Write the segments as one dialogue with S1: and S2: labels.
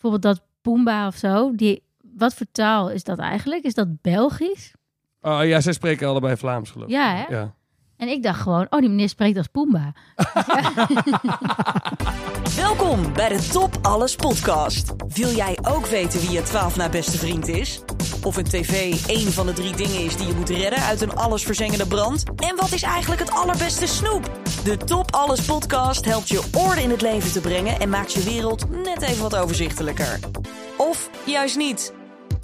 S1: bijvoorbeeld dat Pumba of zo. Die, wat voor taal is dat eigenlijk? Is dat Belgisch?
S2: Oh ja, zij spreken allebei Vlaams geloof ik.
S1: Ja, hè?
S2: Ja.
S1: En ik dacht gewoon, oh, die meneer spreekt als Pumba.
S3: Welkom bij de Top Alles podcast. Wil jij ook weten wie je 12 na beste vriend is? Of een tv één van de drie dingen is die je moet redden uit een allesverzengende brand? En wat is eigenlijk het allerbeste snoep? De Top Alles podcast helpt je orde in het leven te brengen en maakt je wereld net even wat overzichtelijker. Of juist niet.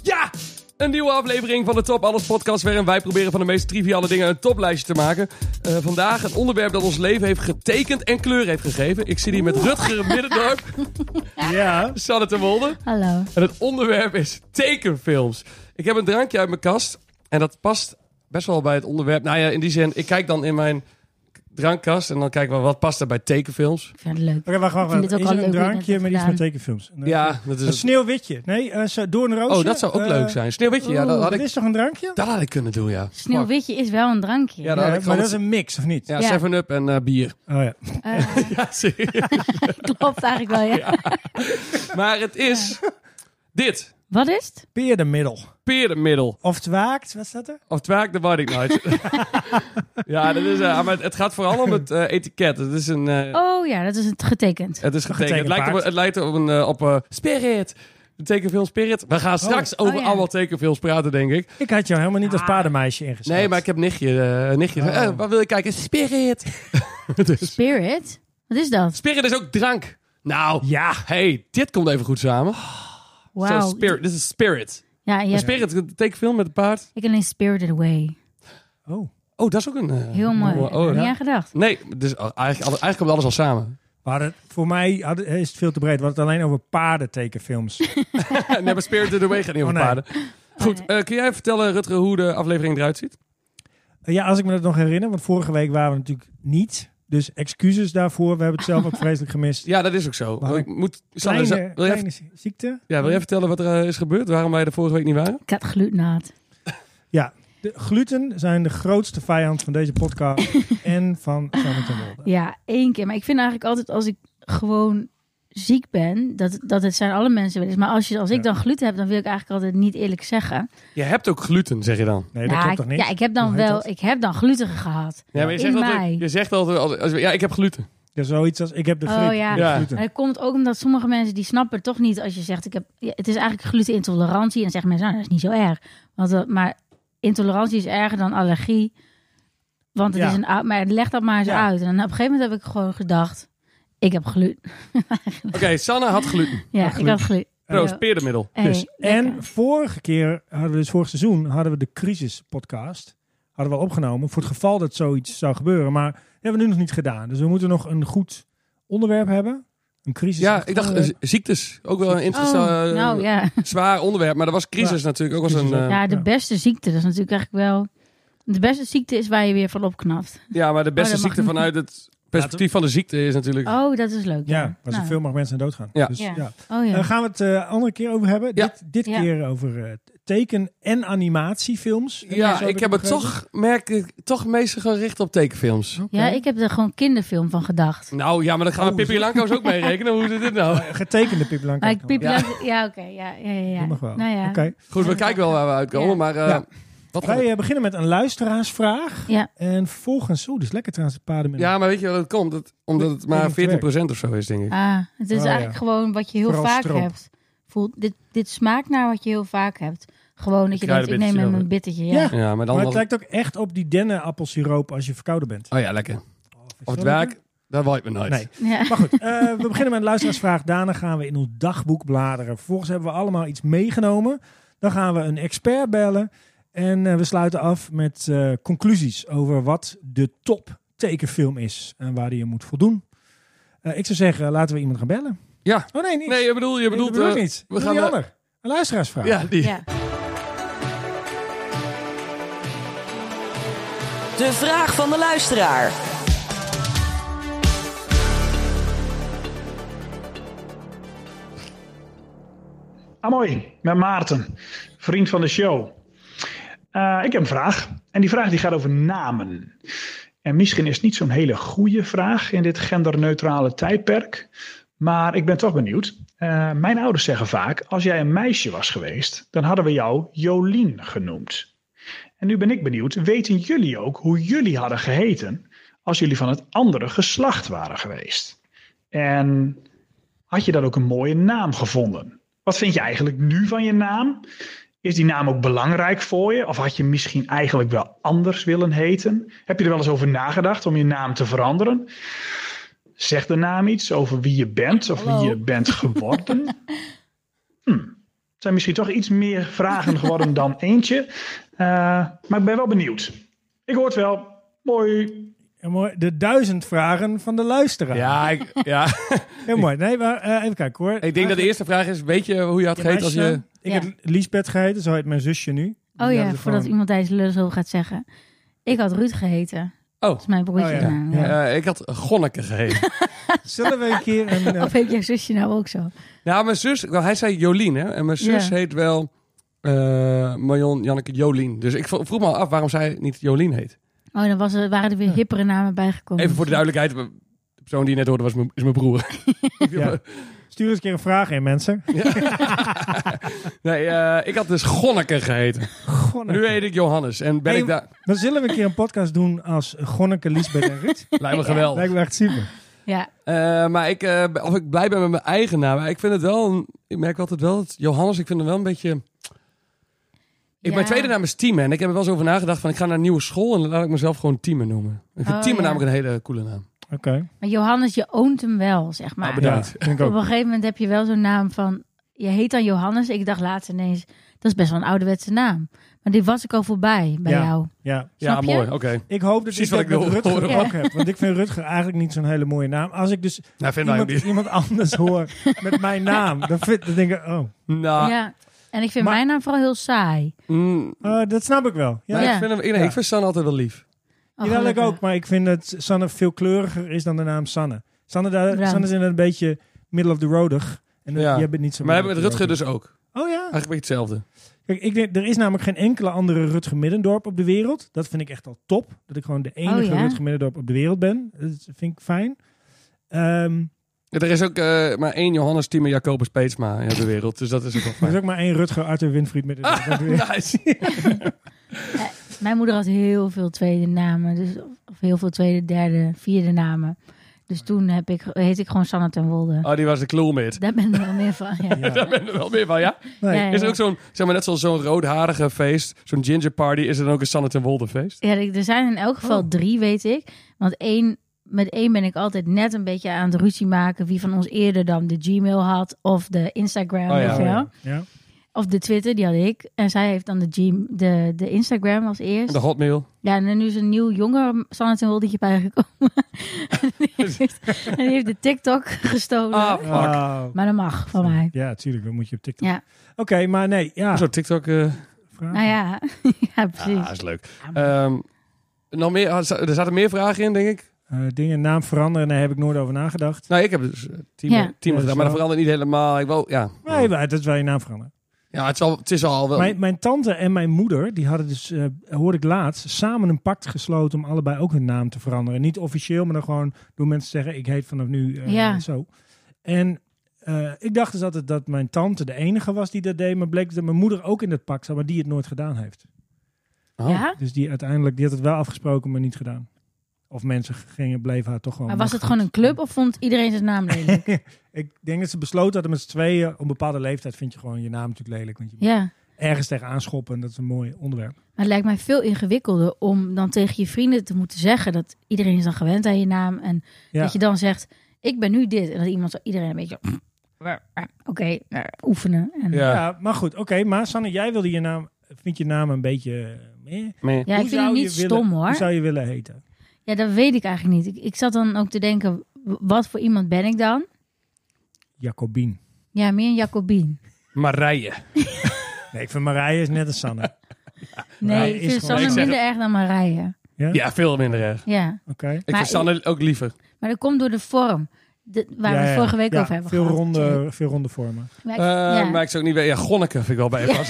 S2: Ja! Een nieuwe aflevering van de Top Alles podcast waarin wij proberen van de meest triviale dingen een toplijstje te maken. Eh, vandaag een onderwerp dat ons leven heeft getekend en kleur heeft gegeven. Ik zit hier met Rutger Middendorp,
S4: Ja.
S2: Sanne de Wolde.
S1: Hallo.
S2: En het onderwerp is tekenfilms. Ik heb een drankje uit mijn kast. En dat past best wel bij het onderwerp. Nou ja, in die zin, ik kijk dan in mijn drankkast. En dan kijk ik wel, wat past er bij tekenfilms.
S1: Ik vind het leuk.
S4: Oké, wacht, wacht,
S1: vind het
S4: wacht.
S1: ook
S4: Is
S1: al
S4: er een
S1: leuk hoe je
S4: drankje
S1: het
S4: met iets
S1: hebt
S4: met tekenfilms? Een-
S2: Ja, dat
S4: Een
S2: is...
S4: sneeuwwitje. Nee, eh, zo- door een roosje.
S2: Oh, dat zou ook
S4: Eh,
S2: leuk zijn. Sneeuwwitje, ja, dat had
S4: Dat
S2: ik,
S4: is toch een drankje?
S2: dat had ik kunnen doen, ja.
S1: Sneeuwwitje is wel een drankje.
S2: Ja, dat had ik
S4: maar
S2: gewoon...
S4: dat is een mix, of niet?
S2: Ja,
S1: Ja.
S2: 7-Up en eh, bier.
S4: Oh ja.
S1: Eh,
S2: Ja, serieus.
S1: klopt eigenlijk wel, ja.
S2: Maar het is dit.
S1: Wat is het?
S4: Peerdermiddel.
S2: Perenmiddel.
S4: Of het waakt, wat staat er?
S2: Of twaak, dat weet ik nooit. ja, dat is, eh, maar het, het gaat vooral om het eh, etiket. Het is een... eh,
S1: Oh ja, dat is het getekend.
S2: Het is getekend. Het
S4: getekend
S2: lijkt op,
S4: paard.
S2: het lijkt op een eh, op, eh, Spirit. Een tekenfilm Spirit. We gaan straks over
S1: Oh, ja.
S2: allemaal tekenfilms praten, denk ik.
S4: Ik had jou helemaal niet als paardenmeisje ingeschat.
S2: Ah. Nee, maar ik heb nichtje. eh, nichtje
S4: Oh.
S2: Eh, wat wil je kijken? Spirit.
S1: Spirit? Wat is dat?
S2: Spirit is ook drank. Nou,
S4: Ja.
S2: hey, dit komt even goed samen. Zo,
S1: Oh, Wauw.
S2: Spirit. Dit is Spirit.
S1: Ja, en je hebt-
S2: Spirit, een tekenfilm met een paard.
S1: ik alleen Spirited Away.
S4: Oh.
S2: Oh, dat is ook een... eh,
S1: Heel mooi.
S2: Oh,
S1: Heb ik
S2: ja.
S1: niet aan gedacht.
S2: Nee, dus oh, eigenlijk, alles- eigenlijk komt alles al samen.
S4: Maar het, voor mij had- is het veel te breed. We hadden het alleen over paardentekenfilms.
S2: nee, maar Spirit in the Way gaat niet over
S4: Oh, nee.
S2: paarden. Goed, eh, kun jij vertellen, Rutger, hoe de aflevering eruit ziet?
S4: Eh, ja, als ik me dat nog herinner. Want vorige week waren we natuurlijk niet. Dus excuses daarvoor. We hebben het zelf ook vreselijk gemist.
S2: Ja, dat is ook zo.
S4: Maar
S2: Ik moet, Sanne,
S4: Kleine,
S2: zou- wil je even
S4: kleine zie- ziekte.
S2: Ja, wil jij vertellen wat er eh, is gebeurd? Waarom wij er vorige week niet waren?
S1: Ik had glutenaat.
S4: De gluten zijn de grootste vijand van deze podcast. en van Sanne ten Wolde.
S1: Ja, één keer. Maar ik vind eigenlijk altijd als ik gewoon ziek ben, dat, dat het zijn alle mensen wel eens. Maar als, je, als ik
S4: Ja.
S1: dan gluten heb, dan wil ik eigenlijk altijd niet eerlijk zeggen.
S2: Je hebt ook gluten, zeg je dan.
S4: Nee, dat
S1: ja,
S4: klopt
S1: ik-
S4: toch niet?
S1: ja, ik heb dan
S4: Hoe heet
S1: wel,
S4: dat?
S1: ik heb dan gluten gehad.
S2: Ja, maar je
S1: In
S2: zegt altijd,
S1: mei.
S2: je zegt altijd als, als- ja, ik heb gluten.
S4: Ja, zoiets als ik heb de
S1: Oh,
S4: griep.
S1: ja.
S4: met
S2: Ja.
S4: gluten.
S1: Maar dat komt ook omdat sommige mensen die snappen toch niet als je zegt ik heb. ja, het is eigenlijk glutenintolerantie. En dan zeggen mensen, nou, dat is niet zo erg. Want, dat- maar intolerantie is erger dan allergie. Want het
S4: Ja.
S1: is een oud. Maar leg dat maar eens
S4: Ja.
S1: uit. En op een gegeven moment heb ik gewoon gedacht. Ik heb gluten.
S2: Oké, Sanne had gluten.
S1: Oh, Ja, ik
S4: gluten.
S1: had gluten.
S2: Proost, peerdermiddel.
S1: Hey,
S4: Dus,
S1: lekker.
S4: en vorige keer hadden we dus vorig seizoen hadden we de crisis podcast hadden we al opgenomen voor het geval dat zoiets zou gebeuren, maar dat hebben we nu nog niet gedaan. Dus we moeten nog een goed onderwerp hebben, een crisis.
S2: Ja, ik dacht eh, z- ziektes. Ook wel een interessant,
S1: Oh,
S2: eh,
S1: nou ja.
S2: zwaar onderwerp. Maar dat was crisis
S4: Ja.
S2: natuurlijk. Ook was een,
S4: Crisis,
S2: eh,
S1: ja, de
S4: ja.
S1: beste ziekte. Dat is natuurlijk eigenlijk wel. De beste ziekte is waar je weer van opknapt.
S2: ja, maar de beste
S1: dat mag
S2: ziekte
S1: niet.
S2: vanuit het perspectief van de ziekte is natuurlijk...
S1: Oh, dat is leuk.
S4: ja, waar
S1: Nou.
S4: zoveel mogelijk mensen aan doodgaan.
S2: eh, Ja.
S4: Dus,
S1: Ja.
S4: ja.
S1: Oh ja.
S4: Daar gaan we het eh, andere keer over hebben.
S2: Ja.
S4: Dit, dit
S1: Ja.
S4: keer over eh, teken- en animatiefilms.
S2: ja,
S4: Zo
S2: ik heb het
S4: begrepen.
S2: toch, merk ik, toch meestal gericht op tekenfilms.
S4: Oké.
S1: ja, ik heb er gewoon kinderfilm van gedacht.
S2: Nou ja, maar dan gaan we
S4: Oh,
S2: Pippi
S4: zo.
S2: Lankaus ook mee rekenen. Hoe zit dit nou?
S4: Getekende Pip Blanco.
S1: Maar ik piep
S2: Ja.
S1: ja, ja oké. Ja, ja, ja, ja.
S4: Die mag wel.
S1: Nou ja.
S4: Oké.
S2: Goed, we kijken wel waar we uitkomen.
S1: Ja.
S2: Maar eh,
S4: Ja.
S2: wat
S4: Wij eh, beginnen met een luisteraarsvraag.
S1: Ja.
S4: En vervolgens, oeh, dus lekker trouwens, de paarden.
S2: Ja, maar weet je wat het komt? Dat, omdat het maar
S4: Met- met het
S2: 14% of zo is, denk ik.
S1: Ah, het is
S4: Oh,
S1: eigenlijk
S4: ja.
S1: gewoon wat je heel
S4: Vooral
S1: vaak
S4: stroop.
S1: hebt. Voel, dit, dit smaakt naar wat je heel vaak hebt. Gewoon dat je denkt, ik
S2: Kruidenbittertje
S1: neem hem
S2: dan.
S1: een bittertje. Ja.
S4: Ja.
S2: Ja, maar dan
S4: maar
S2: was-
S4: het lijkt ook echt op die dennenappelsiroop als je verkouden bent.
S2: Oh ja, lekker. Of het
S4: Zo
S2: werk, dat waait me nooit.
S4: Nee.
S1: Ja.
S4: Maar goed, eh, we beginnen met een luisteraarsvraag. Daarna gaan we in ons dagboek bladeren. Vervolgens hebben we allemaal iets meegenomen. Dan gaan we een expert bellen. En eh, we sluiten af met eh, conclusies over wat de top tekenfilm is. En waar die je moet voldoen. Eh, ik zou zeggen, laten we iemand gaan bellen.
S2: Ja.
S4: Oh nee, niet.
S2: Nee, je bedoelt... Je bedoelt eh,
S4: niet.
S2: we
S4: We
S2: gaan,
S4: gaan die
S2: eh,
S4: ander. Een luisteraarsvraag.
S2: Ja, die.
S1: Ja.
S3: De vraag van de luisteraar.
S5: Amoy, Ah, met Maarten, vriend van de show. Eh, ik heb een vraag. En die vraag die gaat over namen. En misschien is het niet zo'n hele goede vraag in dit genderneutrale tijdperk. Maar ik ben toch benieuwd. Eh, mijn ouders zeggen vaak: als jij een meisje was geweest, dan hadden we jou Jolien genoemd. En nu ben ik benieuwd: weten jullie ook hoe jullie hadden geheten als jullie van het andere geslacht waren geweest? En had je dan ook een mooie naam gevonden? Wat vind je eigenlijk nu van je naam? Is die naam ook belangrijk voor je? Of had je misschien eigenlijk wel anders willen heten? Heb je er wel eens over nagedacht om je naam te veranderen? Zegt de naam iets over wie je bent of
S1: Hallo.
S5: wie je bent geworden? hm. Het zijn misschien toch iets meer vragen geworden dan eentje. Eh, maar ik ben wel benieuwd. Ik hoor het wel. Mooi.
S4: Ja, mooi. De duizend vragen van de luisteraar.
S2: Ja, ik, ja.
S4: Heel mooi. Nee, maar eh, even kijken hoor.
S2: ik denk dat de eerste vraag is, weet je hoe je had gegeten als je...
S4: Ik
S1: Ja.
S4: heb Liesbeth geheten, zo heet mijn zusje nu.
S1: Oh
S4: Die
S1: ja,
S4: hebben ze
S1: voordat
S4: gewoon-
S1: iemand deze lul zo gaat zeggen. Ik had Ruud geheten.
S2: Oh,
S1: Dat is mijn broertje. nou,
S4: Oh ja.
S1: naam,
S4: Ja.
S2: eh, ik had Gonneke gegeten.
S4: Zullen we een keer een... eh,
S1: Of heeft jouw zusje nou ook zo?
S2: nou, mijn zus... Nou, hij zei Jolien, hè. En mijn zus
S1: Ja.
S2: heet wel eh Marion Janneke Jolien. Dus ik vro- vroeg me al af waarom zij niet Jolien heet.
S1: Oh, dan was er, waren er weer hippere namen bijgekomen.
S2: Even voor de duidelijkheid. De persoon die je net hoorde was mijn, is mijn broer.
S4: ja. Stuur eens een keer een vraag in, mensen.
S2: Nee, eh, ik had dus Gonneke geheten.
S4: Gonneke.
S2: Nu heet ik Johannes. En ben
S4: Hey,
S2: ik daar...
S4: Dan zullen we een keer een podcast doen als Gonneke, Liesbeth en Ruud.
S2: Lijkt me geweldig.
S4: Lijkt me echt super.
S1: Ja,
S2: Eh, maar ik, eh, of ik blij ben met mijn eigen naam. Ik vind het wel, een- ik merk altijd wel, dat Johannes, ik vind hem wel een beetje... Ik,
S1: Ja.
S2: Mijn tweede naam is Tieme en ik heb er wel eens over nagedacht van ik ga naar een nieuwe school en dan laat ik mezelf gewoon Tieme noemen. Ik vind
S1: Oh,
S2: Tieme
S1: ja.
S2: namelijk een hele coole naam.
S4: Oké.
S1: maar Johannes, je oont hem wel, zeg maar.
S2: Ah, Bedankt.
S4: Ja, vind ik
S1: Op een
S4: ook.
S1: gegeven moment heb je wel zo'n naam van... Je heet dan Johannes. Ik dacht laatst ineens, dat is best wel een ouderwetse naam. Maar die was ik al voorbij bij
S4: Ja.
S1: jou.
S4: Ja.
S2: Ja,
S1: Snap je?
S2: mooi. Oké.
S4: Ik hoop dat
S2: Precies
S4: ik,
S2: wat
S4: dat
S2: ik
S4: met
S2: wil
S4: Rutger
S1: horen.
S4: ook heb. Want ik vind Rutger eigenlijk niet zo'n hele mooie naam. Als ik dus
S2: Nou, vinden wij hem
S4: iemand,
S2: niet.
S4: iemand anders hoor met mijn naam, dan, vind, dan denk ik, oh,
S2: Nou,
S1: Ja. En ik vind
S4: Maar-
S1: mijn naam vooral heel saai.
S2: mm,
S4: eh, dat snap ik wel. Ja,
S2: nee,
S1: Ja.
S2: ik vind hem, nee, ik vind Sanne altijd wel lief.
S1: Oh,
S4: Ja, dat ik
S1: gelukkig.
S4: ook, maar ik vind dat Sanne veel kleuriger is dan de naam Sanne. Sanne, daar,
S1: Bruin.
S4: Sanne is inderdaad een beetje middle of the roadig. En
S2: Ja.
S4: jij bent niet zo
S2: Maar hebben
S4: middle
S2: we met
S4: of the
S2: Rutger dus ook.
S4: roadig. Oh ja.
S2: Eigenlijk een beetje hetzelfde.
S4: Kijk, ik denk, er is namelijk geen enkele andere Rutger Middendorp op de wereld. Dat vind ik echt al top. Dat ik gewoon de enige
S1: Oh ja?
S4: Rutger Middendorp op de wereld ben. Dat vind ik fijn. Ehm,
S2: Ja, Er is ook eh, maar één Johannes, Tieme, Jacobus, Peetsma in de wereld. Dus dat is ook wel
S4: er is
S2: fijn.
S4: ook maar één Rutger Arthur Winfried Middendorp. op de wereld.
S2: Nice.
S1: Mijn moeder had heel veel tweede namen. Dus, of heel veel tweede, derde, vierde namen. Dus toen heb ik, heet ik gewoon Sanne ten Wolde.
S2: Oh, die was de kloelmeert.
S1: Daar ben ik wel meer van. Ja.
S2: Daar ben ik er wel meer van, ja?
S4: Nee.
S1: Ja, ja.
S2: Is er ook zo'n, zeg maar net zoals zo'n roodharige feest, zo'n ginger party, is er dan ook een Sanne ten Wolde feest?
S1: Ja, er zijn in elk
S2: Oh.
S1: geval drie, weet ik. Want één, met één ben ik altijd net een beetje aan het ruzie maken. Wie van ons eerder dan de Gmail had of de Instagram.
S2: Oh ja.
S1: weet je wel.
S4: Ja.
S1: Of de Twitter, die had ik. En zij heeft dan de, G- de, de Instagram als eerst.
S2: De hotmail.
S1: Ja, en nu is een nieuw jonger Sanne ten Woldetje bijgekomen. en, die heeft, en die heeft de TikTok gestolen.
S2: Ah, fuck.
S4: Wauw.
S1: Maar dat mag van mij.
S4: Ja, tuurlijk. Dat moet je op TikTok.
S1: Ja,
S4: Oké, maar nee. Ja.
S2: Zo'n TikTok. eh
S4: Vraag.
S1: nou ja. ja, precies.
S2: ah, is leuk. Ehm, nog meer, ah, er zaten meer vragen in, denk ik.
S4: Eh, dingen naam veranderen, daar heb ik nooit over nagedacht.
S2: Nou, ik heb dus eh, team,
S1: Ja.
S2: team
S4: Ja,
S2: gedaan, maar dat
S4: zo.
S2: verandert niet helemaal. Ik wil, ja.
S4: Nee, maar dat is wel je naam veranderen.
S2: ja, het is al, het is al wel.
S4: Mijn, mijn tante en mijn moeder, die hadden dus, eh, hoorde ik laatst, samen een pact gesloten om allebei ook hun naam te veranderen. Niet officieel, maar dan gewoon door mensen te zeggen, ik heet vanaf nu eh,
S1: Ja.
S4: zo. En eh, ik dacht dus altijd dat mijn tante de enige was die dat deed, maar bleek dat mijn moeder ook in dat pact zat, maar die het nooit gedaan heeft.
S2: Oh.
S1: Ja?
S4: Dus die uiteindelijk, die had het wel afgesproken, maar niet gedaan. Of mensen gingen, bleven haar toch gewoon.
S1: Maar was het
S4: machtig.
S1: gewoon een club of vond iedereen zijn naam lelijk?
S4: Ik denk dat ze besloten hadden met z'n tweeën, op een bepaalde leeftijd vind je gewoon je naam natuurlijk lelijk. Want je moet
S1: ja.
S4: ergens tegenaan schoppen, dat is een mooi onderwerp.
S1: Maar het lijkt mij veel ingewikkelder om dan tegen je vrienden te moeten zeggen dat iedereen is dan gewend aan je naam. En
S4: Ja.
S1: dat je dan zegt, ik ben nu dit. En dat iemand zo iedereen een beetje, oké, eh, oefenen. En, ja,
S2: Ja.
S4: Ja, maar goed. Oké, maar Sanne, jij wilde je naam... Vind je naam een beetje... eh, eh?
S2: Nee.
S1: ik vind het niet
S4: willen,
S1: stom hoor.
S4: Hoe zou je willen heten?
S1: Ja, dat weet ik eigenlijk niet. Ik, ik zat dan ook te denken, w- wat voor iemand ben ik dan?
S4: Jacobien.
S1: Ja, meer een Jacobien.
S2: Marije.
S4: Nee, ik vind Marije is net een Sanne.
S1: Nee,
S4: Marije
S1: ik
S4: is
S1: vind
S4: gewoon-
S1: Sanne
S2: Ik zeg
S1: minder erg dan Marije.
S4: Ja?
S2: Ja, veel minder erg.
S1: Ja,
S4: Oké.
S2: Ik
S1: Maar
S2: vind Sanne ook liever.
S1: maar dat komt door de vorm. De, waar we
S4: Ja,
S1: het
S4: ja,
S1: vorige week
S4: ja,
S1: over hebben
S4: veel
S1: gehad.
S4: ronde, veel ronde vormen.
S1: Maar ik-
S2: Eh,
S1: ja.
S2: Maar ik zou ook niet weten. Ja, Gonneke vind ik wel bij
S1: Ja.
S2: pas.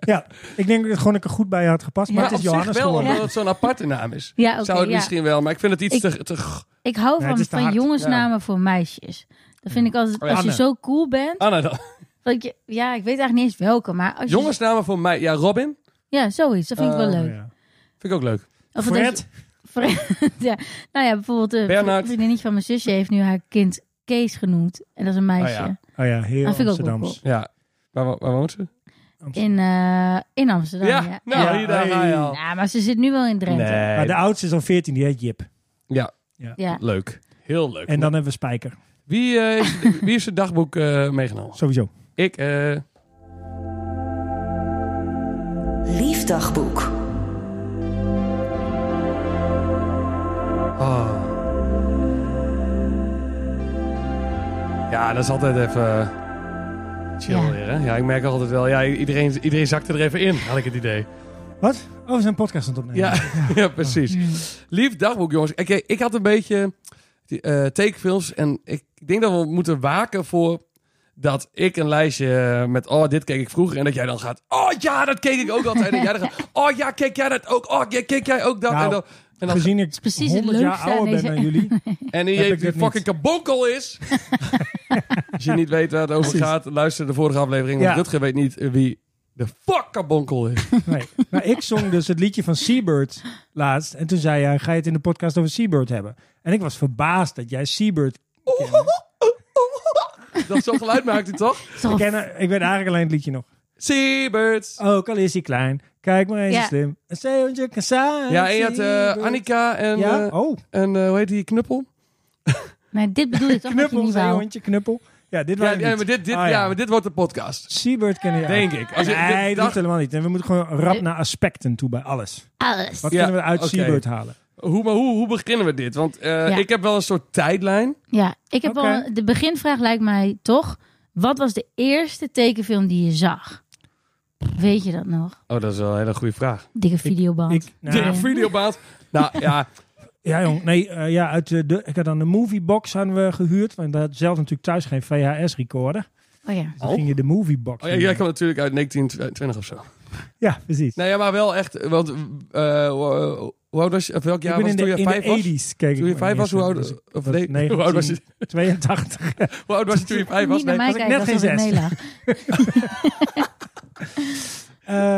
S4: Ja, ik denk dat het gewoon ik er goed bij had gepast. Maar
S2: Maar
S4: het is
S2: op zich
S4: Johannes
S2: wel,
S4: geworden.
S2: omdat het zo'n aparte naam is.
S1: Ja, oké,
S2: zou het
S1: ja.
S2: misschien wel, maar ik vind het iets
S1: Ik-
S2: te, te g-
S1: Ik hou
S4: Nee,
S1: van,
S4: het is te
S1: van
S4: hard.
S1: jongensnamen voor meisjes. Dat vind ik altijd,
S2: Oh ja.
S1: als je
S4: Anne.
S1: zo cool bent.
S2: Anna Ah, nou dan.
S1: want je, ja, ik weet eigenlijk niet eens welke, maar als je-
S2: Jongensnamen voor mij. Ja, Robin.
S1: Ja, zoiets. Dat vind ik wel
S2: Eh,
S4: Oh,
S1: leuk.
S4: ja.
S2: Vind ik ook leuk.
S1: Of het
S4: Fred,
S1: is- Fred, ja. Nou ja, bijvoorbeeld de
S2: Bernard.
S1: vriendinnetje van mijn zusje heeft nu haar kind Kees genoemd. En dat is een meisje.
S2: Oh
S4: oh ja, heel
S1: Dat vind ik ook wel
S4: Amsterdams.
S2: Ja. Waar, wo- waar woont ze?
S1: In, eh, in Amsterdam, ja.
S2: ja. Nou,
S4: Ja.
S2: hier daar ga je al.
S1: Ja, maar ze zit nu wel in Drenthe.
S4: Maar de
S2: Nee.
S4: oudste is al 14, die heet Jip.
S2: Ja,
S1: Ja.
S2: leuk. Heel leuk.
S4: En dan hebben we Spijker,
S2: Wie, eh, is, wie is het dagboek eh, meegenomen?
S4: sowieso.
S2: Ik, eh,
S3: Liefdagboek.
S2: Oh. Ja, dat is altijd even eh, chill
S1: Ja.
S2: weer, hè? Ja, ik merk altijd wel. Ja, iedereen, iedereen zakte er even in, had ik het idee.
S4: Wat? Oh, we zijn een podcast aan het opnemen.
S2: Ja, ja precies. Lief dagboek, jongens. Oké, ik had een beetje die, eh, takefilms en ik denk dat we moeten waken voor dat ik een lijstje met oh dit keek ik vroeger en dat jij dan gaat oh ja dat keek ik ook altijd en jij dan gaat oh ja keek jij dat ook oh ja, keek jij ook dat
S4: Nou,
S2: en dan en dan
S4: Gezien ik
S1: is precies het
S4: 100 jaar
S1: leukste aan
S4: ouder ben
S1: deze-
S4: dan jullie.
S2: En die,
S4: Heb
S2: die
S4: ik dit
S2: fucking kabonkel is. Als je niet weet waar het over
S4: Precies.
S2: gaat, luister de vorige aflevering. Want
S4: Ja.
S2: Rutger weet niet eh, wie de fuck kabonkel is.
S4: Nee. Maar ik zong dus het liedje van Seabird laatst. En toen zei jij, ga je het in de podcast over Seabird hebben? En ik was verbaasd dat jij Seabird
S2: Oh. Dat zo'n geluid maakt hij toch?
S1: Toch-
S4: kende. Ik weet eigenlijk alleen het liedje nog.
S2: Seabirds.
S4: Ook al is hij klein, kijk maar eens
S1: Ja.
S4: zo slim. Een zeehondje kan zijn,
S2: Ja, en je had eh,
S4: Seabird.
S2: Annika en,
S4: Ja,
S2: eh,
S4: oh,
S2: en eh, hoe heet die, Knuppel?
S1: Maar dit bedoel je toch dat je
S4: knuppel,
S1: niet wou.
S4: zeehondje, knuppel. Ja, dit
S2: Ja,
S4: was
S2: ja, maar dit, dit,
S4: Ah,
S2: ja.
S4: ja.
S2: maar dit wordt de podcast.
S4: Seabird ken je
S2: Denk ik. Als je-
S4: nee,
S2: dit-
S4: dat
S2: dat-
S4: hoeft helemaal niet. En we moeten gewoon rap naar aspecten toe bij alles.
S1: Alles.
S4: Wat
S2: Ja,
S4: kunnen we uit
S2: oké.
S4: Seabird halen?
S2: Hoe, maar hoe, hoe beginnen we dit? Want eh, ik heb wel een soort tijdlijn.
S1: Ja, ik heb
S4: Oké.
S1: wel... een- De beginvraag lijkt mij toch... Wat was de eerste tekenfilm die je zag? Weet je dat nog?
S2: Oh, dat is wel een hele goede vraag.
S1: Dikke videoband.
S4: Ik, nou,
S2: De videobaat. Nou ja,
S4: Ja, jong. Nee, eh, ja, uit de, de- ik had dan de moviebox hadden we gehuurd. Want dat had zelf natuurlijk thuis geen VHS-recorder.
S1: oh ja.
S4: Dus dan
S2: Oh.
S4: ging je de moviebox.
S2: oh, ja, jij kwam natuurlijk uit 1920 of zo.
S4: Ja, precies.
S2: Nee, ja, maar wel echt. Want eh, hoe hoe oud was je? Of welk jaar
S4: ik
S2: was het
S4: ben in
S2: toen
S4: de,
S2: je
S4: in
S2: vijf
S4: de
S2: was?
S4: 80s keek ik
S2: Toen je
S4: mijn
S2: vijf was, hoe oud,
S4: eerste. Dus
S2: of
S4: was
S2: nee, hoe oud was je?
S4: 1982.
S2: Hoe oud was je toen je vijf was?
S1: Niet naar
S2: Nee.
S1: mij
S4: was ik
S1: kijken
S4: net
S1: alsof
S4: geen
S1: ik
S4: zes.
S1: meelag.
S4: Ehm,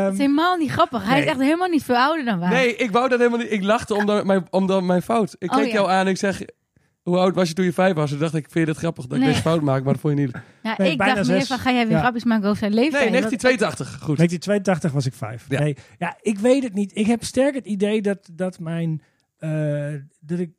S1: Het is helemaal niet grappig. Hij is echt helemaal niet veel ouder dan wij.
S2: nee, ik wou dat helemaal niet. Ik lachte om dan mijn, om dan mijn fout. Ik
S1: Oh,
S2: keek
S1: ja.
S2: jou aan en ik zeg. Hoe oud was je toen je vijf was? Toen dacht ik, vind je dit grappig dat ik
S1: Nee.
S2: deze fout maak? Maar dat vond je niet.
S1: Ja,
S4: Nee,
S1: ik
S4: bijna
S1: dacht meer
S4: zes.
S1: van, ga jij weer
S4: Ja.
S1: grapjes maken over zijn leven?
S2: Nee, 1982. Goed.
S4: 1982 was ik vijf.
S2: Ja.
S4: Nee, ja, ik weet het niet. Ik heb sterk het idee dat, dat mijn... eh, dat ik,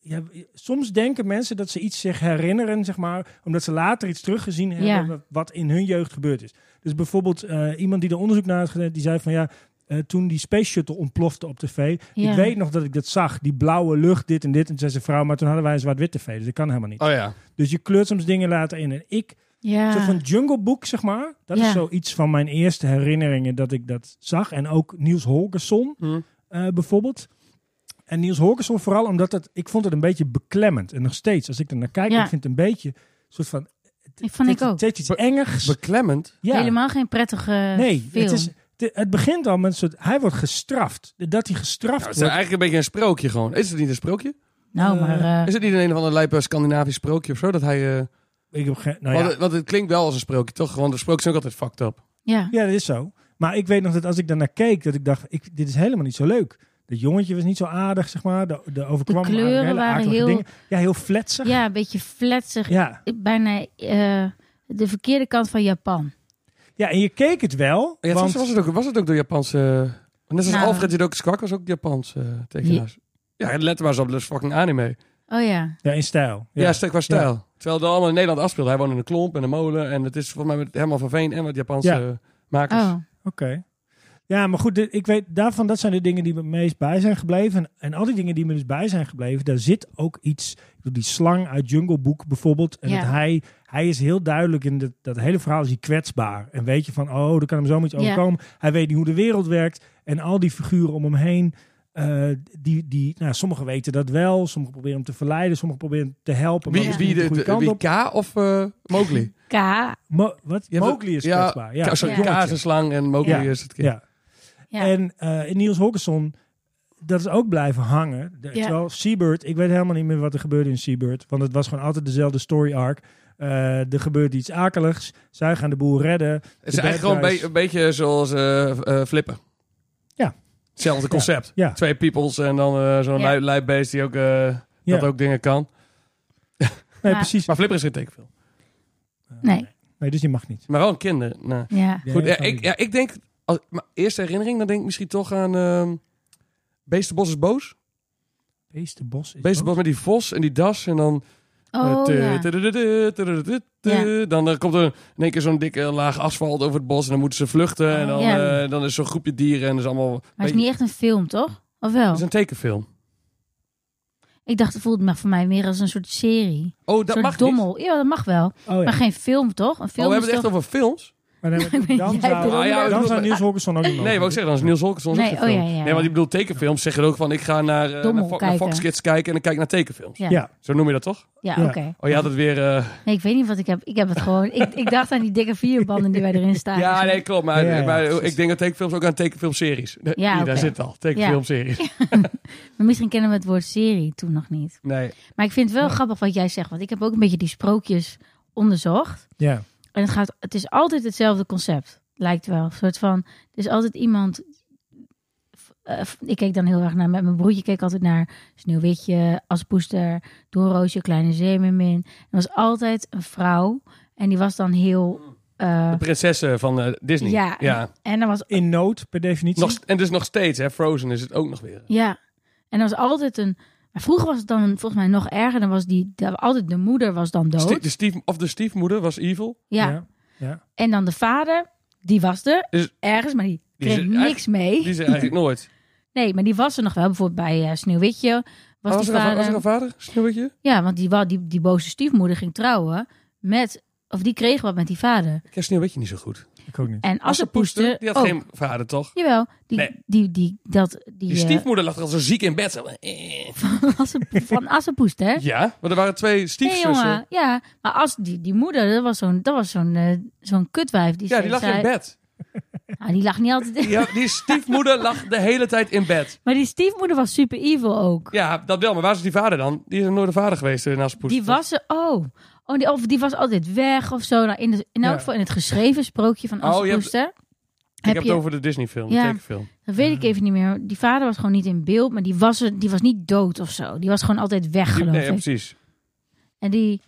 S4: ja, soms denken mensen dat ze iets zich herinneren, zeg maar, omdat ze later iets teruggezien hebben
S1: Ja.
S4: wat- wat in hun jeugd gebeurd is. Dus bijvoorbeeld eh, iemand die er onderzoek naar had gedaan, die zei van ja, eh, toen die space shuttle ontplofte op tv,
S1: Ja.
S4: ik weet nog dat ik dat zag, die blauwe lucht, dit en dit. En toen zei ze vrouw, maar toen hadden wij een zwart-wit tv, dus dat kan helemaal niet.
S2: Oh ja.
S4: Dus je kleurt soms dingen later in. En ik
S1: Ja.
S4: zo van Jungle Book, zeg maar. Dat
S1: Ja.
S4: is zoiets van mijn eerste herinneringen dat ik dat zag. En ook Niels Holgersson
S2: Hm.
S4: eh, bijvoorbeeld. En Niels Holgersson vooral omdat het, ik vond het een beetje beklemmend. En nog steeds, als ik er naar kijk,
S1: Ja.
S4: ik vind het een beetje soort van...
S1: Ik vond ik ook.
S4: Het heeft iets
S2: Be-
S4: engers.
S2: Beklemmend.
S4: ja.
S1: Helemaal geen prettige
S4: Nee,
S1: film.
S4: het, is, het, het begint al met een soort... Hij wordt gestraft. Dat hij gestraft
S2: Nou, het is
S4: wordt.
S2: eigenlijk een beetje een sprookje gewoon. Is het niet een sprookje?
S1: nou, maar... eh,
S2: Is het niet een een of ander lijp eh, Scandinavisch sprookje of zo? Dat hij, eh,
S4: Ik heb geen, nou ja.
S2: want, het- want het klinkt wel als een sprookje, toch? Want de sprookjes zijn ook altijd fucked up.
S1: ja.
S4: Ja, dat is zo. Maar ik weet nog dat als ik daarnaar keek, dat ik dacht, ik, dit is helemaal niet zo leuk. Dat jongetje was niet zo aardig, zeg maar. De, de overkwam
S1: De kleuren
S4: haar hele
S1: waren
S4: akelige
S1: heel-
S4: dingen. Ja, heel fletsig. Ja.
S1: ja, een beetje fletsig.
S4: Ja.
S1: Bijna eh, de verkeerde kant van Japan.
S4: en je keek het wel.
S2: Oh Ja,
S4: want,
S2: want... was, het ook, was het ook door Japanse... Net als
S1: Nou.
S2: Alfred Jidoku Squawk was ook Japans eh, tekenaars. Ja, let maar eens op, dat is fucking anime.
S1: Oh ja.
S4: ja, in stijl.
S2: Ja, stek qua stijl. Terwijl het allemaal in Nederland afspeelt. Hij woont in een klomp en een molen. En het is volgens mij met helemaal van Veen en wat Japanse
S4: Ja.
S2: eh, makers.
S1: Oh.
S4: Oké. Ja, maar goed, dit- ik weet daarvan, dat zijn de dingen die me het meest bij zijn gebleven. En, en al die dingen die me dus bij zijn gebleven, daar zit ook iets. ik bedoel, Die slang uit Jungle Book bijvoorbeeld. En
S1: Ja.
S4: dat hij, hij is heel duidelijk in dat, dat hele verhaal is hij kwetsbaar. En weet je van, oh, er kan hem zomaar iets
S1: Ja.
S4: overkomen. Hij weet niet hoe de wereld werkt. En al die figuren om hem heen, eh, die, die, nou, sommigen weten dat wel. Sommigen proberen hem te verleiden, sommigen proberen hem te helpen. maar
S2: Wie,
S4: dat is
S2: wie, dus
S4: niet
S2: de,
S4: de goede
S2: de-
S4: kant
S2: wie
S4: op.
S2: K of eh, Mowgli?
S1: K.
S4: Mo- wat?
S2: Je hebt-
S4: Mowgli is
S2: ja,
S4: kwetsbaar. Ja,
S2: K, sorry,
S1: Ja.
S2: K is een slang en Mowgli
S4: Ja.
S2: is het kind.
S4: ja.
S1: Ja.
S4: En eh, in Niels Holgersson dat is ook blijven hangen. De,
S1: Ja.
S4: Terwijl Seabird, ik weet helemaal niet meer wat er gebeurde in Seabird. Want het was gewoon altijd dezelfde story arc. Eh, er gebeurt iets akeligs. Zij gaan de boel redden.
S2: Het is
S4: De bad
S2: eigenlijk gewoon een,
S4: guys.
S2: be- een beetje zoals eh, eh, Flippen.
S4: Ja.
S2: Hetzelfde concept.
S4: Ja.
S2: Twee peoples en dan eh, zo'n
S1: Ja.
S2: lui luibeest die ook, eh,
S4: Ja.
S2: dat ook dingen kan.
S4: Nee,
S1: Ja.
S4: precies.
S2: Maar Flipper is geen tekenfilm.
S1: Nee.
S4: Nee, dus die mag niet.
S2: Maar wel een kinder. Nee.
S1: Ja.
S4: Nee,
S2: Goed,
S4: dat
S2: ja,
S4: kan
S2: ik,
S4: niet.
S2: ja, ik denk... Als, maar eerste herinnering, dan denk ik misschien toch aan... ehm Beestenbos is boos.
S4: Beestenbos is
S2: Beestenbos met
S4: boos.
S2: die vos en die das. En dan...
S1: Oh
S2: eh,
S1: ja.
S2: tudududu, tudududu, tudu. Dan eh, komt er in één keer zo'n dikke laag asfalt over het bos. En dan moeten ze vluchten. En dan,
S1: Ja.
S2: eh, dan is zo'n groepje dieren. En dat is allemaal...
S1: Maar het is niet echt een film, toch? Of wel?
S2: Het is een tekenfilm.
S1: Ik dacht, het voelde me voor mij meer als een soort serie.
S2: Oh,
S1: Een
S2: dat mag
S1: soort
S2: niet.
S1: dommel. Ja, dat mag wel.
S4: Oh ja.
S1: Maar geen film, toch? Een
S2: Oh,
S1: film
S2: we
S1: is
S2: hebben het echt
S1: toch-
S2: over films?
S4: Maar dan, dan,
S1: Jij
S4: zou,
S1: bedoelt-
S2: Ah, ja,
S4: dan
S2: bedoel-
S4: zou Niels Holgersson ook niet mogen.
S2: Nee, wat ik zeg, dan is Niels Holgersson ook
S1: Nee,
S2: geen
S1: oh,
S2: film.
S1: ja, ja, ja.
S2: Nee, want ik bedoel tekenfilms zeggen ook van... Ik ga naar, eh,
S1: Dommel
S2: naar, Fo- naar Fox
S1: kijken.
S2: Kids kijken en dan kijk ik naar tekenfilms.
S1: Ja, ja,
S4: Ja,
S2: Zo noem je dat toch?
S4: Ja.
S1: oké.
S2: Oh, je had het weer... eh,
S1: Nee, ik weet niet wat ik heb. Ik heb het gewoon... ik, ik dacht aan die dikke vierbanden die wij erin staan. Dus, eh,
S2: Ja, nee, klopt. Maar,
S4: Ja, ja,
S2: maar
S4: precies.
S2: ik denk dat tekenfilms ook aan tekenfilmseries. Ja,
S1: Ja,
S2: Daar
S1: oké.
S2: zit het al. Tekenfilmseries.
S1: Maar misschien kennen we het woord serie toen nog niet.
S2: Nee.
S1: Maar ik vind het wel grappig wat jij zegt. Want ik heb ook een beetje die sprookjes onderzocht.
S4: ja.
S1: En het, gaat, het is altijd hetzelfde concept. Lijkt wel. Een soort van... Er is altijd iemand... eh, ik keek dan heel erg naar... Met mijn broertje keek altijd naar Sneeuwwitje, Aspoester, Doornroosje, Kleine Zeemermin. Er was altijd een vrouw. En die was dan heel... eh,
S2: De prinsessen van eh, Disney.
S1: ja,
S2: ja.
S1: En er was
S4: In nood, per definitie.
S2: Nog, en dus nog steeds, hè. Frozen is het ook nog weer.
S1: Ja, en er was altijd een. Maar vroeger was het dan volgens mij nog erger. Dan was die. de- altijd de moeder was dan
S4: Oh.
S1: dood.
S2: Stie- de stief, of de stiefmoeder was evil.
S1: ja.
S4: Ja. ja.
S1: En dan de vader, die was er
S2: Is-
S1: ergens, maar die
S2: Dus Die
S1: kreeg
S2: is er
S1: niks mee.
S2: Die is er eigenlijk nooit.
S1: Nee, maar die was er nog wel. Bijvoorbeeld bij eh, Sneeuwwitje. Was,
S2: Ah, Was,
S1: die
S2: er, een, va-
S1: vader.
S2: was er een vader? Sneeuwwitje?
S1: Ja, want die, wa- die, die boze stiefmoeder ging trouwen met. Of die kreeg wat met die vader.
S2: Ik ken Sneeuwwitje niet zo goed.
S4: Ik ook niet.
S1: En Assepoester.
S2: die had
S1: ook.
S2: geen vader, toch?
S1: Jawel, die,
S2: Nee.
S1: die, die, dat, die,
S2: Die
S1: eh,
S2: stiefmoeder lag er al zo ziek in bed. Zo, eh.
S1: Asse- van Assepoester.
S2: Ja, maar er waren twee
S1: Nee,
S2: stiefzussen.
S1: jongen. Ja, maar als die, die moeder, dat was zo'n dat was zo'n eh, zo'n kutwijf. Die
S2: ja, die
S1: steeds
S2: lag in
S1: zei-
S2: bed.
S1: Ah, die lag niet altijd.
S2: Die, die stiefmoeder lag de hele tijd in bed.
S1: Maar die stiefmoeder was super evil ook.
S2: Ja, dat wel. Maar waar is die vader dan? Die is nooit de vader geweest eh, naast Poes.
S1: Die was ze. Oh. Oh, die, of die was altijd weg of zo. Nou, in, de, in elk
S4: Ja.
S1: geval in het geschreven sprookje van
S2: Oh, je hebt-
S1: Assepoester.
S2: Ik heb het over de Disney-film, de
S1: Ja.
S2: tekenfilm.
S1: Dat weet ik even niet meer. Die vader was gewoon niet in beeld, maar die was, er, die was niet dood of zo. Die was gewoon altijd weg,
S2: Die-
S1: geloof
S2: nee, ja,
S1: ik.
S2: precies.
S1: En die.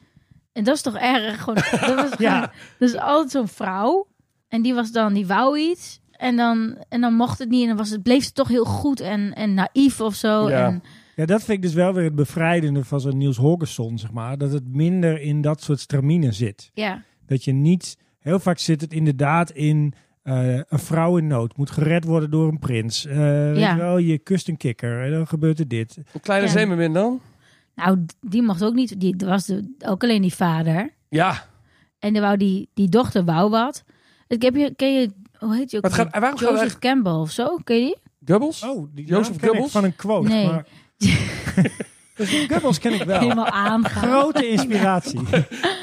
S1: En dat is toch erg? Gewoon, dat, was gewoon-
S4: Ja.
S1: dat is altijd zo'n vrouw. En die was dan, die wou iets. En dan, en dan mocht het niet. En dan was het, bleef ze toch heel goed en, en naïef of zo.
S2: Ja.
S1: En,
S4: Ja, dat vind ik dus wel weer het bevrijdende van zo'n Niels Holgersson, zeg maar. Dat het minder in dat soort stramine zit.
S1: ja.
S4: Dat je niet... Heel vaak zit het inderdaad in eh, een vrouw in nood. Moet gered worden door een prins. Eh weet
S1: Ja.
S4: je wel, je kust een kikker. En dan gebeurt er dit.
S2: Een kleine
S1: Ja.
S2: zeemermin dan?
S1: Nou, die mocht ook niet. Die er was de, ook alleen die vader.
S2: Ja, maar
S1: En dan wou die, die dochter wou wat. Ik heb hier, ken je, hoe heet je ook?
S2: het gaat,
S1: weer?
S2: waarom gaat het
S1: Joseph
S2: eigenlijk...
S1: Campbell of zo, ken je die?
S2: Gubbels?
S4: Oh, die
S2: Jozef
S4: naam ken ik
S2: Goebbels?
S4: van een quote.
S1: Nee.
S4: Maar... dus die Goebbels ken ik wel.
S1: Helemaal aangaan.
S4: Grote inspiratie.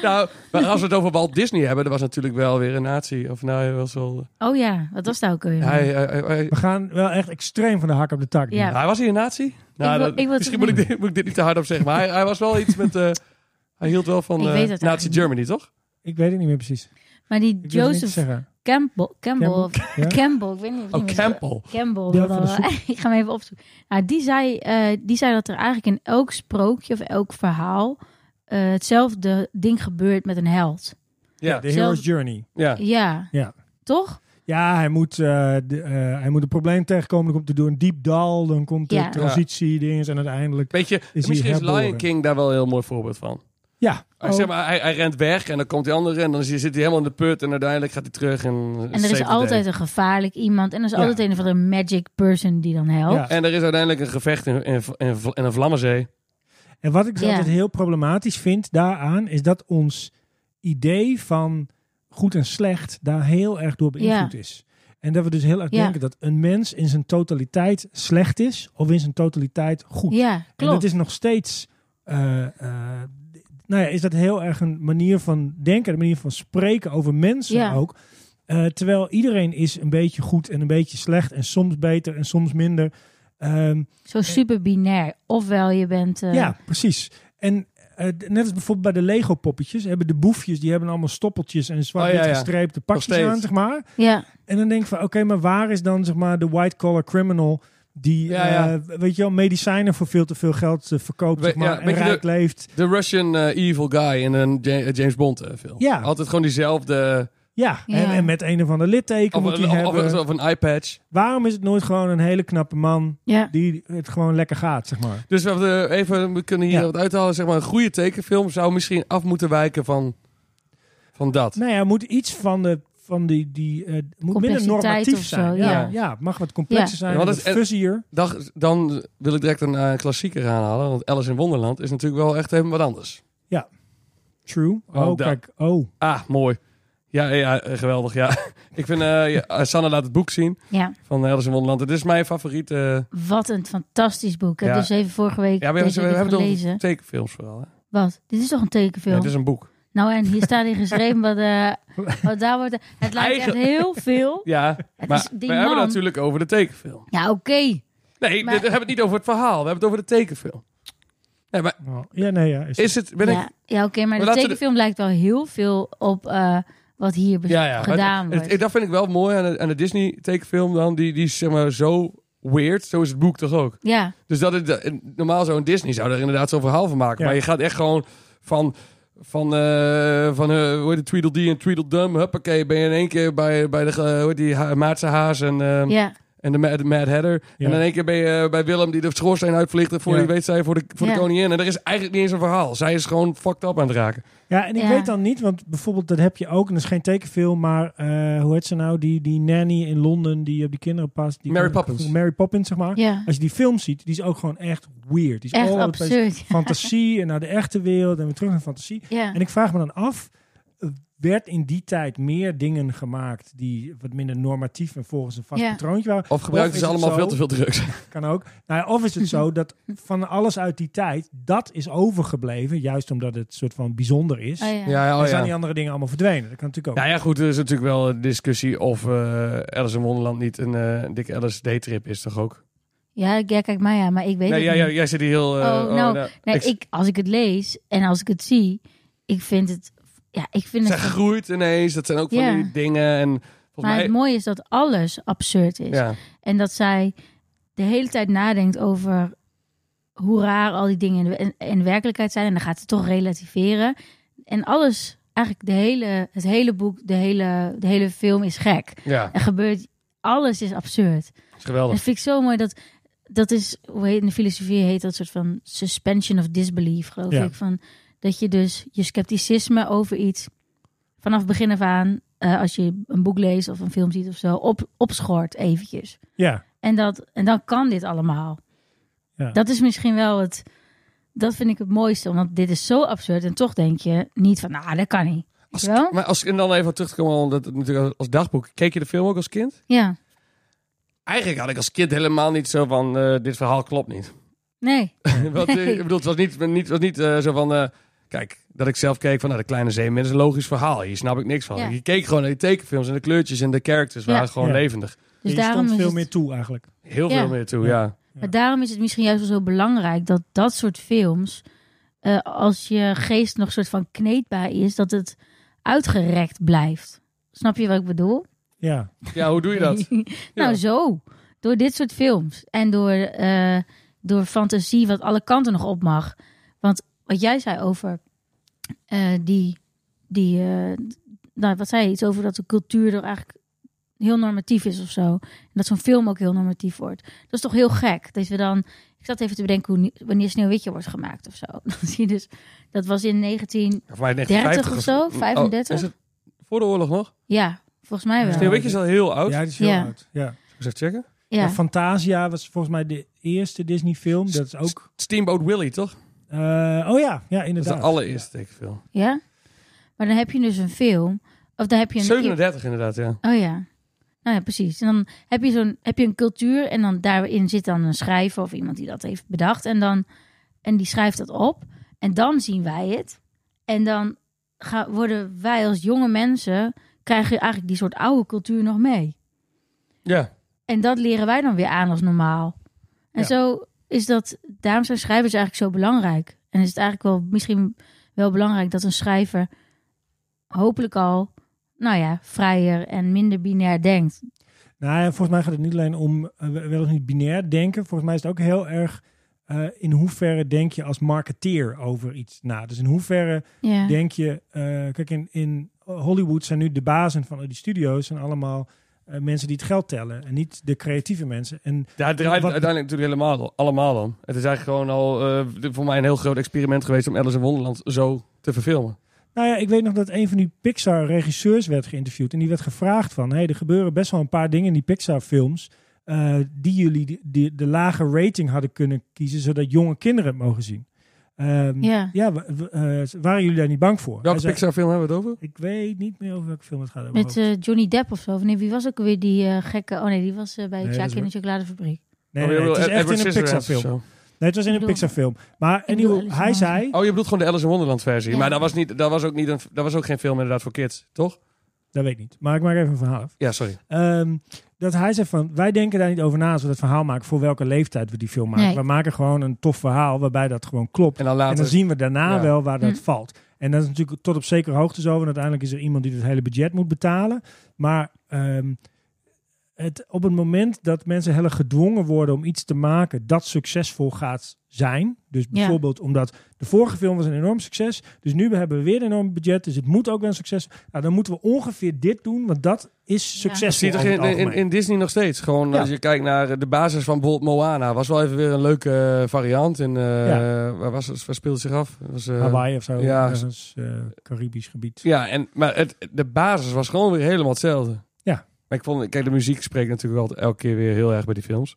S2: Nou, maar als we het over Walt Disney hebben, er was natuurlijk wel weer een natie. Of nou, hij was wel...
S1: Oh ja, wat was dat ook alweer?
S2: Hij, hij, hij- hij-
S4: We gaan wel echt extreem van de hak op de tak. nu.
S1: Ja.
S2: hij was hier een natie? Nou,
S1: wil-
S2: dat-
S1: ik wil het
S2: misschien moet ik, dit, moet ik dit niet te hard op zeggen, maar hij, hij was wel iets met... eh, hij hield wel van
S1: Ik
S2: eh,
S1: weet het
S2: Nazi
S1: eigenlijk niet.
S2: Germany, toch?
S4: Ik weet het niet meer precies. Ik
S1: Maar die
S4: durf het niet te
S1: Joseph
S4: zeggen.
S1: Campbell, Campbell, of-
S4: Ja?
S1: Campbell, ik weet niet. of
S2: Oh,
S1: die-
S2: Campbell.
S1: Campbell.
S4: Ja, van de
S1: blablabla. ik ga hem even opzoeken. Nou, die, zei, eh, die zei dat er eigenlijk in elk sprookje of elk verhaal eh, hetzelfde ding gebeurt met een held.
S2: Ja,
S4: De Hero's Journey.
S2: ja.
S1: Ja.
S4: Ja.
S1: Toch?
S4: Ja, hij moet, eh, de, eh, hij moet een probleem tegenkomen. Dan komt hij door een diep dal. Dan komt de
S1: Ja.
S4: transitie, dingen. En uiteindelijk...
S2: Beetje,
S4: hij
S2: misschien is Lion
S4: herboren?
S2: King daar wel een heel mooi voorbeeld van.
S4: Ja.
S2: Hij,
S1: Oh.
S2: zeg maar, hij, hij rent weg en dan komt die andere en dan zit hij helemaal in de put en uiteindelijk gaat hij terug. En,
S1: En er is altijd een gevaarlijk iemand. En er is altijd een van de magic person die dan helpt.
S4: Ja.
S2: En er is uiteindelijk een gevecht in, in, in, in een vlammenzee.
S4: En wat ik dus
S1: Ja.
S4: altijd heel problematisch vind daaraan... is dat ons idee van goed en slecht... daar heel erg door beïnvloed is. En dat we dus heel erg
S1: Ja.
S4: denken dat een mens in zijn totaliteit slecht is... of in zijn totaliteit goed.
S1: Ja,
S4: En dat
S1: klopt.
S4: is nog steeds. eh, eh, nou ja, is dat heel erg een manier van denken, een manier van spreken over mensen
S1: Ja.
S4: ook. Eh, terwijl iedereen is een beetje goed en een beetje slecht en soms beter en soms minder. Ehm,
S1: Zo super binair. Ofwel je bent... eh,
S4: ja, precies. En eh, d- net als bijvoorbeeld bij de Lego poppetjes, hebben de boefjes, die hebben allemaal stoppeltjes en zwart-wit
S2: Oh, ja, ja.
S4: gestreepte pakjes
S2: steeds.
S4: aan, zeg maar.
S1: ja.
S4: En dan denk ik van, oké, maar waar is dan zeg maar de white collar criminal die,
S2: Ja, ja.
S4: eh, weet je wel, medicijnen voor veel te veel geld eh, verkoopt,
S2: We-
S4: zeg maar,
S2: ja,
S4: en
S2: weet je
S4: rijk
S2: de-
S4: leeft.
S2: De Russian eh, evil guy in een Ja- eh, James Bond eh, film.
S4: Ja.
S2: Altijd gewoon diezelfde...
S4: Ja, En,
S1: Ja.
S4: en met een of ander litteken
S2: Of,
S4: moet hij
S2: een- of,
S4: hebben.
S2: of, of een eyepatch.
S4: Waarom is het nooit gewoon een hele knappe man
S1: ja.
S4: die het gewoon lekker gaat, zeg maar?
S2: Dus we, hebben, eh, even, we kunnen hier
S4: Ja.
S2: wat uithalen. Zeg maar, een goede tekenfilm zou misschien af moeten wijken van, van dat.
S4: Nou ja, er moet iets van de van die die eh, moet minder
S1: Complexiteit
S4: normatief
S1: of zo,
S4: zijn. ja.
S2: ja.
S4: Ja, het mag wat complexer
S1: Ja.
S4: zijn,
S2: Ja, want
S4: wat
S2: dat is-
S4: fuzzier.
S2: Dan, dan wil ik direct een eh, klassieker aanhalen. Want Alice in Wonderland is natuurlijk wel echt even wat anders.
S4: True.
S2: Oh,
S4: Oh,
S2: dat.
S4: kijk, oh,
S2: Ah, mooi. Ja, ja eh, geweldig. Ja. ik vind... eh, ja, eh, Sanne laat het boek zien
S1: ja.
S2: van Alice in Wonderland. Het is mijn favoriete... eh,
S1: Wat een fantastisch boek. Ik heb
S2: Ja.
S1: dus even vorige week
S2: ja, we, hebben-
S1: deze
S2: we
S1: week
S2: hebben het
S1: gelezen.
S2: over tekenfilms vooral. Hè?
S1: Wat? Dit is toch een
S2: Ja,
S1: tekenfilm?
S2: het is een boek.
S1: Nou, en hier staat in geschreven wat, eh, wat daar wordt. Het lijkt
S2: Eigen-
S1: echt heel veel.
S2: Ja, maar
S1: is
S2: we
S1: die
S2: hebben het
S1: man.
S2: natuurlijk over de tekenfilm.
S1: Ja, oké.
S2: Nee,
S1: Maar-
S2: we hebben het niet over het verhaal. We hebben het over de tekenfilm. Nee, maar
S4: Oh, ja, nee, ja, is,
S2: is het... Ben
S1: ja,
S2: ik,
S1: ja oké, maar,
S2: Maar
S1: de
S2: laten we de-
S1: tekenfilm lijkt wel heel veel op eh, wat hier bes-
S2: ja, ja.
S1: gedaan
S2: maar het-
S1: wordt.
S2: het- dat vind ik wel mooi aan de, aan de Disney tekenfilm dan. Die, die is zeg maar zo weird. Zo is het boek toch ook.
S1: ja,
S2: Dus dat is de- en normaal zo'n Disney zou er inderdaad zo'n verhaal van maken.
S4: Ja.
S2: Maar je gaat echt gewoon van... Van, eh van eh, hoe heet het, Tweedledee en Tweedledum. Huppakee, ben je in één keer bij, bij de, eh, hoe heet die, ha- Maartse Haas en, eh,
S1: ja,
S2: en de Mad, Mad Hatter.
S4: Ja.
S2: En in één keer ben je eh, bij Willem die de schoorsteen uitvliegt. En voor
S4: Ja.
S2: die weet zij voor de, voor
S1: Ja.
S2: de koningin. En er is eigenlijk niet eens een verhaal. Zij is gewoon fucked up aan het raken.
S4: ja, en ik
S1: Ja.
S4: weet dan niet, want bijvoorbeeld dat heb je ook, en dat is geen tekenfilm, maar eh, hoe heet ze nou, die, die nanny in Londen die op die kinderen past. Die
S2: Mary Poppins.
S4: Mary Poppins, zeg maar.
S1: ja.
S4: Als je die film ziet, die is ook gewoon echt weird. Die is
S1: Echt
S4: all over the place.
S1: absurd.
S4: Fantasie en naar de echte wereld en weer terug naar fantasie.
S1: Ja.
S4: En ik vraag me dan af, eh, werd in die tijd meer dingen gemaakt die wat minder normatief en volgens een vast
S1: Ja.
S4: patroontje waren?
S2: Of gebruiken
S4: Of
S2: ze
S4: is het
S2: allemaal veel
S4: zo?
S2: te veel drugs.
S4: Kan ook. Nou ja, of is het zo dat van alles uit die tijd, dat is overgebleven, juist omdat het soort van bijzonder is.
S1: Oh, ja.
S2: Ja, ja, oh
S4: en zijn
S2: ja.
S4: die andere dingen allemaal verdwenen? Dat kan natuurlijk ook.
S2: Nou ja, goed, er is natuurlijk wel een discussie of eh, Alice in Wonderland niet een eh, dikke Alice day-trip is, toch ook?
S1: Ja, ja, kijk maar ja, maar ik weet
S2: Nee,
S1: het
S2: ja,
S1: niet.
S2: ja, jij zit hier heel... eh,
S1: Oh, nou,
S2: nou,
S1: Nee,
S2: ik-
S1: ik, als ik het lees en als ik het zie, ik vind het... Ja, ik vind
S2: Zij
S1: het...
S2: groeit ineens, dat zijn ook
S1: Ja.
S2: van die dingen. En volgens
S1: Maar
S2: mij...
S1: het mooie is dat alles absurd is.
S2: ja.
S1: En dat zij de hele tijd nadenkt over hoe raar al die dingen in, in, in werkelijkheid zijn. En dan gaat ze toch relativeren. En alles, eigenlijk de hele, het hele boek, de hele, de hele film is gek.
S2: ja,
S1: Er gebeurt, alles is absurd.
S2: dat is
S1: Dat
S2: geweldig.
S1: vind ik zo mooi dat, dat is, hoe heet in de filosofie heet dat soort van suspension of disbelief, geloof
S4: Ja.
S1: ik. Van, dat je dus je scepticisme over iets vanaf begin af aan, eh, als je een boek leest of een film ziet of zo, op, opschort eventjes.
S4: Ja.
S1: En, dat, en dan kan dit allemaal.
S4: Ja.
S1: Dat is misschien wel het. Dat vind ik het mooiste, want dit is zo absurd. En toch denk je niet van, nou, dat kan niet. Weet
S2: Als,
S1: je wel?
S2: maar als, en dan even terug te komen, omdat het natuurlijk als, als dagboek... Keek je de film ook als kind?
S1: Ja,
S2: Eigenlijk had ik als kind helemaal niet zo van, eh, dit verhaal klopt niet.
S1: nee.
S2: Want, eh, ik bedoel, het was niet, niet, was niet eh, zo van... eh, Kijk, dat ik zelf keek van nou, de kleine zeeman is een logisch verhaal. Hier snap ik niks van.
S1: Ja.
S2: Je keek gewoon naar die tekenfilms en de kleurtjes en de characters
S1: Ja.
S2: waren gewoon
S4: Ja.
S2: levendig.
S1: Dus
S4: je
S1: daarom
S4: stond
S1: is,
S4: veel
S1: het,
S4: meer toe eigenlijk.
S2: Heel
S1: Ja.
S2: veel meer toe, ja.
S1: maar daarom is het misschien juist wel zo belangrijk dat dat soort films, eh, als je geest nog soort van kneedbaar is, dat het uitgerekt blijft. Snap je wat ik bedoel?
S4: Ja.
S2: Ja, hoe doe je dat?
S1: nou,
S2: Ja.
S1: zo. Door dit soort films. En door, eh, door fantasie wat alle kanten nog op mag. Want wat jij zei over eh, die... die eh, nou, wat zei je? Iets over dat de cultuur er eigenlijk heel normatief is of zo. En dat zo'n film ook heel normatief wordt. Dat is toch heel gek. Dat we dan... Ik zat even te bedenken hoe, nie- wanneer Sneeuwwitje wordt gemaakt of zo. Dan zie je dus... Dat was in 19...
S2: Ja, voor mij
S1: 30 of zo?
S2: Oh,
S1: 35?
S2: is het voor de oorlog nog?
S1: Ja, volgens mij wel.
S4: Sneeuw-
S2: Sneeuwwitje is al heel oud.
S4: ja,
S2: Ja.
S4: die is heel
S1: Ja.
S4: oud. Ja.
S2: Even checken.
S4: Ja,
S1: Ja.
S4: Fantasia was volgens mij de eerste Disney film. Dat is ook...
S2: Steamboat Willie, toch?
S4: eh, oh ja, ja
S2: Dat is de
S4: inderdaad.
S2: allereerste tekenfilm.
S1: ja. Maar dan heb je dus een film... Of dan heb je een,
S2: 37 inderdaad, ja.
S1: Oh ja. Nou ja, precies. En dan heb je, zo'n, heb je een cultuur en dan daarin zit dan een schrijver of iemand die dat heeft bedacht. En, dan, en die schrijft dat op. En dan zien wij het. En dan ga, worden wij als jonge mensen, krijgen eigenlijk die soort oude cultuur nog mee.
S2: Ja,
S1: En dat leren wij dan weer aan als normaal. En
S4: Ja.
S1: zo is dat, daarom zijn schrijvers eigenlijk zo belangrijk. En is het eigenlijk wel misschien wel belangrijk dat een schrijver hopelijk al, nou ja, vrijer en minder binair denkt.
S4: Nou ja, volgens mij gaat het niet alleen om eh, wel of niet binair denken. Volgens mij is het ook heel erg eh, in hoeverre denk je als marketeer over iets na. Dus in hoeverre
S1: Ja.
S4: denk je... eh, kijk, in, in Hollywood zijn nu de bazen van al die studio's... zijn allemaal eh, mensen die het geld tellen en niet de creatieve mensen. En
S2: Daar draait het
S4: Wat-
S2: uiteindelijk natuurlijk helemaal allemaal dan. Het is eigenlijk gewoon al eh, voor mij een heel groot experiment geweest om Alice in Wonderland zo te verfilmen.
S4: Nou ja, ik weet nog dat een van die Pixar-regisseurs werd geïnterviewd. En die werd gevraagd van, hey, er gebeuren best wel een paar dingen in die Pixar-films... eh, die jullie de, de, de lage rating hadden kunnen kiezen... zodat jonge kinderen het mogen zien. Ehm,
S1: Ja.
S4: w- w- eh, waren jullie daar niet bang voor? Hij
S2: Welke
S4: zei,
S2: Pixar film hebben we het over?
S4: Ik weet niet meer over welke film het gaat. uit mijn
S1: Met
S4: hoofd.
S1: eh, Johnny Depp of zo. Of nee, wie was ook weer die eh, gekke... Oh nee, die was eh, bij
S4: Nee, dat
S1: Jack
S4: is
S1: in de
S4: wel-
S1: chocoladefabriek.
S4: nee, nee, nee, het is
S2: Ed-
S4: echt
S2: Oh, Edward
S4: in een
S2: Scissorhands
S4: Pixar-film.
S2: of
S4: Nee, het was in een
S1: bedoel-
S4: Pixar-film. Maar
S1: bedoel
S4: anyway,
S1: Alice in
S4: hij
S1: Wonderland.
S4: zei...
S2: zo. Oh, je bedoelt gewoon de Alice in Wonderland versie.
S1: Ja.
S2: Maar dat was, niet, dat, was ook niet een, dat was ook geen film inderdaad voor kids, toch?
S4: Dat weet ik niet, maar ik maak even een verhaal af.
S2: Ja, sorry.
S4: Ehm, dat hij zei van, wij denken daar niet over na als we dat verhaal maken voor welke leeftijd we die film maken.
S1: Nee.
S4: We maken gewoon een tof verhaal waarbij dat gewoon klopt.
S2: En dan later.
S4: En dan zien we daarna
S2: Ja.
S4: wel waar dat
S1: Hm.
S4: valt. En dat is natuurlijk tot op zekere hoogte zo. En uiteindelijk is er iemand die het hele budget moet betalen. Maar ehm, het, op het moment dat mensen heel erg gedwongen worden om iets te maken dat succesvol gaat zijn. Dus bijvoorbeeld omdat de vorige film was een enorm succes. Dus nu hebben we weer een enorm budget. Dus het moet ook wel een succes. Nou, dan moeten we ongeveer dit doen, want dat is
S1: Ja.
S2: Dat
S4: succesvol.
S2: zie je toch
S4: over
S2: in,
S4: het
S2: in,
S4: algemeen.
S2: in Disney nog steeds. Gewoon
S4: Ja.
S2: als je kijkt naar de basis van bijvoorbeeld Moana. Was wel even weer een leuke eh, variant. In, eh, waar, was, het- waar speelde het zich af? Het Was, eh,
S4: Hawaii of zo,
S2: ja.
S4: ergens eh, Caribisch gebied.
S2: Ja, en, maar het, de basis was gewoon weer helemaal hetzelfde.
S4: Ja.
S2: Maar ik vond, kijk, de muziek spreekt natuurlijk altijd elke keer weer heel erg bij die films.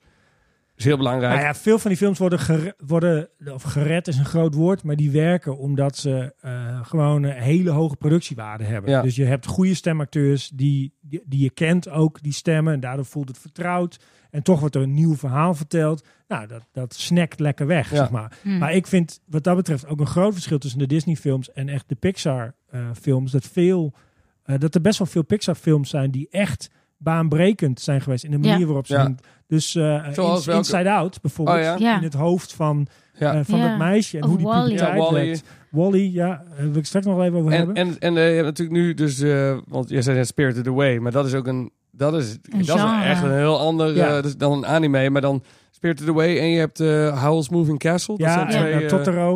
S2: Is heel belangrijk.
S4: Nou ja, veel van die films worden, gere- worden of gered is een groot woord, maar die werken omdat ze eh, gewoon een hele hoge productiewaarde hebben.
S2: Ja.
S4: Dus je hebt goede stemacteurs die, die, die je kent ook, die stemmen. En daardoor voelt het vertrouwd. En toch wordt er een nieuw verhaal verteld. Nou, dat, dat snackt lekker weg,
S2: Ja.
S4: zeg maar.
S1: Hm.
S4: Maar ik vind wat dat betreft ook een groot verschil tussen de Disney-films en echt de Pixar-films. dat, veel, eh, dat er best wel veel Pixar-films zijn die echt baanbrekend zijn geweest in de
S1: Ja.
S4: manier waarop ze.
S2: Ja.
S4: hun- Dus eh,
S2: Zoals
S4: Ins-
S2: welke?
S4: Inside Out bijvoorbeeld,
S2: Oh ja?
S1: Ja.
S4: in het hoofd van,
S2: Ja.
S4: eh, van
S1: Ja.
S4: dat meisje en
S1: Of
S4: hoe die
S1: Wall-E.
S4: puberteit
S2: Ja, Wall-E.
S4: werd. Wally, ja, daar wil ik straks nog wel even over
S2: en
S4: hebben.
S2: en, en eh, je hebt natuurlijk nu dus, eh, want jij zei net Spirited Away, maar dat is ook een, dat is,
S1: Een
S2: dat is
S1: genre.
S2: echt een heel ander
S4: Ja.
S2: eh, dus dan een anime, maar dan Spirited Away en je hebt eh, Howl's Moving Castle. Dat
S4: ja,
S2: zijn
S4: en
S2: twee,
S4: eh,
S2: eh,
S4: Totoro,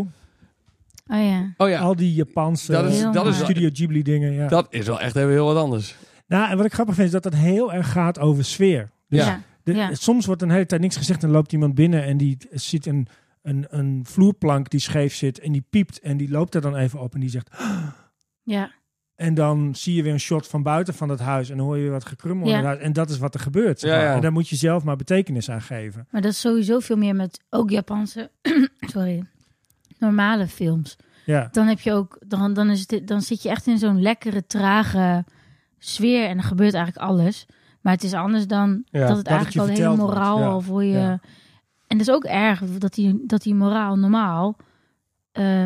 S1: Oh ja.
S2: Oh ja,
S4: al die Japanse
S2: dat is,
S1: Heel
S2: dat, is,
S1: mooi.
S4: Studio Ghibli dingen. Ja.
S2: dat is wel echt even heel wat anders.
S4: Nou, en wat ik grappig vind is dat het heel erg gaat over sfeer. Dus
S2: Ja.
S4: De-
S1: Ja.
S4: Soms wordt een hele tijd niks gezegd en loopt iemand binnen en die ziet een, een, een vloerplank die scheef zit en die piept en die loopt er dan even op en die zegt...
S1: Ja.
S4: En dan zie je weer een shot van buiten van dat huis en dan hoor je weer wat gekrummel in
S1: Ja.
S4: het huis. En dat is wat er gebeurt. zeg
S2: Ja,
S4: maar.
S2: ja.
S4: En daar moet je zelf maar betekenis aan geven.
S1: Maar dat is sowieso veel meer met ook Japanse, sorry, normale films.
S4: Ja.
S1: Dan heb je ook, dan, dan, is het, dan zit je echt in zo'n lekkere, trage sfeer en dan gebeurt eigenlijk alles. Maar het is anders dan
S2: Ja,
S1: dat
S2: dat
S1: het
S2: het
S1: eigenlijk
S4: je
S1: al heel
S4: verteld wordt,
S1: moraal
S4: ja.
S1: al voor je.
S4: Ja.
S1: En dat is ook erg dat die, dat die moraal normaal, eh,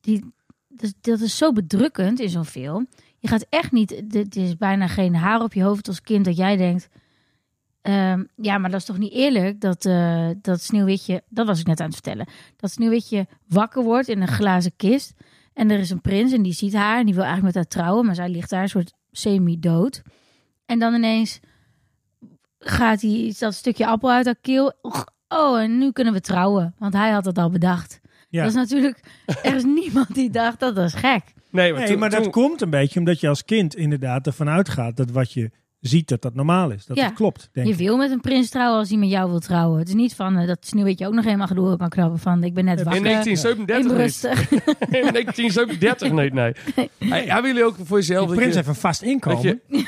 S1: die, dat, dat is zo bedrukkend in zo'n film. Je gaat echt niet, dit is bijna geen haar op je hoofd als kind dat jij denkt, Ehm, ja, maar dat is toch niet eerlijk dat, eh, dat Sneeuwwitje, dat was ik net aan het vertellen, dat Sneeuwwitje wakker wordt in een glazen kist. En er is een prins en die ziet haar en die wil eigenlijk met haar trouwen, maar zij ligt daar een soort semi-dood. En dan ineens gaat hij dat stukje appel uit haar keel. Oh, en nu kunnen we trouwen, want hij had dat al bedacht.
S4: Ja.
S1: Dat is natuurlijk, er is niemand die dacht dat dat is gek.
S2: Nee, maar,
S4: Nee,
S2: toen-
S4: maar dat
S2: toen-
S4: komt een beetje omdat je als kind inderdaad ervan uitgaat dat wat je ziet, dat dat normaal is. Dat
S1: Ja.
S4: het klopt, denk
S1: Je
S4: ik.
S1: wil met een prins trouwen als hij met jou wil trouwen. Het is niet van eh, dat Sneeuwwitje ook nog helemaal door kan knappen van ik ben net wakker.
S2: in
S1: even
S2: 1937 niet.
S1: rustig.
S2: In 1937 niet, nee. Hey, Hebben jullie ook voor jezelf...
S4: Die
S2: dat
S4: prins
S2: je-
S4: heeft een vast inkomen.
S2: dat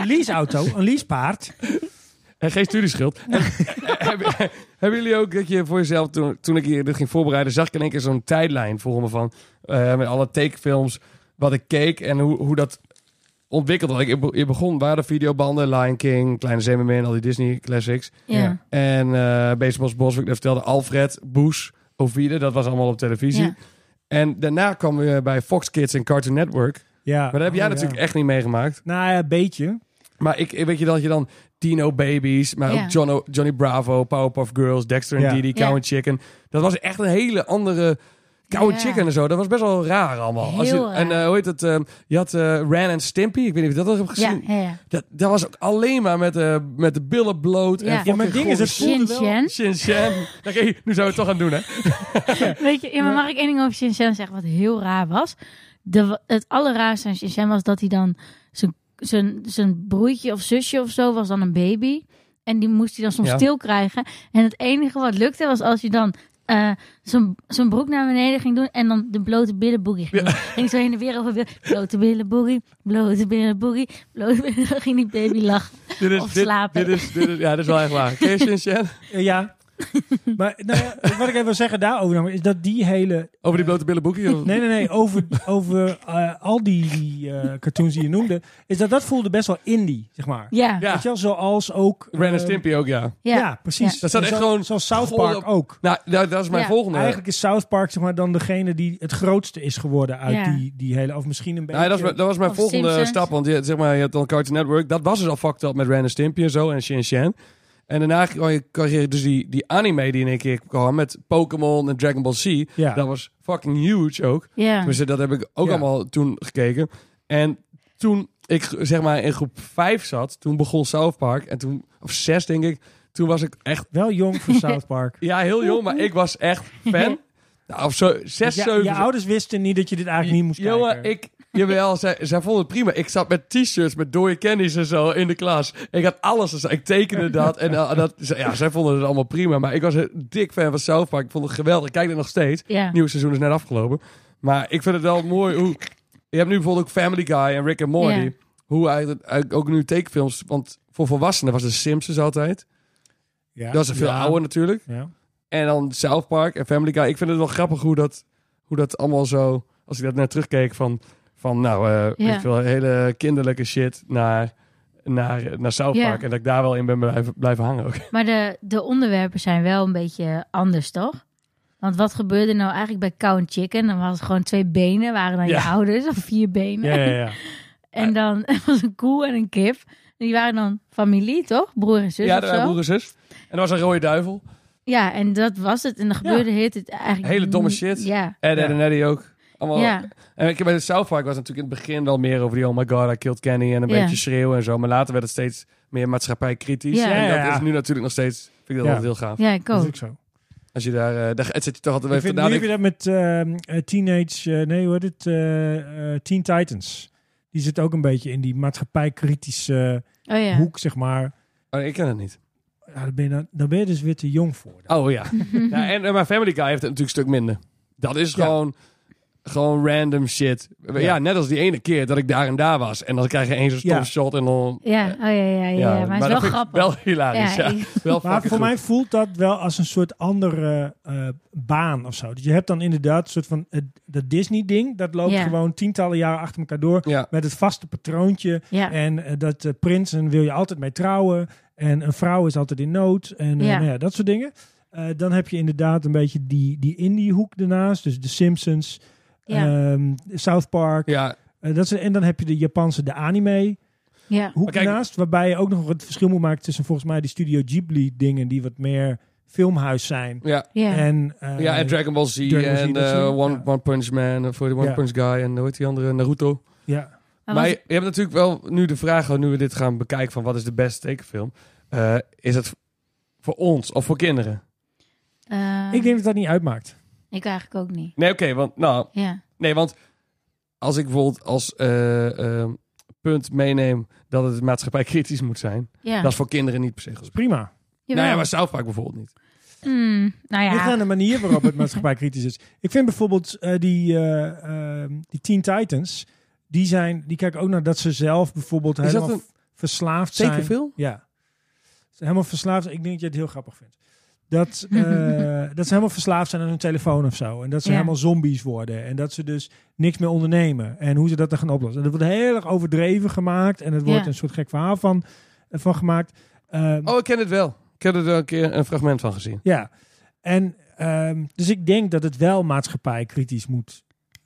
S4: een leaseauto, een leasepaard.
S2: En geen studieschuld. En- hebben, hebben jullie ook dat je voor jezelf, toen, toen ik hier dit ging voorbereiden, zag ik in één keer zo'n tijdlijn voor me van eh, met alle takefilms, wat ik keek en hoe, hoe dat ontwikkeld was. Ik, ik be- je begon, waren de videobanden, Lion King, Kleine Zemermin, al die Disney classics.
S1: ja.
S2: En eh Baseballs Bos, wat ik net vertelde, Alfred, Boes, Ovide, dat was allemaal op televisie.
S1: Ja.
S2: En daarna kwam we bij Fox Kids en Cartoon Network.
S4: Ja.
S1: Ah,
S2: Maar dat heb jij
S4: Oh, ja.
S2: natuurlijk echt niet meegemaakt.
S4: Nou ja, een beetje.
S2: Maar ik, ik- weet je dat je dan Tino Babies, maar
S1: Ja.
S2: ook Jono- Johnny Bravo, Powerpuff Girls, Dexter en
S4: Ja.
S2: Didi, Cow
S1: Ja.
S2: and Chicken. Dat was echt een hele andere... Cow and
S1: Ja.
S2: Chicken en zo, dat was best wel raar allemaal. je,
S1: Heel raar.
S2: En eh, hoe heet het? eh, je had eh, Ran en Stimpy, ik weet niet of je dat al hebt
S1: Ja,
S2: gezien.
S1: ja, ja.
S2: Dat, dat was ook alleen maar met, eh, met de billen bloot.
S1: Ja.
S2: En
S1: Ja,
S4: maar het ding is, het
S1: Shin Chen.
S2: Shin-Chan. Oké, nu zijn we het toch aan het doen, hè?
S1: Weet je, ja, maar mag ik één ding over Shenzhen zeggen wat heel raar was? De, het allerraarste aan Shenzhen was dat hij dan zijn, zijn, zijn broertje of zusje of zo was dan een baby. En die moest hij dan soms
S2: Ja.
S1: stil krijgen. En het enige wat lukte was als je dan eh, zijn zijn broek naar beneden ging doen en dan de blote billenboogie ging doen. Ging zo heen en weer over weer, blote billenboogie, blote billenboogie, blote billen- Dan ging die baby lachen.
S2: Dit is,
S1: Of
S2: dit,
S1: slapen.
S2: Dit is, dit is- ja, dat is wel echt waar. Ken je Shin-Chan?
S4: Eh, ja. maar nou ja, wat ik even wil zeggen daarover dan, is dat die hele...
S2: Over die blote billenboekje? of-
S4: Nee, nee, nee. Over, over eh, al die eh, cartoons die je noemde. Is dat dat voelde best wel indie, zeg maar.
S1: Ja, ja.
S2: Ja.
S4: Weet je wel, zoals ook...
S2: Ren en
S4: eh,
S2: Stimpy ook, ja.
S4: Ja, precies.
S2: Dat staat echt
S4: Zo-
S2: gewoon
S4: Zoals South
S2: gore-
S4: Park ook.
S2: Nou, nou, dat is mijn
S1: Ja.
S2: volgende.
S4: Eigenlijk is South Park zeg maar, dan degene die het grootste is geworden uit
S1: Ja.
S4: die, die hele... Of misschien een beetje...
S2: Nou, ja, dat, was, mijn- dat was mijn
S1: Of
S2: volgende
S1: Simpsons.
S2: stap. Want je, zeg maar, je had dan Cartoon Network. Dat was dus al fucked up met Ren en Stimpy en zo en Shin Shan. En daarna kwam je, kreeg je dus die, die anime die in één keer kwam met Pokémon en Dragon Ball Z.
S4: Ja.
S2: Dat was fucking huge ook. Dus dat heb ik ook
S4: Ah. Ja.
S2: allemaal toen gekeken. En toen ik zeg maar in groep 5 zat, toen begon South Park. En toen, of 6 denk ik, toen was ik echt,
S4: Wel jong voor South Park.
S2: ja heel jong, maar ik was echt fan. Nou, of zo, 6,
S4: Ja,
S2: 7.
S4: Dus je ouders wisten niet dat je dit eigenlijk niet moest
S2: Jongen,
S4: kijken.
S2: ik... Jawel, zij, zij vonden het prima. Ik zat met t-shirts met dode candies en zo in de klas. Ik had alles. Dus ik tekende dat. En eh, dat, ze- ja, zij vonden het allemaal prima. Maar ik was een dik fan van South Park. Ik vond het geweldig. Ik kijk het nog steeds.
S1: ja.
S2: Nieuw seizoen is net afgelopen. Maar ik vind het wel mooi hoe... Je hebt nu bijvoorbeeld ook Family Guy en Rick and Morty.
S1: Ja.
S2: Hoe eigenlijk, eigenlijk ook nu tekenfilms... Want voor volwassenen was de Simpsons altijd.
S4: Ja.
S2: Dat is een veel
S4: Ja.
S2: ouder natuurlijk.
S4: Ja.
S2: En dan South Park en Family Guy. Ik vind het wel grappig hoe dat, hoe dat allemaal zo... Als ik dat net terugkeek van... Van nou, eh weet
S1: Ja.
S2: ik veel, hele kinderlijke shit naar, naar, naar South
S1: Ja.
S2: Park. En dat ik daar wel in ben blijven, blijven hangen ook.
S1: Maar de, de onderwerpen zijn wel een beetje anders, toch? Want wat gebeurde nou eigenlijk bij Cow and Chicken? Dan was het gewoon twee benen, waren dan je
S2: Ja.
S1: ouders, of vier benen.
S2: Ja, ja, ja.
S4: Oh.
S1: En dan was een koe en een kip. En die waren dan familie, toch? Broer en zus
S2: ja,
S1: of
S2: daar
S1: zo.
S2: waren broer en zus. En er was een rode duivel.
S1: Ja, en dat was het. En dan gebeurde heet het eigenlijk...
S2: Hele domme
S1: niet.
S2: shit. Oh.
S1: Ja,
S2: En Ed
S4: Ja.
S2: en Eddie ook. Allemaal.
S1: ja,
S2: En ik, bij de South Park was het natuurlijk in het begin wel meer over die... Oh my god, I killed Kenny. En een
S1: Ja.
S2: beetje schreeuwen en zo. Maar later werd het steeds meer maatschappijkritisch.
S1: Ja.
S2: En dat
S4: Ja, ja.
S2: is nu natuurlijk nog steeds... Vind ik dat
S4: Ja.
S2: altijd heel gaaf.
S1: ja, ik
S4: Dat is
S1: ook.
S4: ook zo.
S2: Als je daar... eh daar het zit je toch altijd
S4: Ik
S2: even
S4: vind,
S2: te
S4: nu heb
S2: nadenken.
S4: je dat met ehm, eh, Teenage... eh, nee, hoe heet het? eh, eh, Teen Titans. Die zit ook een beetje in die maatschappijkritische
S1: Oh ja.
S4: hoek, zeg maar.
S2: Oh, ik ken het niet.
S4: Ja, daar, ben je dan, daar ben je dus weer te jong voor.
S2: Oh ja. ja en, en mijn Family Guy heeft het natuurlijk een stuk minder. Dat is
S4: Ja.
S2: gewoon, gewoon random shit. Ja. net als die ene keer dat ik daar en daar was. En dan krijg je één zo'n stom
S4: Ja.
S2: shot en dan...
S1: Ja, oh ja, ja, ja. ja. Maar het is wel
S2: dat vind ik
S1: grappig.
S2: Wel hilarisch,
S1: Ja,
S2: ja.
S1: ik-
S2: Wel
S4: Maar
S2: fucking
S4: voor
S2: goed.
S4: mij voelt dat wel als een soort andere eh, baan of zo. Dus je hebt dan inderdaad een soort van eh, dat Disney-ding. Dat loopt
S1: Ja.
S4: gewoon tientallen jaren achter elkaar door.
S2: Ja.
S4: Met het vaste patroontje.
S1: Ja.
S4: En eh, dat eh, prinsen wil je altijd mee trouwen. En een vrouw is altijd in nood. En eh,
S1: Ja.
S4: nou ja, dat soort dingen. Eh, dan heb je inderdaad een beetje die, die indie-hoek daarnaast. Dus de Simpsons,
S2: eh,
S1: ja,
S4: ehm, South Park.
S2: Ja,
S4: Eh, dat is, en dan heb je de Japanse, de anime
S1: ja.
S4: hoek
S2: Maar kijk-
S4: naast, waarbij je ook nog het verschil moet maken tussen volgens mij die Studio Ghibli dingen die wat meer filmhuis zijn.
S2: ja.
S1: ja.
S4: En, eh,
S2: ja, en Dragon Ball Z
S4: Dragon Ball Z,
S2: en
S4: dat
S2: eh,
S4: soort dingen,
S2: One,
S4: ja.
S2: One Punch Man, eh, voor de One
S4: Ja.
S2: Punch Guy en hoe heet die andere, Naruto.
S4: ja.
S1: Maar
S2: Maar,
S1: was-
S2: je, je hebt natuurlijk wel nu de vraag, oh, nu we dit gaan bekijken van wat is de beste tekenfilm. eh, is het voor ons of voor kinderen?
S1: eh,
S4: Ik denk dat dat niet uitmaakt.
S1: ik eigenlijk ook niet.
S2: Nee, oké, want nou,
S1: Ja,
S2: Nee, want als ik bijvoorbeeld als eh, eh, punt meeneem dat het maatschappij kritisch moet zijn,
S1: ja.
S2: dat is voor kinderen niet per se
S4: Dat
S2: gesprek.
S4: is prima.
S2: Nou ja,
S1: Jawel.
S2: maar South Park bijvoorbeeld niet.
S1: Mm, nou ja.
S4: Ligt aan de manier waarop het maatschappij kritisch is. Ik vind bijvoorbeeld eh, die, eh, ehm, die Teen Titans, die, zijn, die kijken ook naar dat ze zelf bijvoorbeeld
S2: Is dat
S4: helemaal
S2: een
S4: v- verslaafd zijn.
S2: tekenfilm?
S4: Ja. Ze Helemaal verslaafd. Ik denk dat je het heel grappig vindt. Dat, eh, dat ze helemaal verslaafd zijn aan hun telefoon of zo. En dat ze
S1: Ja.
S4: helemaal zombies worden. En dat ze dus niks meer ondernemen. En hoe ze dat dan gaan oplossen. En dat wordt heel erg overdreven gemaakt. En het wordt
S1: Ja.
S4: een soort gek verhaal van, eh, van gemaakt. Ehm,
S2: Oh, ik ken het wel. Ik heb er wel een keer een fragment van gezien.
S4: Ja. En ehm, dus ik denk dat het wel maatschappijkritisch moet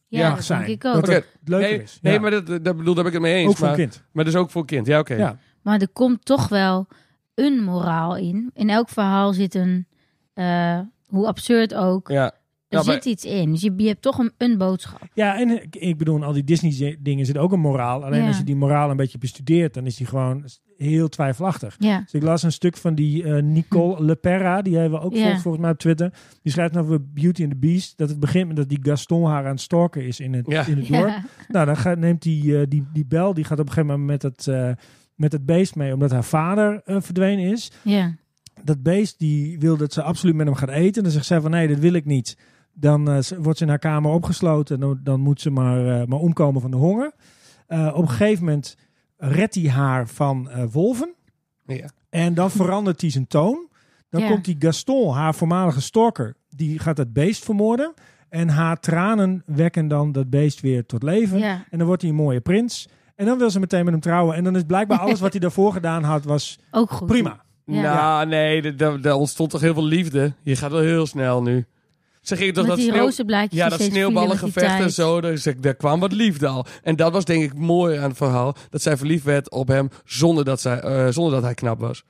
S1: Ja,
S2: Ja,
S1: dat
S4: zijn.
S1: denk ik
S4: Dat
S1: ook.
S2: Oké.
S4: het leuker
S2: Nee,
S4: is.
S2: nee
S4: Ja.
S2: maar dat, dat bedoel, daar ben ik het mee eens.
S4: ook voor
S2: maar,
S4: een kind.
S2: maar dus ook voor kind. Ja, oké.
S4: Ja.
S1: Maar er komt toch wel een moraal in. In elk verhaal zit een, eh, hoe absurd ook,
S2: Ja.
S1: er
S2: Ja,
S1: zit
S2: maar-
S1: iets in. Dus je, je hebt toch een, een boodschap.
S4: Ja, en ik- ik bedoel, in al die Disney-dingen zit ook een moraal. Alleen
S1: Ja.
S4: als je die moraal een beetje bestudeert, dan is die gewoon heel twijfelachtig.
S1: Ja.
S4: Dus ik las een stuk van die eh, Nicole Leperra, die hebben we ook
S1: Ja.
S4: volgt volgens mij op Twitter. Die schrijft over Beauty and the Beast, dat het begint met dat die Gaston haar aan het stalken is in het,
S2: Ja.
S4: in het dorp.
S1: Ja.
S4: Nou, dan gaat, neemt die, eh, die, die bel, die gaat op een gegeven moment met het, eh, met het beest mee, omdat haar vader eh, verdwenen is.
S1: ja.
S4: Dat beest die wil dat ze absoluut met hem gaat eten. Dan zegt zij van nee, dat wil ik niet. Dan eh, ze- wordt ze in haar kamer opgesloten. Dan, dan moet ze maar, eh, maar omkomen van de honger. Eh, op een gegeven moment redt hij haar van eh, wolven.
S2: Ja.
S4: En dan verandert hij zijn toon. Dan
S1: Ja.
S4: komt die Gaston, haar voormalige stalker. Die gaat dat beest vermoorden. En haar tranen wekken dan dat beest weer tot leven.
S1: ja.
S4: En dan wordt hij een mooie prins. En dan wil ze meteen met hem trouwen. En dan is blijkbaar alles wat hij daarvoor gedaan had, was
S1: Ook goed.
S4: prima.
S1: Ja.
S2: Nou, nee, d- d- daar ontstond toch heel veel liefde. Je gaat wel heel snel nu. Zeg ik toch
S1: Met
S2: dat
S1: die
S2: sneeuw...
S1: rozenblaadjes
S2: Ja,
S1: die
S2: dat
S1: steeds vielen met die
S2: sneeuwballengevecht en
S1: tijd.
S2: zo. Daar, is- daar kwam wat liefde al. En dat was denk ik mooi aan het verhaal. Dat zij verliefd werd op hem zonder dat, zij, eh, zonder dat hij knap was.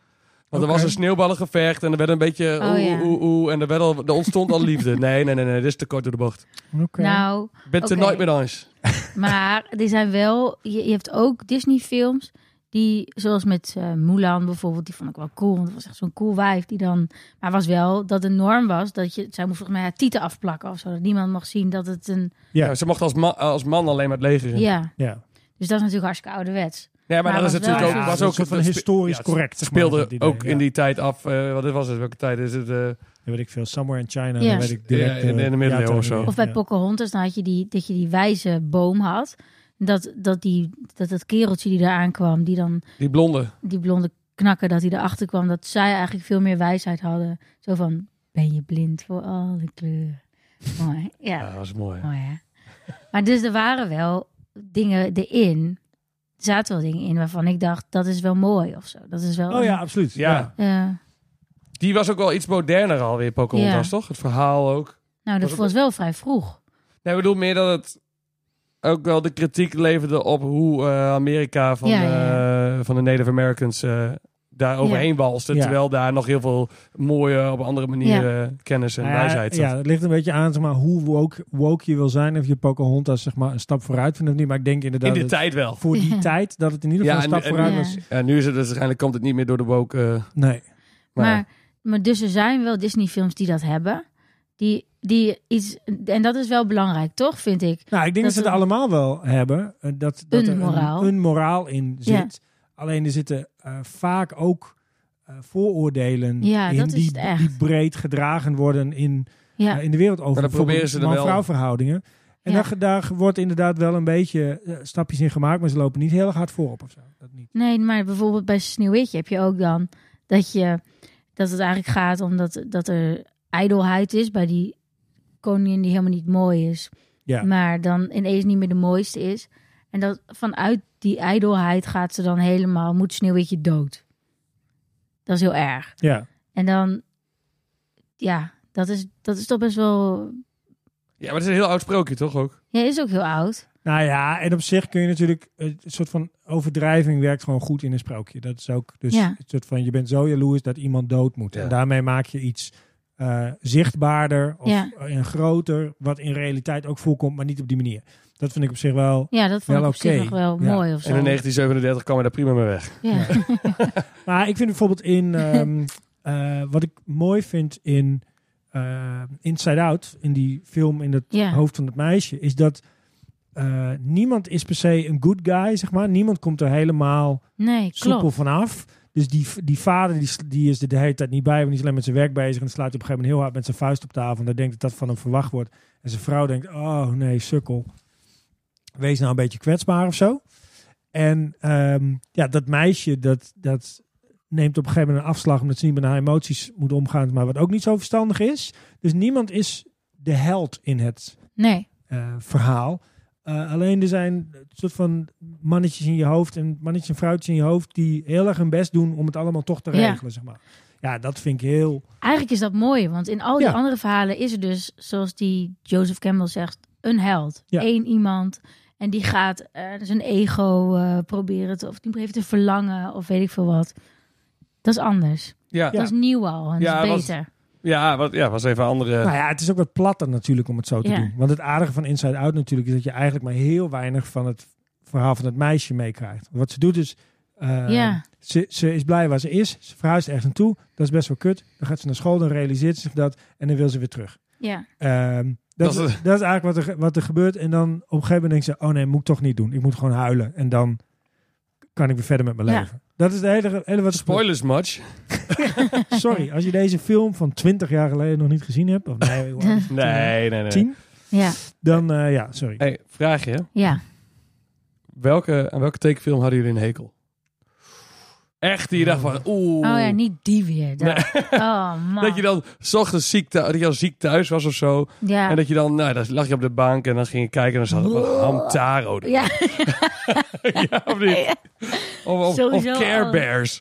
S2: Want
S4: Oké.
S2: er was een sneeuwballengevecht en er werd een beetje
S1: Oh,
S2: oeh,
S1: ja.
S2: oeh, oeh. En er, werd al, er ontstond al liefde. Nee, nee, nee, nee. Dit is te kort door de bocht.
S4: Oké.
S1: Nou,
S2: Ik ben het er
S1: Oké.
S2: nooit meer eens.
S1: Maar er zijn wel, je, je hebt ook Disney-films die, zoals met eh Mulan bijvoorbeeld, die vond ik wel cool. Want het was echt zo'n cool wijf die dan. Maar was wel dat de norm was dat je, zij moest volgens mij haar tieten afplakken of zo. Dat niemand mag zien dat het een.
S4: Ja.
S2: Ja, ze mocht als, ma- als man alleen maar het leger in.
S1: Ja.
S4: Ja.
S1: Dus dat is natuurlijk hartstikke ouderwets.
S2: Nee, maar,
S1: Maar
S2: dat is
S1: was wel
S2: natuurlijk
S1: echt
S2: ook...
S1: een
S2: Was
S4: soort
S2: ook
S4: van
S2: dat spe-
S4: historisch
S2: ja, het
S4: correct, zeg maar,
S2: speelde
S4: dat idee,
S2: ook
S4: ja.
S2: in die tijd af. eh, wat was het? Welke tijd is het? eh?
S4: Ja, weet ik veel. Somewhere in China.
S1: Ja.
S4: dan Weet ik direct,
S2: Ja, in- in de
S4: eh,
S2: middeleeuwen
S4: jaartallen
S2: of zo.
S4: niet.
S1: Of bij
S4: Ja.
S1: Pocahontas, dan had je die, dat je die wijze boom had. Dat dat, die, dat dat kereltje die daar aankwam, die dan
S2: Die blonde.
S1: die blonde knakker, dat hij erachter kwam, dat zij eigenlijk veel meer wijsheid hadden. Zo van, ben je blind voor alle kleuren? Mooi, ja,
S2: Ja, dat was mooi.
S1: mooi hè. Maar dus er waren wel dingen erin, er zaten wel dingen in waarvan ik dacht, dat is wel mooi of zo. Dat is wel...
S4: Oh ja, absoluut.
S2: Ja.
S4: Ja.
S1: eh,
S2: Die was ook wel iets moderner alweer, Pocahontas,
S1: Ja.
S2: toch? Het verhaal ook.
S1: nou, dat
S2: ook
S1: was wel vrij vroeg.
S2: Nee, ik bedoel meer dat het ook wel de kritiek leverde op hoe eh, Amerika van,
S1: Ja, ja,
S2: eh, van de Native Americans eh, daar overheen walste.
S4: Ja.
S2: Terwijl daar nog heel veel mooie, op een andere manier eh, kennis en
S4: Nou ja,
S2: wijsheid zat.
S4: ja, het ligt een beetje aan zeg maar, hoe woke, woke je wil zijn. Of je Pocahontas zeg maar, een stap vooruit vindt of niet. Maar ik
S2: In
S4: denk inderdaad
S2: de
S4: dat
S2: tijd wel.
S4: voor die
S1: Ja.
S4: tijd dat het in ieder
S2: Ja,
S4: geval
S2: en-
S4: een stap
S2: en-
S4: vooruit
S1: Ja.
S4: was.
S2: Ja, nu is het waarschijnlijk komt het niet meer door de woke. eh,
S4: Nee.
S2: maar,
S1: Maar, maar dus er zijn wel Disney-films die dat hebben. Die, die iets, en dat is wel belangrijk, toch, vind ik?
S4: Nou, ik denk dat,
S1: Dat
S4: ze het
S1: we-
S4: allemaal wel hebben. eh, Dat, dat
S1: Een
S4: er
S1: moraal.
S4: Een, een moraal in
S1: Ja.
S4: zit. Alleen er zitten eh, vaak ook eh, vooroordelen
S1: Ja,
S4: in
S1: dat is
S4: die,
S1: het echt.
S4: die breed gedragen worden in,
S1: Ja,
S4: eh, in de wereld over.
S2: Maar dan proberen
S4: bijvoorbeeld
S2: ze er wel-
S4: man-vrouw verhoudingen. En
S1: Ja.
S4: daar, daar wordt inderdaad wel een beetje eh, stapjes in gemaakt, maar ze lopen niet heel erg hard voorop of zo. Dat niet.
S1: Nee, maar bijvoorbeeld bij Sneeuwwitje heb je ook dan dat, je, dat het eigenlijk gaat om dat, dat er ijdelheid is bij die koningin die helemaal niet mooi is.
S4: Ja.
S1: Maar dan ineens niet meer de mooiste is. En dat vanuit die ijdelheid gaat ze dan helemaal, moet Sneeuwwitje dood. Dat is heel erg.
S4: Ja.
S1: En dan, ja, dat is, dat is toch best wel,
S2: ja, maar het is een heel oud sprookje, toch ook?
S1: ja, is ook heel oud.
S4: Nou ja, en op zich kun je natuurlijk eh, een soort van overdrijving werkt gewoon goed in een sprookje. Dat is ook dus
S1: Ja.
S4: een soort van je bent zo jaloers dat iemand dood moet.
S2: Ja.
S4: En daarmee maak je iets eh, zichtbaarder of
S1: Ja.
S4: eh, en groter, wat in realiteit ook voorkomt, maar niet op die manier. Dat vind ik op zich wel.
S1: Ja, dat vond
S4: Wel
S1: ik op zich
S4: oké.
S1: nog wel
S4: Ja.
S1: mooi of zo.
S2: En in 1937 kwam hij daar prima mee weg.
S1: ja.
S4: Maar ik vind bijvoorbeeld in ehm, eh, wat ik mooi vind in eh, Inside Out, in die film in het
S1: Ja.
S4: hoofd van het meisje, is dat eh, niemand is per se een good guy, zeg maar. Niemand komt er helemaal
S1: Nee,
S4: soepel
S1: klopt.
S4: vanaf. Dus die, die vader die, sl- die is er de hele tijd niet bij, want die is alleen met zijn werk bezig. En dan slaat hij op een gegeven moment heel hard met zijn vuist op tafel. En dan denkt dat dat van hem verwacht wordt. En zijn vrouw denkt, oh nee, sukkel. Wees nou een beetje kwetsbaar of zo. En ehm, ja, dat meisje dat, dat neemt op een gegeven moment een afslag... omdat ze niet met haar emoties moet omgaan, maar wat ook niet zo verstandig is. Dus niemand is de held in het
S1: Nee,
S4: eh, verhaal. Eh, alleen er zijn een soort van mannetjes in je hoofd en mannetjes en vrouwtjes in je hoofd die heel erg hun best doen om het allemaal toch te
S1: Ja.
S4: regelen, zeg maar. Ja, dat vind ik heel.
S1: Eigenlijk is dat mooi, want in al die
S4: Ja.
S1: andere verhalen is er dus, zoals die Joseph Campbell zegt, een held.
S4: Ja.
S1: Eén iemand. En die gaat eh, zijn ego eh, proberen te, of die heeft een verlangen of weet ik veel wat. Dat is anders.
S2: Ja,
S1: Dat is nieuw al. En
S2: Ja,
S1: dat is
S2: was-
S1: beter.
S2: ja, wat, ja was even een andere...
S4: Nou ja, het is ook wat platter natuurlijk om het zo te
S1: Ja.
S4: doen. Want het aardige van Inside Out natuurlijk is dat je eigenlijk maar heel weinig van het verhaal van het meisje meekrijgt. Wat ze doet is, eh,
S1: Ja.
S4: ze, ze is blij waar ze is, ze verhuist ergens naartoe, dat is best wel kut. Dan gaat ze naar school, dan realiseert ze zich dat en dan wil ze weer terug.
S1: Ja.
S4: Ehm, dat,
S2: Dat
S4: is,
S2: is-
S4: dat is eigenlijk wat er, wat er gebeurt. En dan op een gegeven moment denkt ze, oh nee, moet ik toch niet doen. Ik moet gewoon huilen en dan kan ik weer verder met mijn
S1: Ja.
S4: leven. Dat is de hele, hele wat
S2: Spoilers match.
S4: Sorry, als je deze film van 20 jaar geleden nog niet gezien hebt, of nee, hoe oud is het?
S2: Nee, nee, nee.
S4: 10,
S1: Ja.
S4: dan eh, ja, sorry.
S2: Hey, vraagje.
S1: Ja.
S2: Welke, aan welke tekenfilm hadden jullie een hekel? Echt, die je dacht van, oeh.
S1: Oh ja, niet die weer. Dat. Oh man.
S2: Dat je dan 's ochtends ziek, thu- dat je dan ziek thuis was of zo.
S1: ja.
S2: En dat je dan, nou, dan lag je op de bank en dan ging je kijken en dan zat er wat Hamtaro. erin.
S1: ja.
S2: Ja, of niet?
S1: Ja.
S2: Of, of, of
S1: Sowieso
S2: Care
S1: al.
S2: Bears.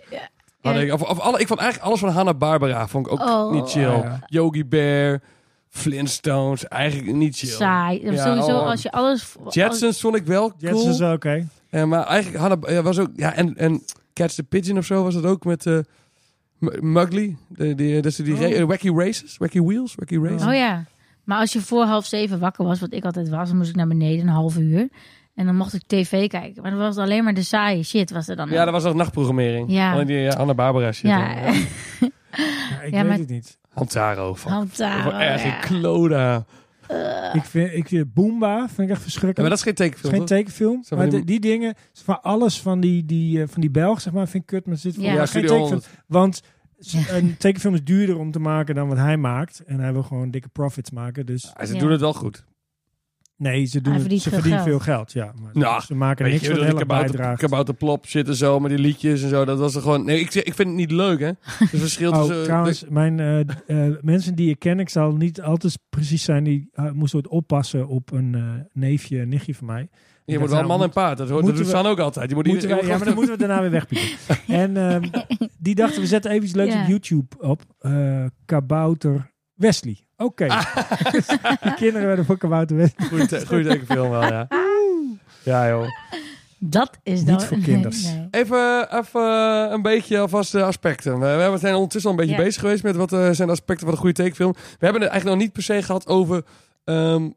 S2: Had
S1: Ja.
S2: ik, of, of alle, ik vond eigenlijk alles van Hanna-Barbera vond ik ook
S1: Oh.
S2: niet chill.
S4: Ja.
S2: Yogi Bear, Flintstones, eigenlijk niet chill.
S1: Saai.
S2: Ja,
S1: Sowieso
S2: oh.
S1: als je alles... als-
S2: Jetsons vond ik wel cool.
S4: Jets is dus wel oké.
S2: Eh, maar eigenlijk Hanna, ja, was ook... Ja, en, en Catch the Pigeon of zo was dat ook met eh, M- Mowgli. De, die, dat is die
S4: Oh.
S2: ra- eh, Wacky Races, Wacky Wheels, Wacky Races.
S1: Oh ja. Maar als je voor half zeven wakker was, wat ik altijd was, dan moest ik naar beneden een half uur. En dan mocht ik tv kijken. Maar dan was het alleen maar de saaie shit was er dan.
S2: Ja, dat was nog nachtprogrammering.
S1: Ja.
S2: Alleen die eh, Hanna-Barbera shit.
S1: Ja.
S2: eh,
S4: Ja, ik
S1: Ja,
S4: weet
S1: maar-
S4: het niet.
S2: Hamtaro. Van.
S1: Hamtaro,
S2: Echt
S1: ja.
S2: een kloda.
S4: Ik vind, ik vind Boomba vind ik echt
S2: Ja, maar
S4: verschrikkelijk.
S2: dat is geen
S4: Het is
S2: tekenfilm,
S4: geen
S2: toch?
S4: tekenfilm.
S2: van
S4: Maar
S2: die-
S4: de- die dingen, van alles van die, die, eh, van die Belg, zeg maar, vind ik kut. Maar zit voor
S1: Ja.
S4: mij
S1: Ja,
S4: geen
S2: Studio
S4: tekenfilm. Want s- een tekenfilm is duurder om te maken dan wat hij maakt. En hij wil gewoon dikke profits maken. Dus
S2: Ja, ze
S1: Ja.
S2: doen het wel goed.
S4: nee, ze, doen
S1: Hij
S4: het-
S1: verdient
S4: ze
S1: veel
S4: verdienen veel
S1: geld.
S4: geld. ja, maar
S2: Nou,
S4: ze maken
S2: Weet
S4: niks
S2: je,
S4: wat
S2: dat die
S4: heel erg
S2: kabouter,
S4: bijdraagt.
S2: kabouterplop zit en zo, maar die liedjes en zo, dat was er gewoon... Nee, ik, zeg- ik vind het niet leuk, hè. Het verschil
S4: Oh,
S2: tussen...
S4: trouwens, mijn eh, d- eh, mensen die ik ken, ik zal niet altijd precies zijn, die eh, moesten ooit oppassen op een eh, neefje, nichtje van mij.
S2: je wordt wel
S4: Nou,
S2: man en paard, dat hoort dat
S4: moeten
S2: doet
S4: we-
S2: San ook altijd. Je moet
S4: Moeten wij,
S2: iedereen...
S4: ja, maar dan moeten we daarna weer wegpiepen. en ehm, die dachten, we zetten even iets leuks
S1: Ja.
S4: op YouTube op. Eh, kabouter Wesley. Oké. die kinderen werden voor Kabouter Wesley.
S2: Goeie, te- goeie eh, tekenfilm wel, ja. Ja, joh.
S1: Dat is
S4: Niet
S1: dan...
S4: voor
S1: nee,
S4: kinders.
S1: nee.
S2: Even, even een beetje alvast de aspecten. We, we zijn ondertussen al een beetje
S1: Ja.
S2: bezig geweest met wat eh, zijn de aspecten van een goede tekenfilm. We hebben het eigenlijk nog niet per se gehad over... ehm,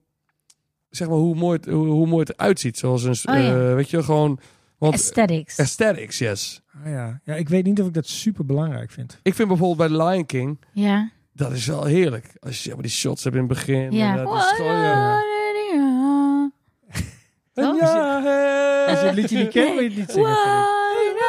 S2: zeg maar hoe mooi, het, hoe, hoe mooi het eruit ziet. Zoals een... s-
S1: Oh, ja.
S2: eh, weet je, gewoon... Want,
S1: Aesthetics.
S2: aesthetics, yes.
S4: Ah, ja. ja, ik weet niet of ik dat super belangrijk vind.
S2: Ik vind bijvoorbeeld bij Lion King...
S1: Ja.
S2: Dat is wel heerlijk. Als je zeg maar, die shots hebt in het begin.
S1: Ja. Oh,
S2: En, dat is gewoon, ja.
S1: Ja.
S2: En
S1: Toch?
S2: ja, hey.
S4: Als je Dus het liedje niet kent, moet je het niet zingen. vind ik.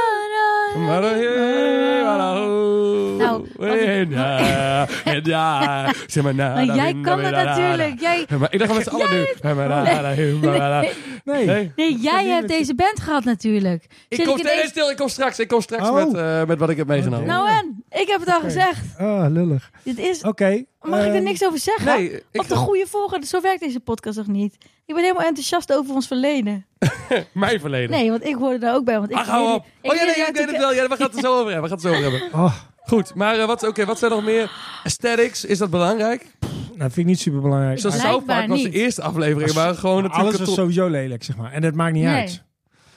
S2: Maar dan, hey, maar dan, oh.
S1: Nou, wat ik-
S2: En ja, en ja. Zeg maar, na,
S1: Maar
S2: da,
S1: jij
S2: win, da,
S1: kan
S2: win,
S1: het
S2: da, da, da.
S1: natuurlijk. Jij,
S2: Maar ik dacht met z'n allen nu. Hey, maar da, da, da, hey, maar da, da.
S4: Nee.
S2: Nee.
S1: nee, jij hebt deze band gehad natuurlijk.
S2: Ik
S1: Zit
S2: kom, nee,
S1: ineens-
S2: nee, stil, ik kom straks. Ik kom straks
S4: Oh.
S2: met, eh, met wat ik heb meegenomen.
S1: Nou en, ik heb het al
S4: Oké.
S1: gezegd.
S4: Ah, lullig.
S1: Dit
S2: Oh,
S1: is...
S4: Oké.
S1: Mag ik er
S4: ehm,
S1: niks over zeggen?
S2: nee, ik,
S1: Op de goede volgorde, zo werkt deze podcast nog niet. Ik ben helemaal enthousiast over ons verleden.
S2: mijn verleden.
S1: Nee, want ik hoorde daar ook bij. Want ik
S2: Ach, hou op.
S1: ik
S2: Oh ja,
S1: leer
S2: nee, ja, ik
S1: jou
S2: weet het wel. Ja, we gaan het er zo over hebben. We gaan het er zo over hebben.
S4: Oh,
S2: Goed, maar eh, wat, oké, wat zijn nog meer? Aesthetics, is dat belangrijk?
S4: nou, vind ik niet super belangrijk.
S2: Zoals
S1: Blijkbaar
S2: South Park was de
S1: niet.
S2: eerste aflevering, maar gewoon natuurlijk...
S4: Alles was
S2: een to-
S4: sowieso lelijk, zeg maar. En dat maakt niet
S1: Nee.
S4: uit.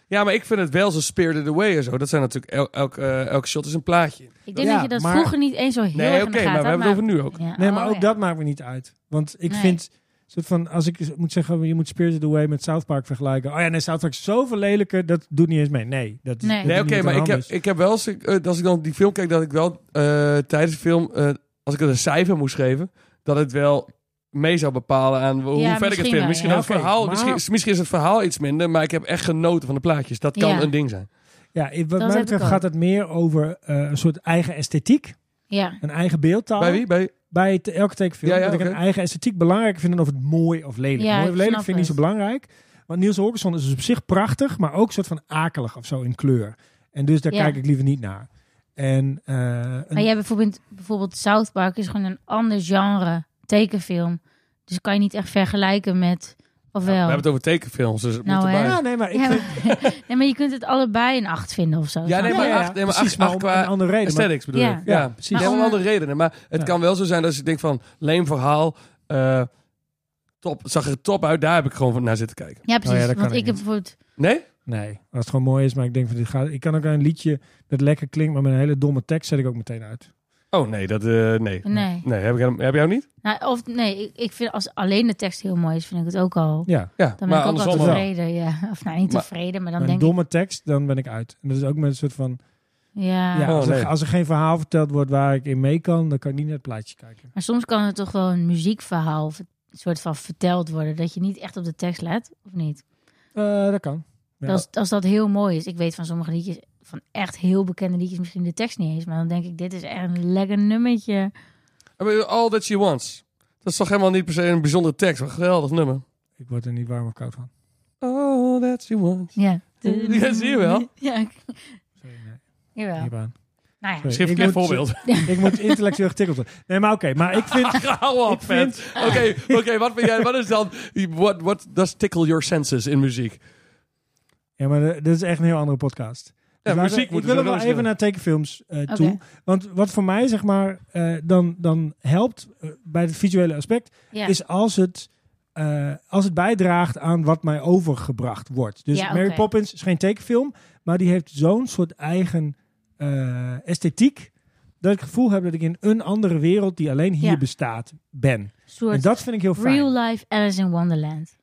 S2: Ja, maar ik vind het wel zo Spirited Away en zo. Dat zijn natuurlijk... el- elk, eh, elk shot is een plaatje.
S1: Ik denk
S4: Ja,
S1: dat je dat
S4: maar-
S1: vroeger niet eens zo heel
S2: Nee,
S1: erg
S2: oké,
S1: in de gaten
S2: maar we
S1: had,
S2: hebben het over nu ook.
S1: Ja,
S4: Nee, maar
S1: oh
S4: ook
S1: ja.
S4: dat maakt me niet uit. Want ik
S1: Nee.
S4: vind, soort van, als ik moet zeggen, je moet Spirited Away met South Park vergelijken. Oh ja, nee, South Park is zoveel lelijker, dat doet niet eens mee. Nee, dat is
S1: Nee.
S4: dat
S2: Nee,
S4: doet
S2: oké,
S4: niet
S2: maar
S4: aan
S2: ik heb,
S4: anders.
S2: ik heb wel... eens, eh, als ik dan die film kijk, dat ik wel eh, tijdens de film... eh, als ik het een cijfer moest geven, dat het wel mee zou bepalen aan hoe
S1: Ja,
S2: ver ik het
S1: misschien
S2: vind.
S1: wel,
S2: Misschien,
S4: ja.
S2: ook het
S4: Oké,
S2: verhaal,
S4: maar-
S2: misschien, misschien is het verhaal iets minder, maar ik heb echt genoten van de plaatjes. Dat kan
S1: Ja.
S2: een ding zijn.
S4: Ja, ik- wat
S1: Dat
S4: mij
S1: heb
S4: betreft
S1: ik ook.
S4: gaat het meer over eh, een soort eigen esthetiek.
S1: Ja,
S4: Een eigen beeldtaal.
S2: Bij wie? Bij...
S4: Bij het, elke tekenfilm.
S2: Ja, ja,
S4: dat ik
S2: oké.
S4: een eigen esthetiek belangrijk vind dan of het mooi of lelijk.
S1: Ja,
S4: mooi
S1: ik
S4: of lelijk
S1: snap
S4: vind ik niet zo
S1: het.
S4: belangrijk. Want Niels Holgersson is dus op zich prachtig, maar ook een soort van akelig of zo in kleur. En dus daar
S1: Ja.
S4: kijk ik liever niet naar. En, eh, een-
S1: maar jij hebt bijvoorbeeld, bijvoorbeeld South Park is gewoon een ander genre tekenfilm. Dus kan je niet echt vergelijken met, of
S2: We
S1: wel?
S2: hebben het over tekenfilms, dus het
S1: Nou,
S2: moet erbij.
S1: hè?
S4: ja, nee, maar ik
S1: Ja,
S4: vind-
S1: maar- nee, maar je kunt het allebei een acht vinden of zo.
S2: Ja, nee,
S1: snap
S2: maar
S1: je?
S2: acht, nee, maar acht,
S4: precies, maar
S2: acht
S4: om
S2: qua
S4: een andere reden. Maar-
S2: Aesthetics bedoel
S1: Ja.
S2: ik. Ja,
S4: Ja,
S2: precies.
S1: Maar
S2: Nee, om
S1: om-
S2: andere redenen. Maar het
S4: Ja.
S2: kan wel zo zijn dat je denkt van... Leem verhaal, eh, top, zag er top uit. Daar heb ik gewoon van naar zitten kijken.
S1: Ja, precies.
S4: Oh ja, dat kan
S1: want
S4: ik
S1: ik heb bijvoorbeeld
S2: Nee?
S4: Nee, als het gewoon mooi is, maar ik denk van dit gaat. Ik kan ook een liedje dat lekker klinkt, maar met een hele domme tekst zet ik ook meteen uit.
S2: Oh nee, dat, eh, nee.
S1: Nee.
S2: Nee, heb ik, hem- heb jij hem niet?
S1: Nou, of nee, ik, ik vind als alleen de tekst heel mooi is, vind ik het ook al.
S4: Ja.
S2: Ja,
S1: Dan ben
S2: maar
S1: ik ook al
S2: andersom wel.
S1: tevreden. Ja. Of nou, niet
S2: Maar-
S1: tevreden, maar dan
S4: Een
S1: denk ik.
S4: domme tekst, dan ben ik uit. En dat is ook met een soort van.
S1: Ja.
S4: Ja,
S2: Oh,
S4: als, er,
S2: nee.
S4: als er geen verhaal verteld wordt waar ik in mee kan, dan kan ik niet naar het plaatje kijken.
S1: Maar soms kan het toch wel een muziekverhaal of een soort van verteld worden. Dat je niet echt op de tekst let, of niet?
S4: Eh, dat kan. Ja.
S1: Als, als dat heel mooi is. Ik weet van sommige liedjes, van echt heel bekende liedjes, misschien de tekst niet eens. Maar dan denk ik, dit is echt een lekker nummertje.
S2: I mean, All That She Wants. Dat is toch helemaal niet per se een bijzondere tekst, maar een geweldig nummer.
S4: Ik word er niet warm of koud van.
S2: All That She Wants.
S1: Ja.
S2: Ja, zie je wel.
S1: Ja, ik-
S4: Sorry, nee,
S1: jawel.
S4: niet warm.
S1: Nou ja.
S4: Sorry,
S2: Schrift
S4: ik
S2: een
S4: moet-
S2: voorbeeld.
S4: Ik moet intellectueel getikkeld worden. Nee, maar oké, maar ik vind.
S2: Hou op,
S4: Ik
S2: vet. Oké, oké, wat vind jij, wat is dan, what, what does tickle your senses in muziek?
S4: Ja, maar eh, dit is echt een heel andere podcast.
S2: Ja,
S4: Dus laten-
S2: muziek
S4: ik
S2: moet
S4: wil er wel even naar tekenfilms eh, toe.
S1: Oké.
S4: Want wat voor mij zeg maar eh, dan, dan helpt eh, bij het visuele aspect,
S1: Ja.
S4: is als het, eh, als het bijdraagt aan wat mij overgebracht wordt. Dus
S1: Ja,
S4: Mary
S1: oké.
S4: Poppins is geen tekenfilm, maar die heeft zo'n soort eigen eh, esthetiek. Dat ik het gevoel heb dat ik in een andere wereld die alleen hier
S1: Ja.
S4: bestaat ben.
S1: Een
S4: En
S1: soort
S4: dat vind ik heel fijn.
S1: real life Alice in Wonderland.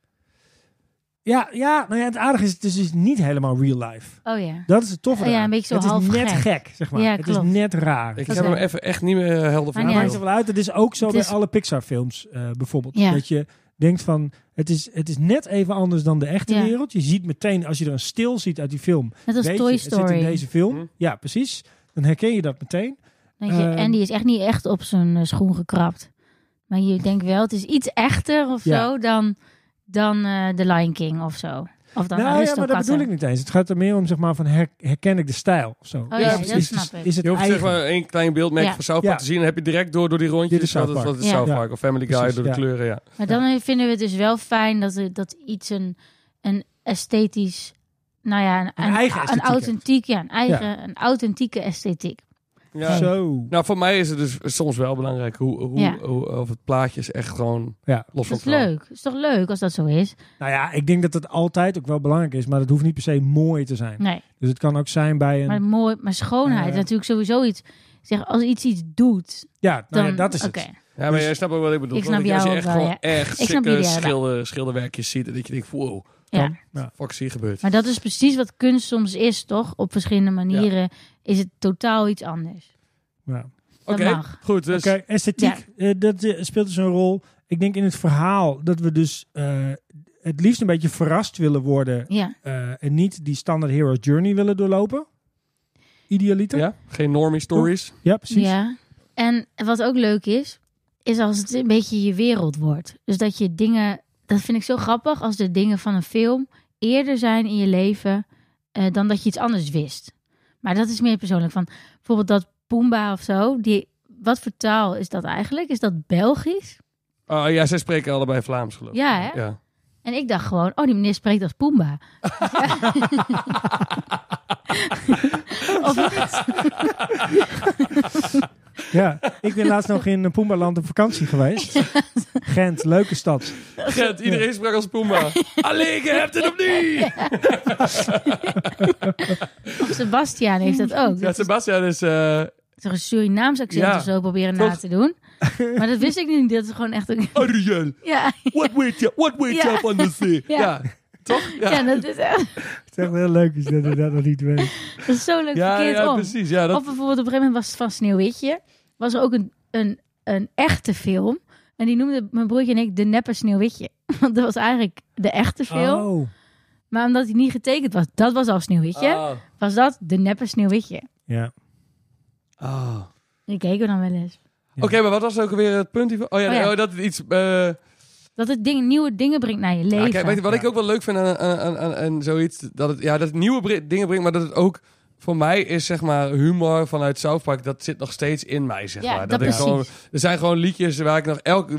S4: Ja, ja, nou ja, het aardige is, het is dus niet helemaal real life.
S1: Oh ja.
S4: Dat is het toffe.
S1: Ja,
S4: eraan.
S1: een beetje zo
S4: het is
S1: half
S4: net
S1: gek.
S4: gek, zeg maar.
S1: Ja,
S4: het is
S1: klopt.
S4: net raar.
S2: Ik
S1: Dat
S2: heb hem
S1: is-
S2: even echt niet meer helder
S1: Maar
S2: van.
S4: Maar het
S1: Ja.
S4: maakt er wel uit. Het is ook zo
S1: Het
S4: bij
S1: is-
S4: alle Pixar-films eh, bijvoorbeeld.
S1: Ja.
S4: Dat je denkt van, het is, het is net even anders dan de echte
S1: Ja.
S4: wereld. Je ziet meteen, als je er een stil ziet uit die film,
S1: Net als
S4: weet
S1: Toy
S4: je, het zit
S1: Story.
S4: in deze film.
S2: Hm.
S4: Ja, precies. Dan herken je dat meteen.
S1: Denk je,
S4: Ehm,
S1: en die is echt niet echt op zijn eh, schoen gekrapt. Maar je denkt wel, het is iets echter of
S4: Ja.
S1: zo dan, dan eh The Lion King of zo. Of dan
S4: nou ja, maar dat
S1: Aristokatten.
S4: bedoel ik niet eens. Het gaat er meer om, zeg maar, van her- herken ik de stijl of zo.
S1: Oh ja,
S4: Is-
S1: dat
S4: is,
S1: snap
S4: is,
S1: ik.
S4: is het
S2: Je hoeft zeg
S4: eigen.
S2: maar één klein beeldmerk
S1: Ja.
S2: van South Park
S4: Ja.
S2: te zien. Dan heb je direct door, door die rondjes.
S4: Dit is
S2: dat
S4: South
S2: is- Dat is
S1: Park.
S2: South
S4: Ja.
S2: Park. Of Family Guy,
S4: Precies,
S2: door de
S4: ja.
S2: kleuren, ja.
S1: Maar dan eh, vinden we het dus wel fijn dat, er, dat iets een, een esthetisch... Nou ja, een, een-
S4: eigen
S1: een
S4: esthetiek
S1: authentieke, ja, een eigen, een authentieke esthetiek.
S2: ja.
S4: Zo.
S2: Nou, voor mij is het dus soms wel belangrijk hoe, hoe,
S1: Ja.
S2: hoe- of het plaatje is echt gewoon
S4: Ja.
S2: los van
S1: Dat is
S2: elkaar.
S1: leuk. is toch leuk als dat zo is?
S4: Nou ja, ik denk dat het altijd ook wel belangrijk is, maar dat hoeft niet per se mooi te zijn.
S1: Nee.
S4: Dus het kan ook zijn bij een...
S1: Maar mooi, maar schoonheid is
S4: Eh.
S1: natuurlijk sowieso iets. Ik Zeg, als iets iets doet,
S4: ja, nou
S1: dan...
S4: ja, dat is het.
S1: oké.
S2: Ja,
S4: Dus
S2: maar jij snapt ook wat ik bedoel.
S1: Ik
S2: toch?
S1: snap
S2: Dat je- als je
S1: jou
S2: echt
S1: ook wel,
S2: gewoon
S1: ja.
S2: echt
S1: Ik snap
S2: sikke
S1: jullie allebei.
S2: schilder, schilderwerkjes ziet. En dat je denkt, wow,
S1: Ja.
S2: fuck is hier gebeurd.
S1: Maar dat is precies wat kunst soms is, toch? Op verschillende manieren is het totaal iets anders.
S4: Ja.
S1: Dat
S2: Oké,
S1: mag.
S2: goed. Dus
S4: Oké, esthetiek, eh, dat eh, speelt dus een rol. Ik denk in het verhaal dat we dus eh, het liefst een beetje verrast willen worden
S1: Ja,
S4: eh, en niet die standaard hero's journey willen doorlopen. Idealiter. Ja,
S2: ja, geen normie stories.
S4: precies.
S1: ja. En wat ook leuk is, is als het een beetje je wereld wordt. Dus dat je dingen, dat vind ik zo grappig, als de dingen van een film eerder zijn in je leven eh, dan dat je iets anders wist. Maar dat is meer persoonlijk. Van bijvoorbeeld dat Pumba of zo, die, wat voor taal is dat eigenlijk? Is dat Belgisch?
S2: Ah, ja, zij spreken allebei Vlaams, geloof ik.
S1: Ja, hè?
S2: Ja.
S1: En ik dacht gewoon, oh, die meneer spreekt als Pumba. of,
S4: Ja. Ik ben laatst nog in eh, Pumbaland op vakantie geweest. Gent, leuke stad.
S2: Gent, iedereen sprak als Puma. Alleen, je hebt het opnieuw!
S1: of Sebastian heeft dat ook.
S2: Ja,
S1: Dat is
S2: Sebastian is... eh,
S1: toch een Surinaams accent
S2: Ja,
S1: of zo proberen na
S2: toch?
S1: te doen. Maar dat wist ik niet. Dat is gewoon echt een...
S2: Ariel,
S1: Ja,
S2: what wait you, what wait you
S1: Ja.
S2: up on the sea? Ja.
S1: Ja.
S2: Toch? Ja,
S1: ja
S2: ja,
S1: dat, is echt,
S4: Het is echt heel leuk is dat ik dat nog niet weet.
S1: dat is zo leuk
S2: ja,
S1: verkeerd om.
S2: precies. Ja, dat,
S1: Of bijvoorbeeld op een gegeven moment was het van Sneeuwwitje. Was er ook een, een, een echte film. En die noemde mijn broertje en ik de neppe Sneeuwwitje. Want dat was eigenlijk de echte film.
S4: Oh.
S1: Maar omdat hij niet getekend was, dat was al Sneeuwwitje.
S2: Ah.
S1: Was dat de neppe Sneeuwwitje.
S4: Ja.
S2: Ah.
S1: Die keken we dan wel eens.
S2: Oké, maar wat was ook weer het punt hiervan? Oh ja,
S1: Oh ja.
S2: oh, dat het iets... eh,
S1: Dat het ding, nieuwe dingen brengt naar je leven.
S2: Ja, kijk, weet je, wat ik ook wel leuk vind aan, aan, aan, aan- aan zoiets, dat het, ja, dat het nieuwe bri- dingen brengt, maar dat het ook voor mij is, zeg maar, humor vanuit South Park, dat zit nog steeds in mij, zeg
S1: Ja,
S2: maar.
S1: dat
S2: ik
S1: precies.
S2: gewoon, er zijn gewoon liedjes waar ik nog elke...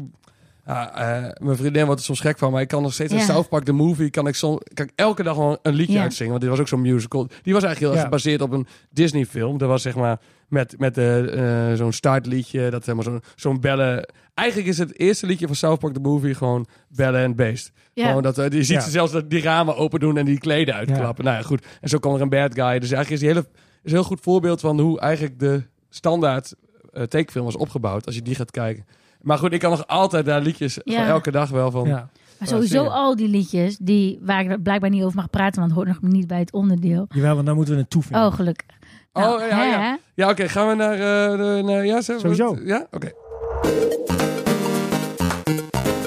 S2: Ja, eh, mijn vriendin wordt er soms gek van, maar ik kan nog steeds
S1: Ja.
S2: een South Park The Movie. Kan ik, soms, kan ik elke dag wel een liedje
S1: Ja.
S2: uitzingen. Want dit was ook zo'n musical. Die was eigenlijk heel erg
S4: Ja.
S2: gebaseerd op een Disney film. Dat was zeg maar met, met eh, eh, zo'n startliedje. Dat helemaal zo'n zo'n bellen. Eigenlijk is het eerste liedje van South Park The Movie gewoon bellen en beest.
S1: Ja.
S2: Gewoon dat, eh, je ziet
S4: Ja.
S2: ze zelfs dat die ramen open doen en die kleden uitklappen. Nou ja, goed. En zo kwam er een bad guy. Dus eigenlijk is die hele, is een heel goed voorbeeld van hoe eigenlijk de standaard eh, tekenfilm was opgebouwd. Als je die gaat kijken. Maar goed, ik kan nog altijd naar liedjes
S1: Ja.
S2: van elke dag wel van.
S4: Ja.
S1: Maar
S2: Oh,
S1: sowieso
S2: zingen.
S1: al die liedjes die, waar ik blijkbaar niet over mag praten, want het hoort nog niet bij het onderdeel.
S4: Jawel, want dan moeten we het toevoegen.
S1: Oh, gelukkig.
S2: Oh, ja, ja.
S1: hè?
S2: Ja, oké, gaan we naar. eh, de- naar ja, zeg,
S4: Sowieso.
S2: Ja, oké.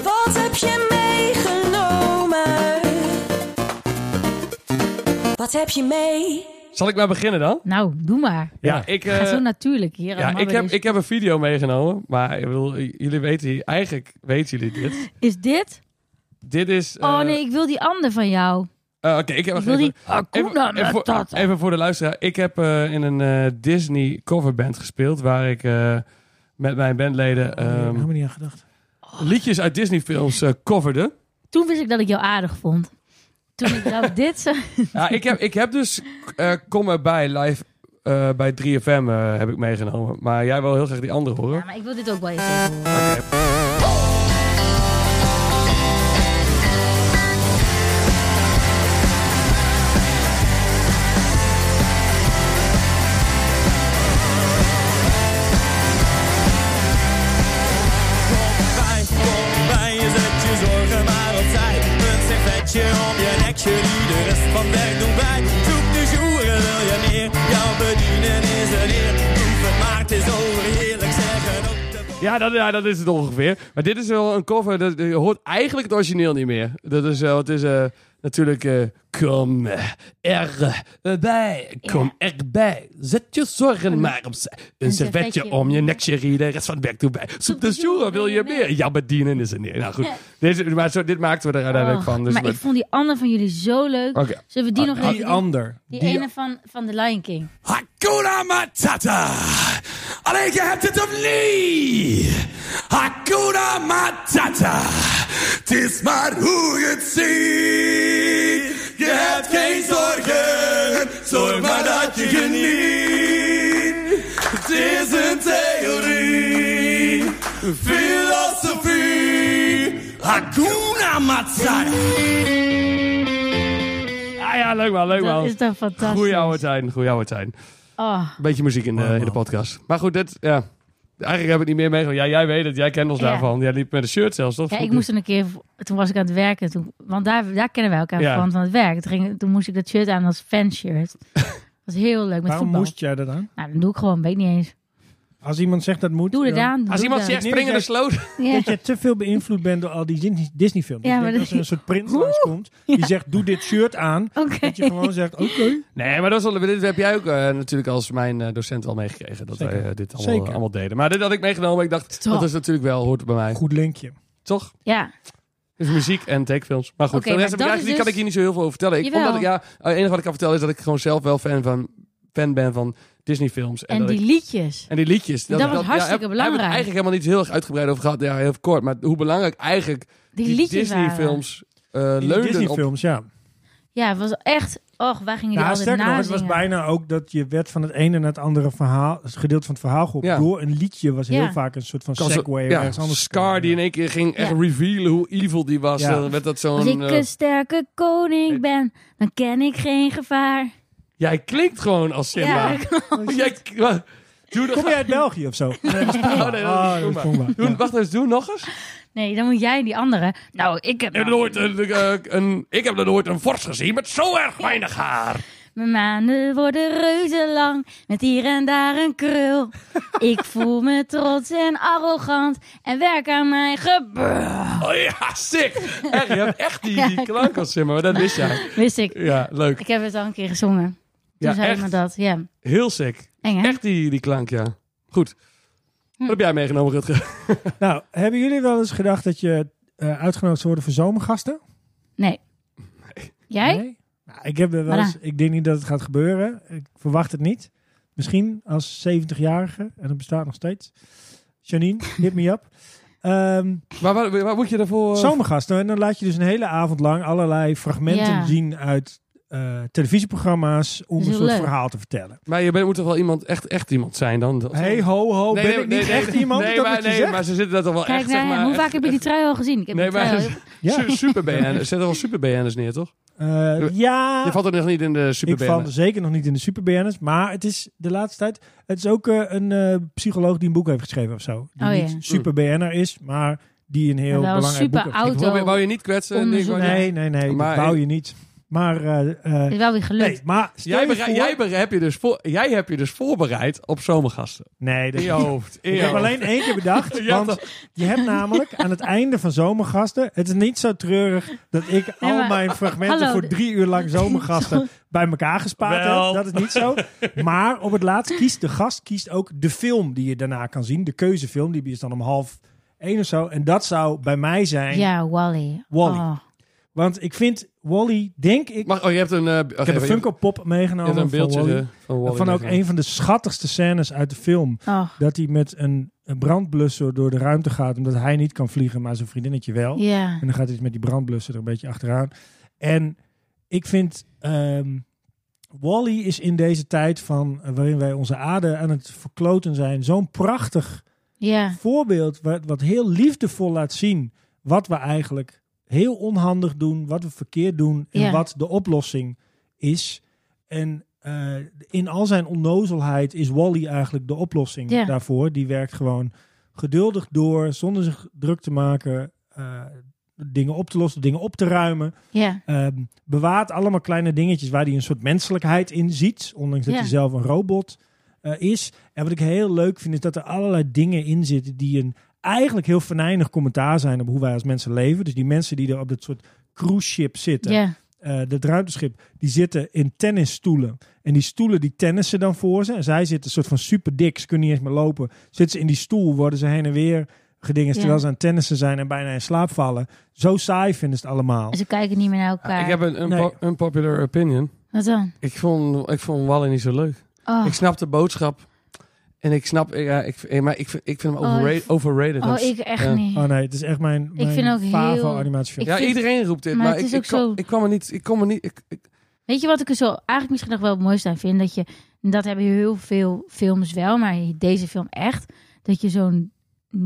S3: Wat heb je meegenomen? Wat heb je mee?
S2: Zal ik maar beginnen dan?
S1: Nou, doe maar.
S4: Ja.
S2: ik.
S1: Gaat
S2: eh,
S1: zo natuurlijk hier.
S2: ja,
S1: allemaal
S2: ik
S1: bij
S2: heb,
S1: deze-
S2: ik heb een video meegenomen, maar ik bedoel, j- jullie weten, hier- eigenlijk weten jullie dit.
S1: Is dit?
S2: Dit is... eh,
S1: Oh nee, ik wil die ander van jou.
S2: eh, Oké, ik heb
S1: Ik wil die. Oh, Hakuna
S2: even, voor,
S1: Matata.
S2: even voor de luisteraar. Ik heb eh, in een eh, Disney coverband gespeeld, waar ik eh, met mijn bandleden
S4: Daar
S2: ehm,
S4: heb ik niet aan gedacht.
S2: liedjes uit Disney films eh, coverde.
S1: Toen wist ik dat ik jou aardig vond. Toen ik jou dit zei.
S2: Ja, ik heb, ik heb dus eh, Kom erbij live eh, bij 3FM eh, heb ik meegenomen. Maar jij wil heel graag die andere horen.
S1: Ja, maar ik wil dit ook wel eens even horen.
S6: Voorbij, voorbij je zet je zorgen maar opzij. Een servetje om je nekje, die de rest van werk doet bij. Zoek de joeren, wil je meer? Jouw bedienen is een eer. Proef het maar, het is overheerlijk, zeggen ook de
S2: Ja dat, ja, dat is het ongeveer. Maar dit is wel een cover, dat, je hoort eigenlijk het origineel niet meer. Dat is, eh, het is eh, natuurlijk... eh, kom erbij, kom erbij. Zet je zorgen maar opzij. Een servetje om je nek, cherie, de rest van het werk toe bij. Soep de joeren, wil je meer? Ja, bedienen is een eer. Nou goed, deze, maar zo, dit maakten we er uiteindelijk
S1: Oh,
S2: van. Dus
S1: maar
S2: met-
S1: ik vond die ander van jullie zo leuk.
S2: Oké. Ah,
S1: Zullen we die nog even
S4: Die
S1: doen?
S4: ander.
S1: Die,
S4: Die-
S1: ene van, van The Lion King.
S6: Hakuna Matata. Alleen je hebt het opnieuw. Hakuna Matata. Het is maar hoe je het ziet. Je hebt geen zorgen. Zorg maar dat je geniet. Het is een theorie. Filosofie. Hakuna Matata.
S2: Ah ja, leuk man, leuk
S1: Dat
S2: man.
S1: is dan fantastisch.
S2: Goeie oude tijden, goeie oude tijden.
S1: Oh,
S2: Beetje muziek in de, in de podcast. Maar goed, dit, ja. eigenlijk heb ik niet meer meegemaakt. Ja, jij weet het, jij kent ons
S1: Ja.
S2: daarvan. Jij liep met een shirt zelfs, toch?
S1: ja, ik moest er een keer... Toen was ik aan het werken. Toen, want daar, daar kennen wij elkaar
S2: Ja.
S1: van, van het werk. Toen, ging, toen moest ik dat shirt aan als fanshirt. Dat was heel leuk met
S4: Waarom
S1: voetbal.
S4: moest jij dat aan?
S1: Nou, dan doe ik gewoon. Weet ik niet eens.
S4: Als iemand zegt dat moet.
S1: Doe het
S4: dan-
S1: aan.
S2: Als
S1: doe
S2: iemand
S1: het
S2: zegt
S1: aan.
S4: Nee,
S2: springen de
S4: dat-
S2: sloot.
S1: Ja.
S4: Dat je te veel beïnvloed bent door al die Disney- Disney-films.
S1: Ja,
S4: Ja,
S1: maar
S4: maar
S1: dat-
S4: als er een soort prins langskomt, die
S1: Ja.
S4: zegt: Doe dit shirt aan.
S1: Oké.
S4: Dat je gewoon zegt: Oké.
S2: Nee, maar dat, is wel- dit heb jij ook eh, natuurlijk als mijn eh, docent wel meegekregen. Dat wij
S4: Zeker.
S2: eh, dit allemaal,
S4: Zeker.
S2: allemaal deden. Maar dit had ik meegenomen. Ik dacht,
S1: Toch.
S2: dat is natuurlijk wel, hoort bij mij.
S4: Goed linkje.
S2: Toch?
S1: ja.
S2: Dus muziek en takefilms. Maar goed,
S1: Oké,
S2: voor de
S1: maar
S2: rest heb ik
S1: dat
S2: eigenlijk-
S1: is
S2: die
S1: dus-
S2: kan ik hier niet zo heel veel over vertellen. Ik,
S1: Jawel.
S2: omdat ik, ja, het enige wat ik kan vertellen is dat ik gewoon zelf wel fan, van, fan ben van Disney-films.
S1: En,
S2: dat ik-
S1: die liedjes.
S2: En die liedjes.
S1: Dat was hartstikke
S2: heb- hebben we het
S1: belangrijk.
S2: eigenlijk helemaal niet heel erg uitgebreid over gehad. Ja, heel kort. Maar hoe belangrijk eigenlijk
S1: Die, liedjes waren.
S2: Disney-films eh,
S4: Die
S2: leunden op...
S4: Disney-films, ja.
S1: Ja, het was echt... Och, waar gingen die
S4: Ja,
S1: altijd
S4: Nou, sterker nog, het
S1: nazingen?
S4: was bijna ook dat je werd van het ene naar het andere verhaal, het gedeelte van het verhaal geholpen.
S2: Ja.
S4: Door een liedje was heel
S1: Ja.
S4: vaak een soort van
S2: Kan ze-
S4: segway.
S2: ja,
S4: ergens anders
S2: Scar die in één keer ging echt
S1: Ja.
S2: revealen hoe evil die was.
S4: Ja.
S2: Dan werd dat
S1: Als
S2: zo'n...
S1: ik
S2: eh,
S1: een sterke koning ben, dan ken ik geen gevaar.
S2: jij klinkt gewoon als Simba.
S1: Ja,
S2: Jij, wa- doe nog...
S4: Kom jij uit België of zo? Nee, dat is Puma.
S2: Oh, nee, dat is
S4: Ah, dat is
S2: Puma.
S4: Puma.
S2: Doe,
S4: Ja.
S2: Wacht eens, doe nog eens.
S1: Nee, dan moet jij die andere. Nou, ik heb
S2: Ik heb,
S1: nou-
S2: nog nooit een, eh, een, ik heb nog nooit een vorst gezien met zo erg weinig haar.
S1: Mijn maanden worden reuze lang, met hier en daar een krul. ik voel me trots en arrogant en werk aan mijn gebeur.
S2: Oh ja, sick. Echt, je hebt echt die, die klank als Simba. Maar dat wist jij.
S1: Wist ik.
S2: Ja, leuk.
S1: Ik heb het al een keer gezongen. Toen
S2: Ja,
S1: zei
S2: echt.
S1: me dat, ja.
S2: Heel sick.
S1: Eng, hè?
S2: Echt die, die klank, ja. Goed.
S1: Hm.
S2: Wat heb jij meegenomen, Rutger?
S4: Nou, hebben jullie wel eens gedacht dat je eh, uitgenodigd zou worden voor zomergasten?
S1: Nee. Jij?
S4: Nee? Nou, ik heb er wel
S1: Maar
S4: eens, ik denk niet dat het gaat gebeuren. Ik verwacht het niet. Misschien als 70-jarige, en dat bestaat nog steeds. Janine, hit me up. Ehm,
S2: Maar waar, waar moet je daarvoor... eh,
S4: zomergasten. En dan laat je dus een hele avond lang allerlei fragmenten
S1: Ja.
S4: zien uit eh, televisieprogramma's om
S1: Is
S4: een
S1: heel
S4: soort
S1: leuk.
S4: verhaal te vertellen.
S2: Maar je bent, moet toch wel iemand, echt, echt iemand zijn dan? Dat-
S4: hey, ho, ho, ben ik niet echt iemand
S2: Nee,
S4: die dat
S2: maar,
S4: met je
S2: nee,
S4: zegt?
S2: maar ze zitten daar toch wel
S1: Kijk
S2: echt,
S1: naar
S2: zeg
S1: hem.
S2: maar...
S1: Hoe vaak heb je die trui al gezien? Ik heb
S2: Nee,
S1: die trui
S2: maar-
S1: al heel-
S4: Ja.
S2: Su- Super BN'ers. Zet er wel super BN'ers neer, toch?
S4: Eh, ja,
S2: Je valt er nog niet in de super
S4: ik val
S2: BN'ers.
S4: zeker nog niet in de superberners. Maar het is de laatste tijd... Het is ook eh, een eh, psycholoog die een boek heeft geschreven of zo. Die
S1: Oh,
S4: niet
S1: ja.
S4: superberner is, maar die een heel
S1: Maar wel
S4: belangrijk boek
S1: super
S4: heeft
S1: oud.
S2: Ik wou, wou je niet kwetsen. en
S1: Onderzoek.
S2: dingen, maar-
S4: Nee, nee, nee.
S2: Maar-
S4: dat wou je niet. Maar... eh, eh,
S1: Is wel weer gelukt.
S4: Nee, maar stel
S2: Jij,
S4: je
S2: bere-
S4: voor-
S2: jij, bere- heb je dus voor- jij heb je dus voorbereid op zomergasten.
S4: Nee, dat
S2: In je hoofd. In
S4: Ik
S2: je
S4: heb
S2: hoofd.
S4: alleen één keer bedacht.
S2: Ja,
S4: want je hebt namelijk aan het einde van zomergasten. Het is niet zo treurig dat ik al
S1: maar-
S4: mijn fragmenten
S1: hallo,
S4: voor
S1: d-
S4: drie uur lang zomergasten bij elkaar gespaard
S2: Wel.
S4: heb. Dat is niet zo. Maar op het laatst kiest de gast kiest ook de film die je daarna kan zien. De keuzefilm. Die is dan om half één of zo. En dat zou bij mij zijn.
S1: Ja, Wally.
S4: Wall-E.
S1: Oh.
S4: Want ik vind Wally, denk ik.
S2: Mag, oh, je hebt een... eh, wacht
S4: ik heb een
S2: even, je hebt-
S4: Funko Pop
S2: je
S4: meegenomen
S2: hebt een
S4: van
S2: beeldje
S4: Wall-E.
S2: eh, van Wally.
S4: Van ook
S2: meegenomen.
S4: een van de schattigste scènes uit de film
S1: Oh.
S4: dat hij met een, een brandblusser door de ruimte gaat. Omdat hij niet kan vliegen, maar zijn vriendinnetje wel.
S1: Ja.
S4: En dan gaat hij dus met die brandblusser er een beetje achteraan. En ik vind... ehm Wally is in deze tijd van, eh, waarin wij onze aarde aan het verkloten zijn... zo'n prachtig
S1: Ja.
S4: voorbeeld wat, wat heel liefdevol laat zien... wat we eigenlijk heel onhandig doen, wat we verkeerd doen... en
S1: Ja.
S4: wat de oplossing is. En eh, in al zijn onnozelheid is Wally eigenlijk de oplossing
S1: Ja.
S4: daarvoor. Die werkt gewoon geduldig door, zonder zich druk te maken, eh, dingen op te lossen, dingen op te ruimen.
S1: Ja.
S4: Ehm, bewaart allemaal kleine dingetjes waar hij een soort menselijkheid in ziet, ondanks dat
S1: Ja.
S4: hij zelf een robot eh, is. En wat ik heel leuk vind, is dat er allerlei dingen in zitten die een eigenlijk heel venijnig commentaar zijn op hoe wij als mensen leven. Dus die mensen die er op dat soort cruise ship zitten,
S1: Ja.
S4: eh dat ruimteschip, die zitten in tennisstoelen. En die stoelen die tennissen dan voor ze. En zij zitten een soort van super dik, ze kunnen niet eens meer lopen. Zitten ze in die stoel, worden ze heen en weer gedingen
S1: Ja.
S4: terwijl ze aan het tennissen zijn en bijna in slaap vallen. Zo saai vinden ze het allemaal.
S1: En ze kijken niet meer naar elkaar.
S2: Ah, Ik heb een een
S4: Nee.
S2: po- unpopular opinion.
S1: Wat dan?
S2: Ik vond, ik vond Wally niet zo leuk.
S1: Oh.
S2: Ik snap de boodschap. En ik snap... Ja, ik, eh, maar ik, vind- ik vind hem
S1: Oh, ik-
S2: overra- overrated.
S1: Oh,
S2: I'm
S1: ik
S2: s-
S1: echt
S2: Ja.
S1: niet.
S4: Oh nee, het is echt mijn, mijn
S1: vind ook heel-
S4: favo animatiefilm.
S1: ik
S2: Ja,
S1: vind-
S2: iedereen roept dit. Maar,
S1: maar het
S2: ik,
S1: is
S2: ik,
S1: ook
S2: kwam,
S1: zo-
S2: ik kwam er niet... Ik kwam er niet ik, ik-
S1: Weet je wat ik er zo eigenlijk misschien nog wel het mooiste aan vind? Dat je, en dat hebben heel veel films wel, maar deze film echt. Dat je zo'n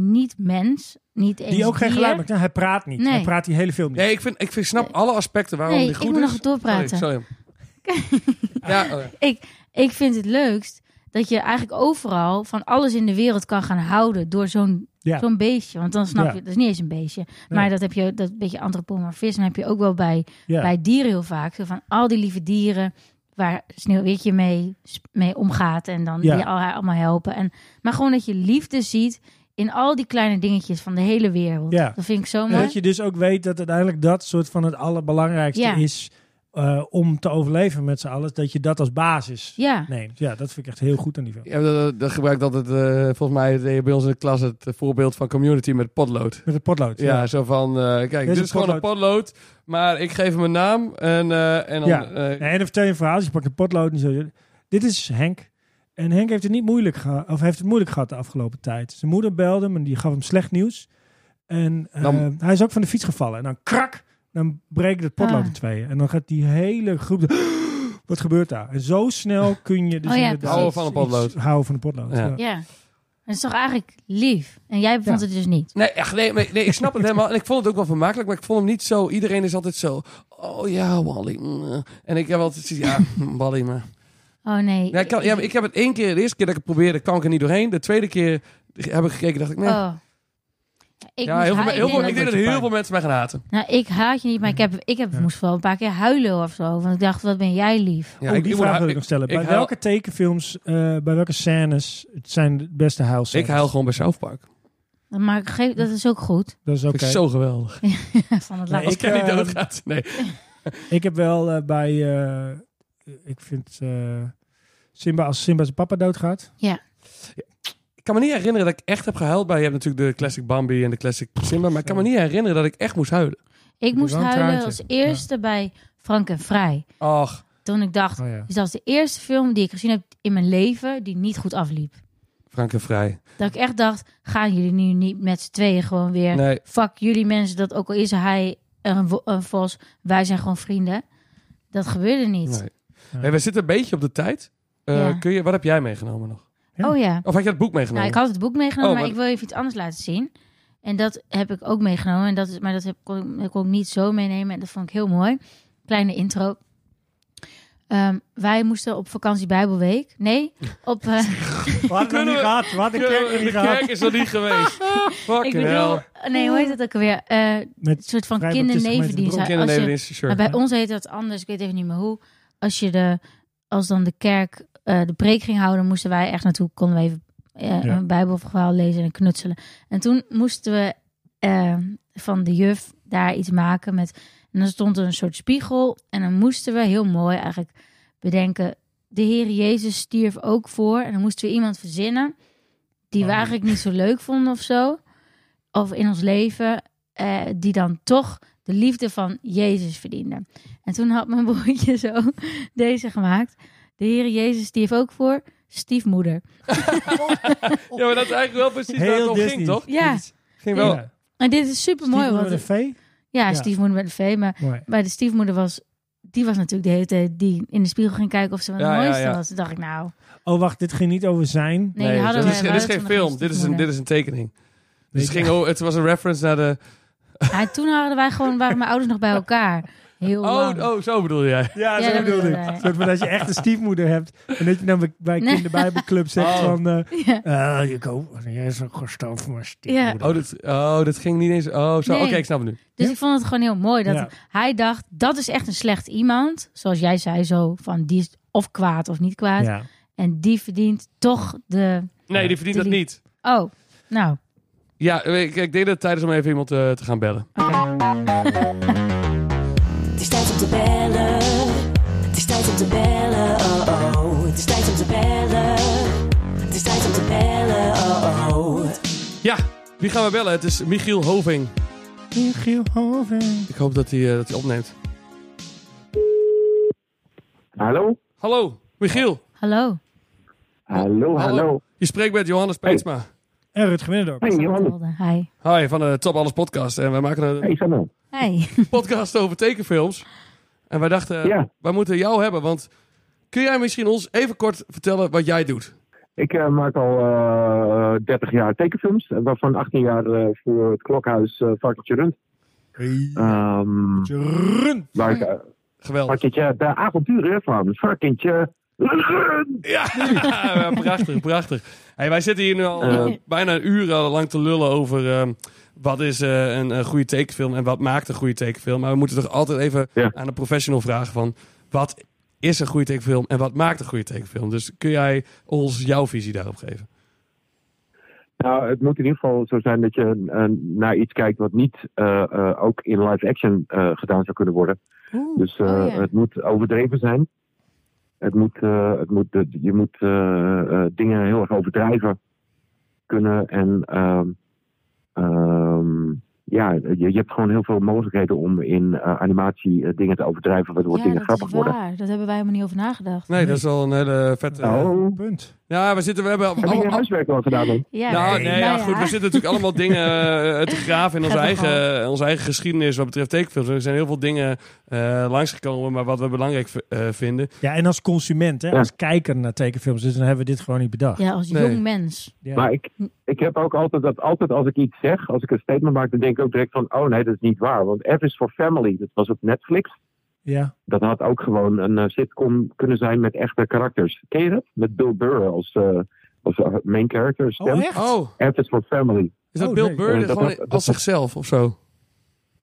S1: niet-mens, niet eens
S4: Die ook geen
S1: dier-
S4: geluid maakt. Nou, hij praat niet.
S1: Nee.
S4: Hij praat die hele film niet.
S2: nee, ik, vind, ik vind, snap alle aspecten waarom
S1: Nee,
S2: die
S1: ik
S2: goed is.
S1: moet nog doorpraten.
S2: Sorry, sorry. ja, oh ja.
S1: Ik vind het leukst dat je eigenlijk overal van alles in de wereld kan gaan houden door zo'n
S4: Ja.
S1: zo'n beestje. Want dan snap
S4: Ja.
S1: je, dat is niet eens een beestje. Maar
S4: Nee.
S1: dat heb je, dat beetje antropomorfisme heb je ook wel bij,
S4: Ja.
S1: bij dieren heel vaak. Zo van al die lieve dieren waar Sneeuwwitje mee, mee omgaat en dan
S4: Ja.
S1: die al haar allemaal helpen. En, maar gewoon dat je liefde ziet in al die kleine dingetjes van de hele wereld.
S4: Ja.
S1: Dat vind ik zo
S4: En
S1: mooi.
S4: Dat je dus ook weet dat uiteindelijk dat soort van het allerbelangrijkste
S1: Ja.
S4: is eh, om te overleven met z'n allen. Dat je dat als basis
S1: Ja.
S4: neemt. Ja, dat vind ik echt heel goed aan die film.
S2: Ja, dat, dat gebruikt altijd, eh, volgens mij deed je bij ons in de klas het eh, voorbeeld van community met potlood.
S4: Met het potlood.
S2: Ja, zo van, eh, kijk, dit
S4: een
S2: is gewoon een potlood, maar ik geef hem een naam en, eh, en dan...
S4: Ja.
S2: eh,
S4: Nee, en dan vertel je een verhaal. Dus je pakt een potlood en zo. Dit is Henk. En Henk heeft het niet moeilijk gehad, of heeft het moeilijk gehad de afgelopen tijd. Zijn moeder belde hem en die gaf hem slecht nieuws. En eh,
S2: Dan-
S4: hij is ook van de fiets gevallen. En dan krak, dan breekt het potlood
S1: Ah.
S4: in tweeën. En dan gaat die hele groep. Wat gebeurt daar? En zo snel kun je dus
S1: Oh ja,
S4: inderdaad
S1: Houden
S2: van een
S4: iets-
S2: potlood.
S4: Houden van een potlood.
S2: Ja.
S4: Ja.
S1: ja. Dat is toch eigenlijk lief. En jij vond
S4: Ja.
S1: het dus niet.
S2: Nee, echt, nee, nee, nee, ik snap het helemaal. En ik vond het ook wel vermakelijk, maar ik vond hem niet zo... Iedereen is altijd zo, oh ja, Wally. mm, eh. En ik heb altijd zoiets, ja, mm, Wally, maar...
S1: Oh nee.
S2: Ja, ik, kan, ja, maar ik heb het één keer, de eerste keer dat ik het probeerde, kwam ik er niet doorheen. De tweede keer heb ik gekeken, dacht ik, nee.
S1: Oh. Ik,
S2: ja,
S1: moest
S2: heel veel,
S1: hu-
S2: me- heel
S1: ik
S2: veel,
S1: denk
S2: ik denk
S1: dat-
S2: dat heel
S4: pijn.
S2: veel mensen mij gaan haten.
S1: Nou, ik haat je niet, maar ik, heb, ik heb,
S4: Ja.
S1: moest wel een paar keer huilen of zo. Want ik dacht, wat ben jij lief.
S2: Ja,
S4: Oh, die
S2: moet
S4: vraag
S2: hu-
S4: wil ik nog stellen.
S2: ik
S4: bij
S2: huil-
S4: welke tekenfilms, eh, bij welke scènes het zijn de beste huilscènes?
S2: Ik huil gewoon bij South Park.
S1: Maar ik geef, dat is ook goed.
S4: Dat is oké.
S2: Vind ik zo geweldig.
S1: Van het
S4: Nee,
S1: laatste.
S2: Als Kenny
S4: eh,
S2: doodgaat. Nee.
S4: Ik heb wel eh, bij, eh, ik vind eh, Simba, als Simba zijn papa doodgaat.
S2: Ik kan me niet herinneren dat ik echt heb gehuild bij. Je hebt natuurlijk de classic Bambi en de classic Simba. Maar ik kan me niet herinneren dat ik echt moest huilen.
S1: Ik moest
S4: wel een
S1: huilen
S4: traantje.
S1: als eerste bij Frank en Vrij.
S2: Ach,
S1: Toen ik dacht,
S4: Oh ja.
S1: is dat de eerste film die ik gezien heb in mijn leven die niet goed afliep.
S2: Frank en Vrij.
S1: Dat ik echt dacht, gaan jullie nu niet met z'n tweeën gewoon weer...
S2: Nee.
S1: Fuck jullie mensen, dat ook al is hij een, wo- een vos, wij zijn gewoon vrienden. Dat gebeurde niet.
S2: nee. Hey, we zitten een beetje op de tijd. Eh,
S1: Ja.
S2: kun je, wat heb jij meegenomen nog?
S4: Ja.
S1: Oh ja.
S2: Of had je het boek
S1: Nou,
S2: meegenomen?
S1: ik had het boek meegenomen,
S2: Oh,
S1: maar
S2: maar-
S1: ik wil even iets anders laten zien. En dat heb ik ook meegenomen. En dat is, maar dat heb, kon, ik- dat kon ik niet zo meenemen. En dat vond ik heel mooi. Kleine intro. Ehm, wij moesten op vakantie Bijbelweek. Nee, op. eh,
S4: Wat had ik nog
S2: Kunnen
S4: niet
S2: we-
S4: gehad? Wat ik
S2: Kunnen we-
S4: kerk niet
S2: de
S4: gehad?
S2: kerk is er niet geweest.
S1: ik
S2: Fucking
S1: bedoel.
S2: hell.
S1: Nee, hoe heet het ook alweer? Eh, een
S4: Met
S1: soort van
S4: Vrijbaptistengemeente
S1: kindernevendienst.
S4: Bron-
S1: Als je-
S2: Kindernevendienst, sure.
S1: maar bij ons heet dat anders. Ik weet even niet meer hoe. Als je de, als dan de kerk eh, de preek ging houden, moesten wij echt naartoe. Konden we even eh,
S4: Ja.
S1: een Bijbelverhaal lezen en knutselen. En toen moesten we eh, van de juf daar iets maken met. En dan stond er een soort spiegel. En dan moesten we heel mooi eigenlijk bedenken. De Heer Jezus stierf ook voor. En dan moesten we iemand verzinnen. die we
S4: Oh.
S1: eigenlijk niet zo leuk vonden of zo. Of in ons leven. eh, die dan toch de liefde van Jezus verdiende. En toen had mijn broertje zo deze gemaakt. De Heer Jezus stierf ook voor. Stiefmoeder.
S2: Ja, maar dat is eigenlijk wel precies waar het
S4: Heel
S2: om
S4: Disney.
S2: ging, toch?
S1: Ja,
S2: Ging wel.
S4: Ja.
S1: en dit is super mooi.
S4: Stiekem
S1: Want
S4: met een vee.
S1: ja,
S4: Ja.
S1: stiefmoeder met een V. Maar
S4: Mooi.
S1: bij de stiefmoeder was. Die was natuurlijk de hele tijd die in de spiegel ging kijken of ze wat
S2: Ja, ja,
S1: mooiste
S2: ja.
S1: was. Toen dacht ik, nou.
S4: Oh, wacht, dit ging niet over zijn.
S1: Nee, die hadden
S2: dit, is,
S1: we,
S2: dit is geen
S1: we hadden
S2: film.
S1: toen nog
S2: Dit is, een, dit is een tekening. Dus het,
S4: Weet je-
S2: ging, oh, het was een reference naar de...
S1: Ja, toen hadden wij gewoon, waren mijn ouders nog bij elkaar. Heel
S2: Oh,
S1: lang.
S2: oh, zo bedoel jij.
S4: Ja,
S1: Ja,
S4: zo
S1: dat
S4: bedoelde
S1: bedoelde hij.
S4: ik. Soort van dat je echt een stiefmoeder hebt. En dat je dan bij- bij
S1: Nee.
S4: kinderbijbelclub zegt
S2: Oh.
S4: van... eh
S1: Ja.
S4: eh, ik hoop, jij is ook gestorven voor mijn stiefmoeder.
S2: Oh, dat, oh, dat ging niet eens... Oh, zo.
S1: Nee.
S2: Oké, ik snap het nu.
S1: Dus
S4: Ja.
S1: ik vond het gewoon heel mooi dat
S4: Ja.
S1: hij dacht, dat is echt een slecht iemand. Zoals jij zei zo, van die is of kwaad of niet kwaad.
S4: Ja.
S1: En die verdient toch de...
S2: Nee, die verdient dat
S1: Delete.
S2: niet.
S1: Oh, nou.
S2: Ja, eh, ik, ik denk dat het tijd is om even iemand eh, te gaan bellen.
S3: Het is tijd om te bellen. Het is tijd om te bellen. Oh oh. Het is tijd om te bellen. Het is tijd om te bellen. Oh oh.
S2: Ja, wie gaan we bellen? Het is Michiel Hoving.
S4: Michiel Hoven.
S2: Ik hoop dat hij, eh, dat hij opneemt.
S7: Hallo?
S2: Hallo, Michiel.
S1: Hallo.
S7: Hallo, hallo.
S2: Je spreekt met Johannes Peetsma.
S4: En Rutger Middendorp.
S7: Hey, Johan.
S1: Hi.
S2: Hi, van de Top Alles podcast. En wij maken een
S7: Hey, Sanne.
S1: Hi.
S2: podcast over tekenfilms. En wij dachten,
S7: Ja.
S2: wij moeten jou hebben. Want kun jij misschien ons even kort vertellen wat jij doet?
S7: Ik eh, maak al eh, 30 jaar tekenfilms, eh, waarvan 18 jaar eh, voor het klokhuis eh Varkentje Rund. Ehm,
S4: Rund.
S7: waar ik eh,
S2: Geweldig.
S7: varkentje, de avonturen van Varkentje Rund.
S2: Ja, ja, prachtig, prachtig. Hey, wij zitten hier nu al eh, bijna een uur al lang te lullen over ehm, wat is eh, een, eh, goede tekenfilm en wat maakt een goede tekenfilm. Maar we moeten toch altijd even
S7: Ja.
S2: aan een professional vragen van wat is een goede tekenfilm en wat maakt een goede tekenfilm? Dus kun jij ons jouw visie daarop geven?
S7: Nou, het moet in ieder geval zo zijn dat je eh, naar iets kijkt wat niet eh, eh, ook in live action eh, gedaan zou kunnen worden. Dus eh,
S1: Oh, ja.
S7: het moet overdreven zijn. Het moet, eh, het moet, de- je moet eh, eh, dingen heel erg overdrijven kunnen. En ehm, ehm, ja, je, je hebt gewoon heel veel mogelijkheden om in eh, animatie eh, dingen te overdrijven, waardoor
S1: Ja,
S7: dingen
S1: dat
S7: grappig
S1: is
S7: worden.
S1: waar. Dat hebben wij helemaal niet over nagedacht.
S2: Nee, dat is al een hele vette...
S7: Oh,
S4: Punt.
S2: Ja, we zitten... We hebben
S7: heb
S1: Oh,
S7: je je
S2: al- al-
S7: huiswerk wel gedaan? Dan?
S1: Ja,
S2: Nou, nee, ja, goed. We zitten natuurlijk allemaal dingen eh, te graven in onze
S1: Gaat
S2: eigen, onze eigen geschiedenis wat betreft tekenfilms. Er zijn heel veel dingen eh, langsgekomen, maar wat we belangrijk v- eh, vinden.
S4: Ja, en als consument, hè,
S7: Ja.
S4: als kijker naar tekenfilms, dus dan hebben we dit gewoon niet bedacht.
S1: Ja, als
S2: Nee.
S1: jong mens.
S4: Ja.
S7: Maar ik, ik heb ook altijd dat altijd als ik iets zeg, als ik een statement maak, dan denk ik ook direct van, oh nee, dat is niet waar. Want F is for Family, dat was op Netflix.
S4: ja.
S7: Dat had ook gewoon een eh, sitcom kunnen zijn met echte karakters. Ken je dat? Met Bill Burr als, eh, als eh, main character stem.
S4: Oh, echt?
S2: Oh,
S7: F is for Family.
S2: is dat
S4: Oh,
S2: Bill
S4: nee.
S2: Burr
S7: Eh, dat
S2: gewoon
S7: was- dat
S2: als
S7: was-
S2: zichzelf of zo?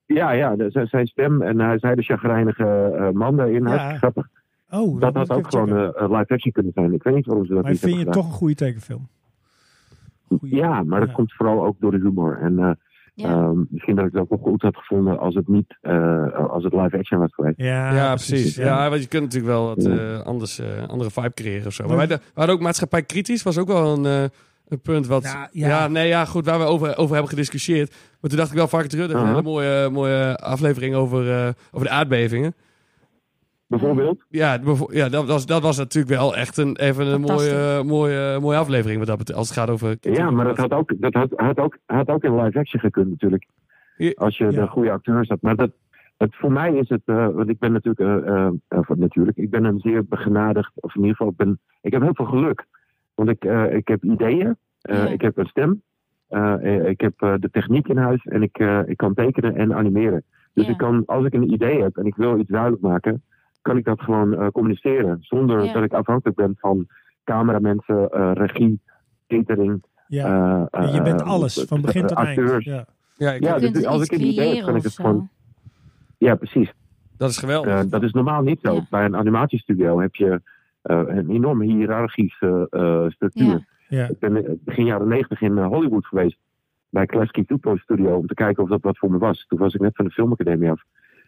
S7: Ja, ja, dat zijn- zijn stem en hij zei de chagrijnige eh, man daarin.
S4: Ja.
S7: Hartstikke grappig.
S4: Oh,
S7: Dat
S4: moet
S7: had
S4: ik
S7: ook
S4: even
S7: gewoon
S4: checken.
S7: eh, eh, live action kunnen zijn. Ik weet niet waarom ze dat
S4: Maar
S7: niet
S4: vind
S7: hebben
S4: je het
S7: gedaan.
S4: toch een goede tekenfilm? Goeie.
S7: Ja, maar dat
S4: Ja.
S7: komt vooral ook door de humor. En eh,
S1: Ja.
S7: ehm, misschien dat ik het ook wel goed had gevonden als het niet, eh, als het live action was geweest.
S4: Ja,
S2: Ja, precies. Ja. want je kunt natuurlijk wel wat eh, anders, eh, andere vibe creëren of zo. Maar wij, da- we hadden ook maatschappij kritisch, was ook wel een, eh, een punt wat... Ja,
S4: Ja, ja.
S2: nee, ja, goed, waar we over, over hebben gediscussieerd. Maar toen dacht ik wel, Varkentje Rudder, heeft een
S7: Uh-huh.
S2: hele mooie, mooie aflevering over, eh, over de aardbevingen.
S7: Bijvoorbeeld.
S2: Ja, bevo- ja dat, was, dat was natuurlijk wel echt een, even een mooie, eh, mooie, mooie aflevering wat dat betreft. Als het gaat over...
S7: Ja, maar dat had ook, dat had, had ook, had ook in live action gekund natuurlijk.
S2: Ja.
S7: Als je
S4: Ja.
S7: de goede acteurs had. Maar dat, het, voor mij is het, eh, want ik ben natuurlijk, eh, eh, eh, natuurlijk, ik ben een zeer begenadigd, of in ieder geval, ik, ben, ik heb heel veel geluk. Want ik, eh, ik heb ideeën, eh,
S1: Ja.
S7: ik heb een stem, eh, eh, ik heb eh, de techniek in huis en ik, eh, ik kan tekenen en animeren. Dus
S1: Ja.
S7: ik kan, als ik een idee heb en ik wil iets duidelijk maken, kan ik dat gewoon eh, communiceren. Zonder
S1: Ja.
S7: dat ik afhankelijk ben van cameramensen, eh, regie, catering.
S4: Ja.
S7: Eh, eh,
S4: je bent
S7: eh,
S4: alles, van begin tot eind.
S7: acteurs.
S4: Ja.
S2: Ja, ik-
S7: Ja,
S1: Je kunt
S7: dus als
S1: iets
S7: ik een idee heb,
S1: creëren
S7: kan ik
S1: of
S7: het
S1: zo.
S7: gewoon- Ja, precies.
S2: dat is geweldig.
S7: Eh, dat is normaal niet zo.
S1: Ja.
S7: Bij een animatiestudio heb je eh, een enorme hiërarchische eh, structuur.
S1: Ja.
S4: Ja.
S7: Ik ben eh, begin jaren negentig in eh, Hollywood geweest. Bij Klasky Tupo Studio. Om te kijken of dat wat voor me was. Toen was ik net van de filmacademie af.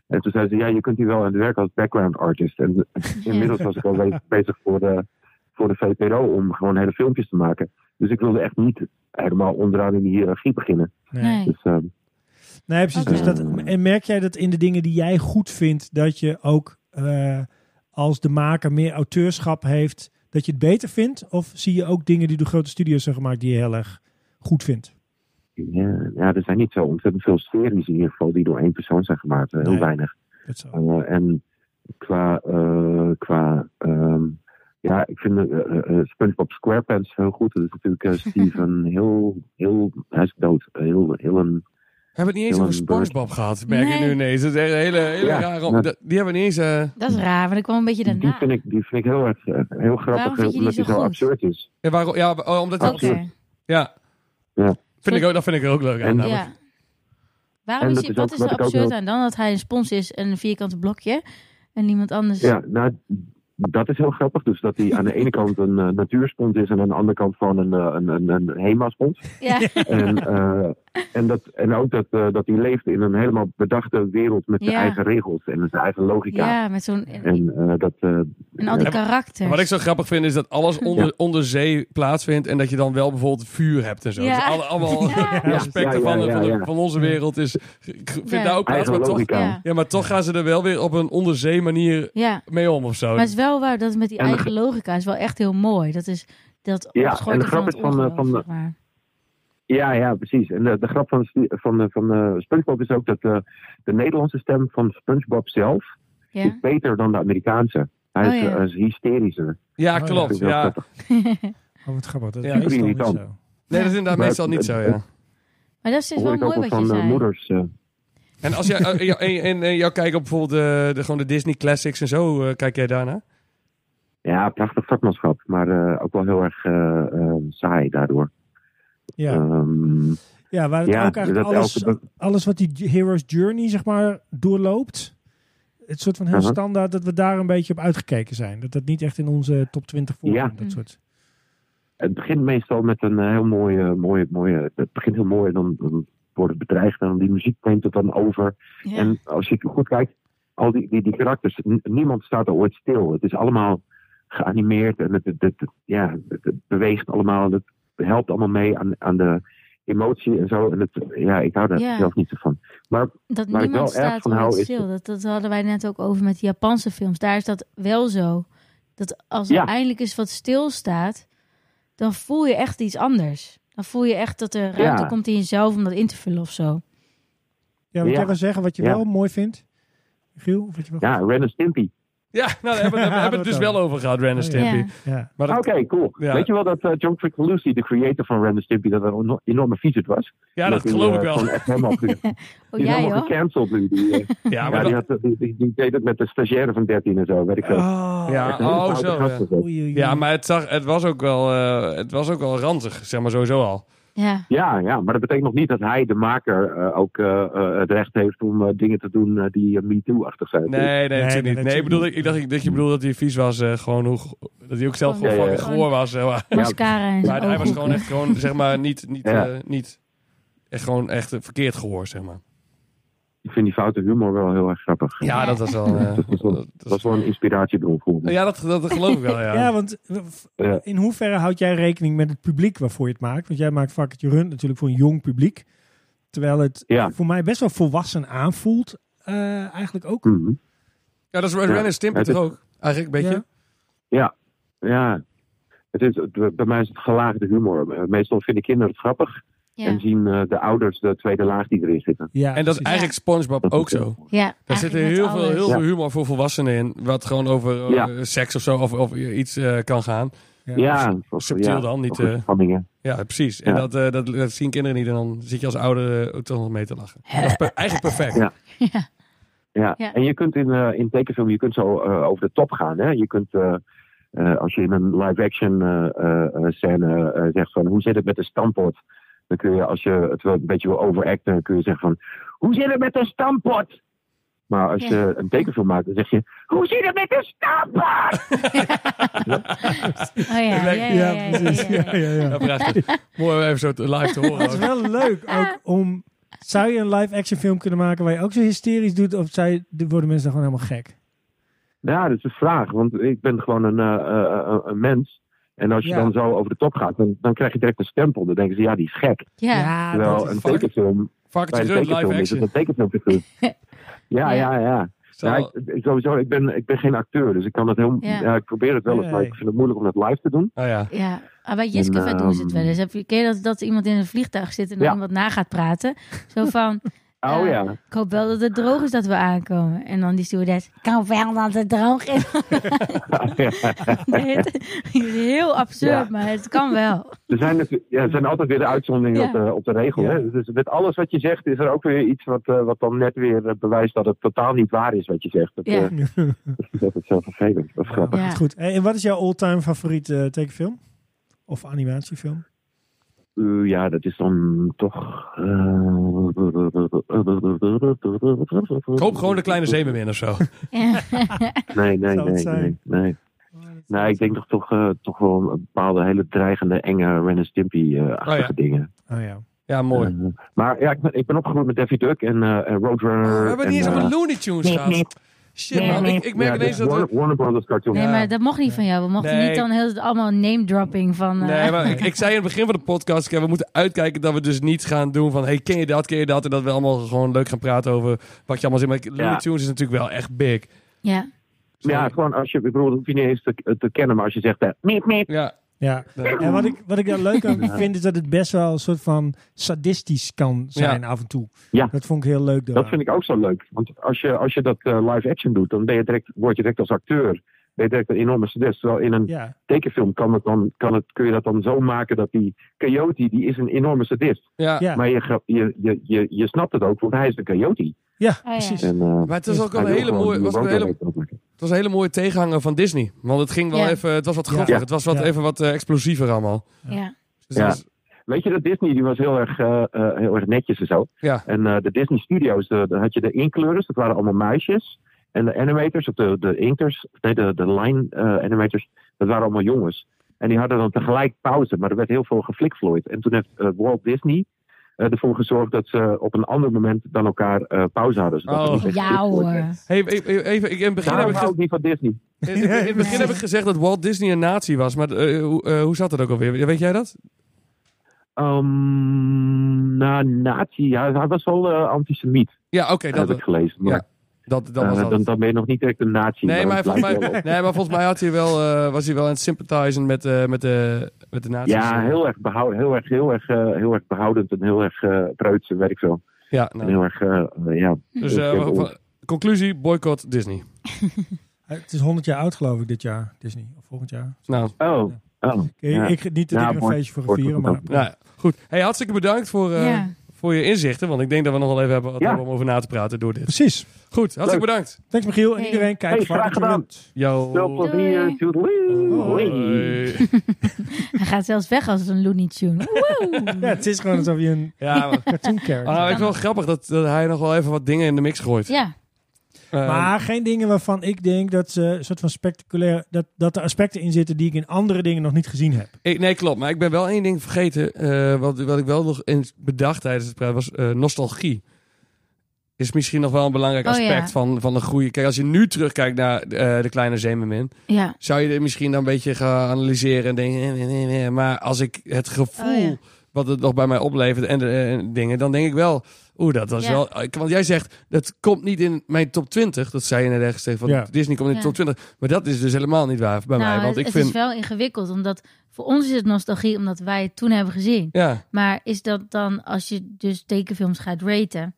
S7: En toen zei ze, ja, je kunt hier wel aan het werk als background artist. En eh, inmiddels was ik al be- bezig voor de, voor de VPRO om gewoon hele filmpjes te maken. Dus ik wilde echt niet helemaal onderaan in de hiërarchie beginnen.
S4: Nee.
S1: Nee.
S7: Dus eh,
S4: nee, precies.
S1: Oké.
S4: Dus dat, en merk jij dat in de dingen die jij goed vindt, dat je ook eh, als de maker meer auteurschap heeft, dat je het beter vindt? Of zie je ook dingen die door grote studios zijn gemaakt die je heel erg goed vindt?
S7: Ja, Eh, ja, er zijn niet zo ontzettend veel series in ieder geval die door één persoon zijn gemaakt. Eh, Heel
S4: Nee.
S7: weinig.
S4: Dat zo.
S7: Eh, en qua, eh, qua ehm, ja, ik vind eh, eh, eh, SpongeBob SquarePants heel goed. Dat is natuurlijk eh, Steven heel, heel, hij is dood. Eh, Heel, heel een,
S2: We hebben het niet eens over Spongebob gehad, merk ik
S1: Nee.
S2: nu ineens. Dat is echt een hele, hele
S7: Ja,
S2: rare...
S7: maar-
S2: dat- Die hebben we niet eens... eh,
S1: Dat is raar, want ik kwam een beetje
S7: die
S1: daarna.
S7: vind ik, die vind ik heel erg, eh, heel grappig.
S1: vind je die
S7: omdat
S1: zo
S7: hij zo
S1: goed?
S7: absurd is.
S2: ja, waarom, ja, oh, omdat...
S1: Ook
S7: Absoluut.
S1: weer.
S2: Ja.
S7: Ja.
S2: Vind ik ook, dat vind ik er ook leuk aan.
S7: En-
S2: namelijk.
S1: Ja. Waarom
S7: En
S1: is
S7: dat
S1: het,
S7: is ook
S1: wat is
S7: wat
S1: er
S7: ik ook
S1: absurd
S7: wil.
S1: aan dan? Dat hij een spons is en een vierkante blokje en niemand anders...
S7: Ja, nou, dat is heel grappig. Dus dat hij aan de ene kant een eh, natuurspons is en aan de andere kant van een, eh, een, een, een HEMA-spons.
S1: Ja.
S7: En, eh, en, dat, en ook dat, eh, dat hij leeft in een helemaal bedachte wereld met
S1: Ja.
S7: zijn eigen regels en zijn eigen logica.
S1: Ja, met zo'n... En,
S7: En, eh, dat, eh,
S1: en al die
S7: ja.
S1: karakters.
S2: Wat ik zo grappig vind is dat alles onder,
S7: Ja.
S2: onder zee plaatsvindt en dat je dan wel bijvoorbeeld vuur hebt en zo.
S1: Ja.
S2: Dus alle, allemaal
S1: Ja.
S2: aspecten
S7: Ja, ja,
S2: van,
S7: ja,
S2: van, de-
S7: ja.
S2: van onze wereld is, vindt
S1: Ja.
S2: daar ook plaats,
S7: eigen
S2: maar toch,
S7: logica.
S1: Ja.
S2: ja, maar toch gaan ze er wel weer op een onderzee manier
S1: Ja,
S2: mee om of zo.
S1: maar het is wel waar dat het met die
S7: En de
S1: eigen logica is wel echt heel mooi. Dat is dat
S7: Ja,
S1: opschoten
S7: en de grap
S1: het
S7: is van, eh,
S1: ongeloof,
S7: van de-
S1: zeg maar.
S7: Ja, ja, precies. En de, de grap van, Sp- van, eh, van eh, SpongeBob is ook dat eh, de Nederlandse stem van SpongeBob zelf is
S1: Ja.
S7: beter dan de Amerikaanse. Hij
S1: Oh,
S7: is,
S1: ja.
S7: eh, is hysterischer.
S2: ja,
S4: Oh, ja.
S7: Dat
S2: klopt.
S7: vind ik wel
S2: Ja.
S7: grappig.
S4: Oh, wat grappig. Dat
S2: Ja.
S4: is meestal niet
S7: Irritant.
S4: zo.
S2: Nee, dat is inderdaad
S7: Maar
S2: meestal
S7: het-
S2: niet zo,
S7: het-
S2: ja.
S1: Maar dat is dus
S7: hoor
S1: wel
S7: ik ook
S1: mooi
S7: wel
S1: wat
S7: van
S1: je
S7: eh,
S1: zei.
S7: moeders. eh.
S2: En als jij, eh, jou- en, en, en jou kijkt op bijvoorbeeld de, de, gewoon de Disney Classics en zo, eh, kijk jij daarna?
S7: ja, prachtig vakmanschap, maar eh, ook wel heel erg eh, eh, saai daardoor.
S4: Ja.
S7: Ehm,
S4: Ja, waar het
S7: Ja,
S4: ook eigenlijk
S7: dat
S4: alles,
S7: elke
S4: alles wat die Hero's Journey, zeg maar, doorloopt. Het soort van heel
S7: Uh-huh.
S4: standaard dat we daar een beetje op uitgekeken zijn. Dat dat niet echt in onze top 20 voorkomt.
S1: Ja.
S4: Dat soort.
S7: Het begint meestal met een eh, heel mooie, mooie, mooie. Het begint heel mooi en dan, dan wordt het bedreigd en dan die muziek neemt het dan over.
S1: Ja.
S7: En als je goed kijkt, al die, die, die karakters, n- niemand staat er ooit stil. Het is allemaal geanimeerd en het, het, het- ja, het, het beweegt allemaal. en Het helpt allemaal mee aan, aan de emotie en zo. En het, ja, ik hou daar
S1: Ja.
S7: zelf niet zo van. Maar
S1: Dat
S7: Waar ik
S1: niemand
S7: wel erg
S1: staat
S7: van hou
S1: ooit
S7: is-
S1: stil. Dat, dat hadden wij net ook over met die Japanse films. Daar is dat wel zo. Dat als er
S7: Ja.
S1: eindelijk eens wat stilstaat, dan voel je echt iets anders. Dan voel je echt dat er ruimte
S7: Ja.
S1: komt in jezelf om dat in te vullen of zo.
S4: Ja, wat
S7: Ja.
S4: jij wil zeggen, wat je
S7: Ja.
S4: wel mooi vindt. Giel, of wat je wel
S7: ja, Ren en Stimpy.
S2: Ja, nou, daar hebben we, daar hebben we het dus wel over gehad, Ren en Stimpy.
S1: Ja.
S4: Ja.
S2: Maar
S7: Oké,
S2: dat,
S7: cool.
S2: Ja.
S7: Weet je wel dat eh, John Tricalucci, de creator van Ren en Stimpy, dat een eno- enorme viezerd was?
S2: ja, dat
S7: hij,
S2: geloof
S7: eh,
S2: ik wel.
S7: gewoon echt helemaal ge-
S1: Oh
S7: Die is
S1: ja,
S7: helemaal
S1: joh.
S7: gecanceld nu. Die, eh,
S2: Ja,
S7: ja,
S2: maar
S7: die,
S2: dat,
S7: had, die, die, die deed het met de stagiaire van 13 en zo, weet ik veel.
S4: Oh,
S2: Ja.
S7: Echt een hele
S2: oh,
S7: foute
S2: zo, ja.
S7: gast was
S4: oei,
S7: dat.
S4: oei, oei.
S2: ja, maar het, zag, het, was ook wel, eh, het was ook wel ranzig, zeg maar sowieso al.
S1: Ja.
S7: Ja, ja, maar dat betekent nog niet dat hij, de maker, eh, ook eh, eh, het recht heeft om eh, dingen te doen eh, die me MeToo-achtig zijn.
S2: Nee, nee,
S4: Nee,
S2: natuurlijk niet.
S4: nee,
S2: Nee, ik,
S4: natuurlijk
S2: bedoel, ik, ik dacht ik- dat je bedoelde dat hij vies was. eh, gewoon hoe, dat hij ook zelf gewoon
S1: Ja,
S2: fucking
S7: ja,
S1: ja.
S2: goor was. zeg maar.
S1: Mascara en zo.
S2: maar
S4: Oh,
S2: hij was gewoon echt gewoon, zeg maar, niet, niet,
S7: Ja.
S2: eh, niet echt gewoon echt eh, verkeerd gehoor, zeg maar.
S7: Ik vind die foute humor wel heel erg grappig.
S2: Ja, dat was wel... eh,
S7: Dat is wel-
S2: dat-
S7: Dat is wel een inspiratiebron voor me.
S2: ja, dat, dat geloof ik wel, ja.
S4: Ja, want eh, v-
S7: Ja.
S4: in hoeverre houd jij rekening met het publiek waarvoor je het maakt? Want jij maakt Vakkertje Run natuurlijk voor een jong publiek. Terwijl het
S7: Ja.
S4: voor mij best wel volwassen aanvoelt. eh, eigenlijk ook.
S7: Mhm.
S2: Ja, Ja, dat is Ren
S7: Ja.
S2: en Stimpy
S7: Ja,
S2: toch
S7: dit-
S2: ook? Eigenlijk een beetje.
S7: Ja, het is, het- bij mij is het gelaagde humor. Eh, Meestal vinden kinderen het grappig en
S1: Ja,
S7: zien eh, de ouders de tweede laag die erin zitten.
S4: Ja,
S2: En dat is
S4: precies.
S2: eigenlijk SpongeBob ook
S7: is-
S2: zo.
S1: ja
S2: Daar zit er heel veel, heel
S7: Ja.
S2: veel humor voor volwassenen in. Wat gewoon over eh,
S7: Ja.
S2: seks of zo of, of iets eh, kan gaan.
S7: Ja,
S2: subtiel
S7: ja,
S2: dan, niet,
S7: over
S2: eh,
S7: spanningen.
S2: Ja, precies. En
S7: Ja.
S2: dat, eh, dat, dat zien kinderen niet. En dan zit je als ouder eh, toch nog mee te lachen. Dat is per- eigenlijk perfect.
S7: Ja.
S1: Ja.
S7: Ja.
S1: Ja.
S7: En je kunt in, eh, in tekenfilm je kunt zo eh, over de top gaan. Hè? Je kunt, eh, eh, als je in een live-action eh, eh, eh, scène eh, zegt van hoe zit het met de stampot? Dan kun je, als je het wel een beetje wil overacten, kun je zeggen van hoe zit het met de stampot? Maar als
S1: Ja.
S7: je een tekenfilm maakt, dan zeg je hoe zit het met de stampot?
S1: Oh ja, ja, ja, ja, ja,
S4: Ja, precies.
S1: ja, ja.
S4: Ja, ja, ja.
S2: Ja, prachtig. Mooi om even zo te- live te horen.
S4: Het is
S2: ook.
S4: wel leuk ook om. Zou je een live-action film kunnen maken waar je ook zo hysterisch doet? Of zij, worden mensen dan gewoon helemaal gek?
S7: Ja, dat is de vraag, want ik ben gewoon een, eh, eh, eh, een mens. En als je
S4: Ja.
S7: dan zo over de top gaat, dan, dan krijg je direct een stempel. Dan denken ze, ja, die is gek.
S1: ja.
S4: dat
S7: Terwijl
S4: is
S7: een
S4: fuck.
S7: tekenfilm
S2: Varkentje
S7: bij de
S2: Rund live
S7: tekenfilm is
S2: action.
S7: het een tekenfilmfiguur. ja, ja, ja.
S2: Zal-
S7: ja ik, ik- sowieso, ik ben, ik ben geen acteur, dus ik kan het heel...
S1: Ja.
S7: Ja. ik probeer het wel eens, maar
S4: Nee.
S7: ik vind het moeilijk om dat live te doen.
S2: Oh ja.
S1: Ja, ah, bij Jiske
S7: En,
S1: Vet doen ze het
S7: ehm,
S1: wel eens. Heb je, ken je dat, dat iemand in een vliegtuig zit en dan
S7: Ja.
S1: iemand na gaat praten? Zo van,
S7: Oh
S1: Eh,
S7: ja.
S1: ik hoop wel dat het droog is dat we aankomen. En dan die stewardess, ik hoop wel dat het droog is. het is heel absurd,
S7: Ja.
S1: maar het kan wel.
S7: er, zijn natuurlijk- ja, er zijn altijd weer de uitzonderingen
S1: Ja.
S7: op, de, op de regel.
S4: Ja.
S7: Hè? Dus met alles wat je zegt is er ook weer iets wat, eh, wat dan net weer eh, bewijst dat het totaal niet waar is wat je zegt. Dat,
S1: Ja.
S7: eh, dat is altijd zo vervelend. Dat is grappig.
S1: Ja.
S4: Goed. Hey, en wat is jouw all-time favoriete eh, tekenfilm? Of animatiefilm?
S7: Eh, ja, dat is dan toch... eh,
S2: Koop gewoon de kleine zeemermin of zo.
S1: Ja.
S7: Nee, nee,
S4: Zou het
S7: nee, nee,
S4: zijn?
S7: nee.
S2: Oh,
S7: Nee, ik denk toch, toch, eh, toch wel een bepaalde hele dreigende, enge Ren en Stimpy-achtige
S2: Oh ja.
S7: dingen.
S4: Oh ja.
S2: Ja, mooi.
S7: Eh, maar ja, ik ben, ik ben opgegroeid met Daffy Duck en, eh, en Roadrunner.
S2: Oh, we hebben
S7: en,
S2: niet eens over
S7: eh,
S2: Looney Tunes gehad. Shit man, ik, ik merk
S7: ja,
S2: ineens
S7: dus
S2: dat we...
S7: Warner, Warner Brothers cartoon.
S1: Nee,
S2: Ja.
S1: maar dat mocht niet van jou. We mochten
S2: Nee.
S1: niet dan heel, allemaal name-dropping van... eh,
S2: Nee, maar ik, ik zei in het begin van de podcast, ik heb- we moeten uitkijken dat we dus niet gaan doen van, hey, ken je dat, ken je dat? En dat we allemaal gewoon leuk gaan praten over wat je allemaal zegt. Maar Looney
S7: Ja.
S2: Tunes is natuurlijk wel echt big.
S1: ja.
S7: Ja, gewoon als je, ik bedoel, dat hoef je niet eens te, te kennen, maar als je zegt, eh, miep, miep.
S2: Ja,
S4: Ja. En wat ik, wat ik daar leuk aan vind, is dat het best wel een soort van sadistisch kan zijn af en toe.
S7: Ja.
S4: Dat vond ik heel leuk. daar.
S7: Dat vind ik ook zo leuk. Want als je, als je dat eh, live action doet, dan ben je direct, word je direct als acteur. Ben je direct een enorme sadist. Terwijl in een
S4: Ja.
S7: tekenfilm kan het dan, kan het, kun je dat dan zo maken dat die coyote, die is een enorme sadist.
S2: ja.
S4: Ja.
S7: Maar je, ge- je, je, je, je snapt het ook, want hij is een coyote.
S4: Oh, Ja,
S1: ja.
S4: precies.
S7: En, eh,
S2: Maar het is ook
S7: hij
S2: een
S7: wil
S2: hele
S7: gewoon
S2: mooie,
S7: die
S2: was ook een
S7: roadrunner
S2: hele,
S7: ook maken.
S2: het was een hele mooie tegenhanger van Disney. Want het ging wel
S1: Ja.
S2: even, het was wat
S4: Ja.
S2: groffer,
S4: Ja.
S2: het was wat,
S4: Ja.
S2: even wat eh, explosiever allemaal.
S1: Ja.
S2: Dus
S7: Ja.
S2: dat is-
S7: Weet je dat Disney, die was heel erg, eh, eh, heel erg netjes en zo.
S2: Ja.
S7: En eh, de Disney Studios, de- daar had je de inkleurers, dat waren allemaal muisjes. En de animators, of de, de inkers, nee, de, de line eh, animators, dat waren allemaal jongens. En die hadden dan tegelijk pauze, maar er werd heel veel geflikvlooid. En toen heeft eh, Walt Disney eh, ervoor gezorgd dat ze op een ander moment dan elkaar eh, pauze hadden. zodat er
S2: Oh.
S7: niet echt
S1: Ja
S7: geflikvlooid werd.
S1: hoor.
S2: Hey, even, even, ik, in het begin heb
S7: Daarom
S2: ik
S7: hou
S2: ge-
S7: ik niet van Disney.
S2: In, in- in het begin
S1: Nee.
S2: heb ik gezegd dat Walt Disney een nazi was, maar eh, hoe, eh, hoe zat dat ook alweer? Weet jij dat?
S7: Ehm nou, nazi, ja, hij was wel eh, antisemiet,
S2: Ja, oké,
S7: heb
S2: dat,
S7: ik gelezen. Maar,
S2: ja, dat, dat was
S7: eh,
S2: dat.
S7: dan, dan ben je nog niet direct een nazi.
S2: nee, maar
S7: het
S2: volgens mij,
S7: lijkt wel op.
S2: nee, maar volgens mij had hij wel, eh, was hij wel aan het sympathizen met, eh, met, de, met de nazi's.
S7: Ja, heel erg, behou- heel, erg, heel, erg, eh, heel erg behoudend en heel erg eh preuts, werk ik zo.
S2: Ja,
S7: En
S2: nou,
S7: heel erg, eh, eh, ja.
S2: dus eh,
S7: heel erg
S2: van- conclusie, boycott Disney.
S4: Het is 100 jaar oud geloof ik dit jaar, Disney. Of volgend jaar.
S2: Nou,
S7: Oh, oh.
S4: Ik,
S7: Ja.
S4: ik niet dat
S7: Ja,
S4: ik er een
S7: mooi.
S4: feestje voor ga
S7: Wordt
S4: vieren,
S7: goed
S4: maar...
S7: ook.
S2: nou goed. Hey, hartstikke bedankt voor, eh,
S1: Ja.
S2: voor je inzichten, want ik denk dat we nog wel even hebben wat
S7: Ja.
S2: hebben om over na te praten door dit.
S4: Precies.
S2: Goed, hartstikke bedankt.
S4: Thanks Michiel en
S1: Hey.
S4: iedereen. Kijk
S7: Hey,
S4: voor
S7: graag
S4: Arthur
S7: gedaan.
S4: Wild.
S2: Yo.
S7: Veel plezier.
S2: Hoi.
S7: Doei.
S1: Hij gaat zelfs weg als een Looney Tune. Woe!
S4: Ja, het is gewoon alsof je een
S2: Ja, maar,
S4: cartoon
S2: ah, nou,
S4: character
S2: ik vind het wel grappig dat, dat hij nog wel even wat dingen in de mix gooit.
S1: Ja,
S2: Eh,
S4: Maar geen dingen waarvan ik denk dat ze een soort van spectaculair. Dat, dat er aspecten in zitten die ik in andere dingen nog niet gezien heb.
S2: Ik, nee, klopt. Maar ik ben wel één ding vergeten. eh, wat, wat ik wel nog eens bedacht tijdens het praten was eh, nostalgie. Is misschien nog wel een belangrijk
S1: Oh,
S2: aspect
S1: ja.
S2: van, van de groei. Kijk, als je nu terugkijkt naar eh, de kleine zeemermin,
S1: ja.
S2: zou je er misschien dan een beetje gaan analyseren en denken. eh, nee, nee, nee. Maar als ik het gevoel
S1: Oh, ja.
S2: wat het nog bij mij oplevert en, eh, en dingen, dan denk ik wel, oeh, dat was
S1: Ja.
S2: wel... ik- Want jij zegt, dat komt niet in mijn top 20. Dat zei je net ergens tegen, van
S4: Ja.
S2: Disney komt in de
S1: Ja.
S2: top 20. Maar dat is dus helemaal niet waar bij mij.
S1: nou,
S2: Want
S1: het,
S2: ik
S1: het
S2: vind...
S1: is wel ingewikkeld, omdat voor ons is het nostalgie, omdat wij het toen hebben gezien.
S2: Ja,
S1: Maar is dat dan, als je dus tekenfilms gaat raten,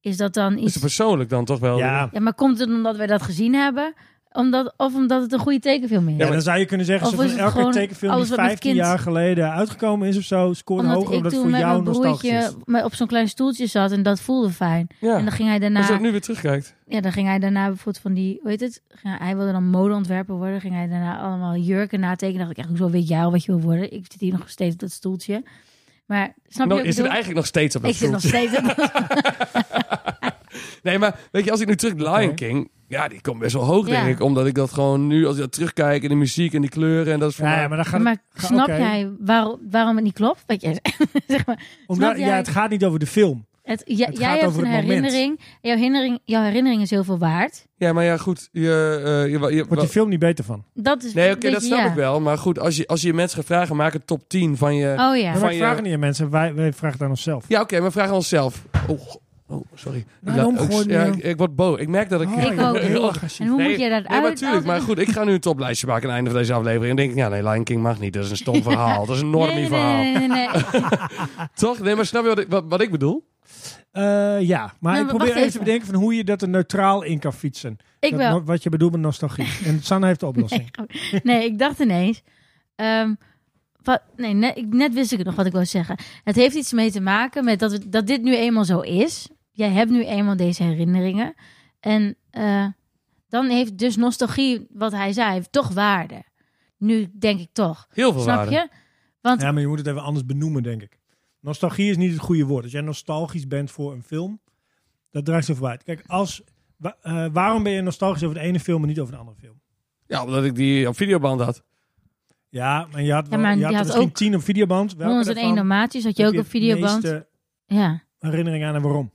S1: is dat dan
S2: is het
S1: iets...
S2: persoonlijk dan toch wel?
S4: Ja.
S1: Ja, maar komt het omdat wij dat gezien hebben? Omdat, of omdat het een goede tekenfilm is?
S4: Ja, dan zou je kunnen zeggen,
S1: Of
S4: zo van
S1: is het
S4: elke
S1: gewoon
S4: tekenfilm die
S1: alles wat met
S4: 15
S1: kind-
S4: jaar geleden uitgekomen is of zo, scoort
S1: omdat
S4: hoger
S1: ik
S4: omdat het
S1: toen
S4: voor
S1: met
S4: jou
S1: mijn
S4: nostalgisch is.
S1: broertje maar op zo'n klein stoeltje zat en dat voelde fijn.
S2: Ja.
S1: En dan ging hij
S2: Als je
S1: daarna,
S2: dat nu weer terugkijkt.
S1: ja, dan ging hij daarna bijvoorbeeld van die, hoe heet het? Ging- hij wilde dan modeontwerper worden. Ging hij daarna allemaal jurken natekenen. Dacht ik echt, hoezo weet jij al wat je wil worden? Ik zit hier nog steeds op dat stoeltje. Maar snap
S2: Nou,
S1: je wat ik
S2: is het
S1: bedoel?
S2: eigenlijk nog steeds op dat
S1: Ik zit nog
S2: stoeltje?
S1: steeds op dat-
S2: Nee, maar weet je, als ik nu terug... Lion King, ja, die komt best wel hoog,
S1: Ja.
S2: denk ik. Omdat ik dat gewoon nu, als ik dat terugkijk... en de muziek en die kleuren en dat is voor
S4: Ja,
S2: mij-
S4: ja, maar dan gaat
S1: Maar
S4: het, ga-
S1: snap
S4: oké.
S1: jij waar- waarom het niet klopt? Wat jij zeg maar,
S4: Omdat,
S1: Snap
S4: ja,
S1: jij?
S4: het gaat niet over de film.
S1: Het, ja-
S4: Het
S1: jij
S4: gaat
S1: hebt
S4: over
S1: een
S4: het moment.
S1: herinnering. Jouw herinnering. Jouw herinnering is heel veel waard.
S2: Ja, maar ja, goed. Je, eh, je, je-
S4: Wordt die film niet beter van.
S1: Dat is
S2: nee, oké,
S1: weet
S2: dat
S1: je,
S2: snap
S1: ja.
S2: ik wel. Maar goed, als je, als je mensen gaat vragen, maak een top 10 van je...
S1: Oh ja.
S4: Ja,
S2: Van
S4: maar ik
S2: je-
S4: vraag het niet aan mensen, wij, wij vragen het aan onszelf.
S2: Ja, oké, maar vraag aan onszelf. Oh, go- oh sorry. Ik
S4: Nou,
S2: laat-
S4: dan
S2: ook-
S4: gooi je
S2: ja,
S4: hem.
S2: ik, ik word boos. Ik merk dat ik...
S4: Oh,
S1: Ik ook.
S4: heel agressief.
S1: En hoe
S2: Nee,
S1: moet je dat
S2: Nee,
S1: uit?
S2: maar tuurlijk. Maar goed, ik ga nu een toplijstje maken aan het einde van deze aflevering. En denk ik, ja, nee, Lion King mag niet. Dat is een stom verhaal. Dat is een normie
S1: nee, nee,
S2: verhaal.
S1: nee, nee, nee, nee.
S2: Toch? Nee, maar snap je wat ik, wat, wat ik bedoel?
S4: Eh, ja, maar
S1: Nee,
S4: ik
S1: Nou, maar
S4: probeer
S1: wacht
S4: even te
S1: even.
S4: bedenken van hoe je dat er neutraal in kan fietsen.
S1: Ik
S4: Dat
S1: wel.
S4: no- wat je bedoelt met nostalgie. En Sanne heeft de oplossing.
S1: Nee, ik dacht ineens. ehm, wat, nee, net, ik- net wist ik het nog wat ik wou zeggen. Het heeft iets mee te maken met dat, we, dat dit nu eenmaal zo is. Jij hebt nu eenmaal deze herinneringen. En eh, dan heeft dus nostalgie, wat hij zei, heeft toch waarde. Nu denk ik toch.
S2: Heel veel
S1: Snap
S2: waarde.
S1: je? Want
S4: Ja, maar je moet het even anders benoemen, denk ik. Nostalgie is niet het goede woord. Als jij nostalgisch bent voor een film, dat draait zo voorbij. Kijk, als, wa- eh, waarom ben je nostalgisch over de ene film en niet over de andere film?
S2: Ja, omdat ik die op videoband had.
S4: Ja, maar je had, wel,
S1: Ja, maar die
S4: je had er
S1: had
S4: misschien
S1: ook
S4: tien op videoband. Welke
S1: 101
S4: daarvan
S1: Dalmatiërs had je
S4: heb
S1: ook op
S4: het
S1: videoband.
S4: meeste
S1: Ja.
S4: herinnering aan en waarom?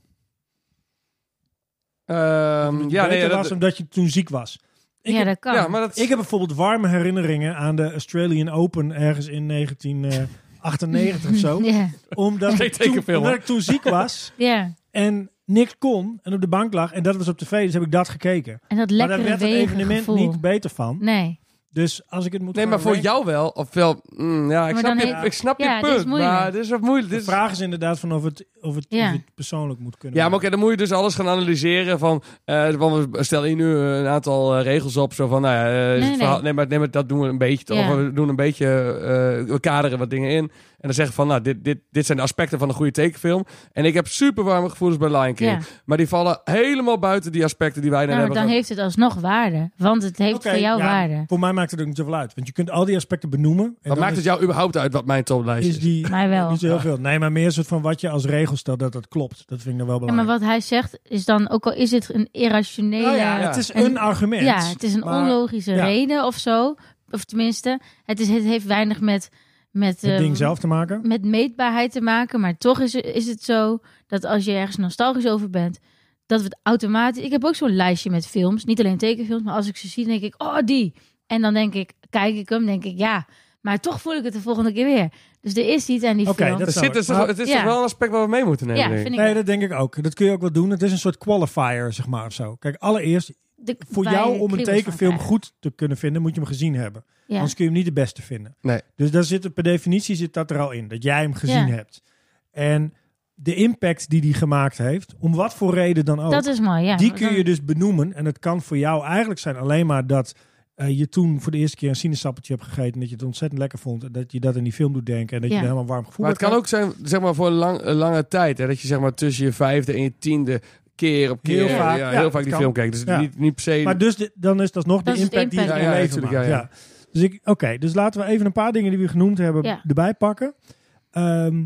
S2: Ehm, ja, nee, ja,
S4: dat
S2: dat,
S4: was omdat je toen ziek was. Ik,
S1: ja,
S4: heb,
S1: dat kan.
S2: ja, maar dat...
S4: ik heb bijvoorbeeld warme herinneringen aan de Australian Open ergens in 1998 of zo.
S1: Ja,
S4: Omdat,
S2: Geen
S4: ik toen,
S2: tekenfilm,
S4: omdat
S2: hoor.
S4: ik toen ziek was.
S1: ja.
S4: en niks kon en op de bank lag en dat was op tv, dus heb ik dat gekeken.
S1: En dat
S4: maar daar
S1: lekkere
S4: werd het
S1: wegen
S4: evenement
S1: gevoel.
S4: niet beter van.
S1: Nee.
S4: Dus als ik het moet
S2: Nee, maar
S4: gaan
S2: voor
S4: ranken,
S2: jou wel. Ofwel, mm, ja, ik
S1: Maar
S2: snap,
S1: dan
S2: je,
S1: heeft-
S2: ik snap
S1: ja,
S2: je
S1: dit is
S2: punt.
S1: moeilijk.
S2: maar dit is wat moeilijk. Dit
S4: De
S2: is-
S4: vraag is inderdaad van of het, of het,
S1: Ja.
S4: of het persoonlijk moet kunnen.
S2: Ja, maar oké, dan moet je dus alles gaan analyseren van... eh, want we stellen hier nu een aantal eh, regels op, zo van... Nou ja, eh, is
S1: Nee,
S2: het verhaal-
S1: nee.
S2: nee, maar, nee, maar dat doen we een beetje toch?
S1: Ja.
S2: We doen een beetje... eh, we kaderen wat dingen in. En dan zeggen van, nou, dit, dit, dit zijn de aspecten van een goede tekenfilm. En ik heb super warme gevoelens bij Lion King.
S1: Ja.
S2: Maar die vallen helemaal buiten die aspecten die wij dan
S1: Nou, maar
S2: hebben.
S1: dan
S2: ge-
S1: heeft het alsnog waarde. Want het heeft
S4: Oké,
S1: voor jou
S4: ja,
S1: waarde.
S4: Voor mij maakt het ook niet zoveel uit, want je kunt al die aspecten benoemen. En
S2: Wat
S4: dan
S2: maakt
S4: is-
S2: het jou überhaupt uit wat mijn toplijst is?
S4: Is die
S1: Mij wel.
S4: niet zo heel veel. Nee, maar meer een soort van wat je als regel stelt dat dat klopt. Dat vind ik dan wel
S1: Ja, maar
S4: belangrijk.
S1: wat hij zegt is dan, ook al is het een irrationele...
S4: Nou ja,
S2: Ja.
S4: het is
S1: En-
S4: een argument.
S1: Ja, het is een
S4: maar-
S1: onlogische
S4: ja.
S1: reden of zo. Of tenminste, het, is, het heeft weinig met... met
S4: Het
S1: eh,
S4: ding zelf te maken.
S1: met meetbaarheid te maken. Maar toch is, is het zo dat als je ergens nostalgisch over bent, dat we het automatisch. Ik heb ook zo'n lijstje met films, niet alleen tekenfilms, maar als ik ze zie, denk ik, oh die. En dan denk ik, kijk ik hem, denk ik, ja. Maar toch voel ik het de volgende keer weer. Dus er is iets aan die
S4: Oké,
S1: film.
S4: dat
S2: Er
S4: snap
S2: zit
S4: ik.
S2: dus toch-
S4: Maar-
S2: het is
S1: Ja.
S2: toch wel een aspect waar we mee moeten nemen.
S1: ja,
S2: denk ik.
S1: vind ik.
S4: Nee, dat denk ik ook. Dat kun je ook wel doen. Het is een soort qualifier, zeg maar, of zo. Kijk, allereerst,
S1: de-
S4: voor
S1: waar
S4: jou
S1: je
S4: om een
S1: kriebels van
S4: tekenfilm
S1: krijgt.
S4: goed te kunnen vinden, moet je hem gezien hebben.
S1: Ja.
S4: Anders kun je hem niet de beste vinden.
S2: Nee.
S4: Dus daar zit, het- per definitie zit dat er al in, dat jij hem gezien
S1: Ja.
S4: hebt. En de impact die die gemaakt heeft, om wat voor reden dan ook,
S1: dat is mooi, ja.
S4: die
S1: Maar
S4: kun
S1: dan-
S4: je dus benoemen. En het kan voor jou eigenlijk zijn alleen maar dat eh, je toen voor de eerste keer een sinaasappeltje hebt gegeten, en dat je het ontzettend lekker vond en dat je dat in die film doet denken en dat
S1: Ja.
S4: je er helemaal warm gevoel
S2: Maar het
S4: bij
S2: kan ook zijn, zeg maar, voor een lang, een lange tijd. Hè, dat je zeg maar tussen je vijfde en je tiende keer op keer
S4: Heel vaak,
S2: ja,
S4: ja,
S2: heel
S4: dat
S2: vaak die
S4: kan.
S2: film kijkt. Dus
S4: Ja.
S2: niet, niet per se.
S4: Maar dus de- dan is dat nog
S1: Dat
S4: de
S1: is het
S4: impact die het in
S1: impact,
S4: je
S1: ja.
S4: leven
S2: Ja, ja,
S4: maakt. Ja,
S2: tuurlijk,
S4: Dus ik, oké, dus laten we even een paar dingen die we genoemd hebben
S1: Ja.
S4: erbij pakken. Ehm,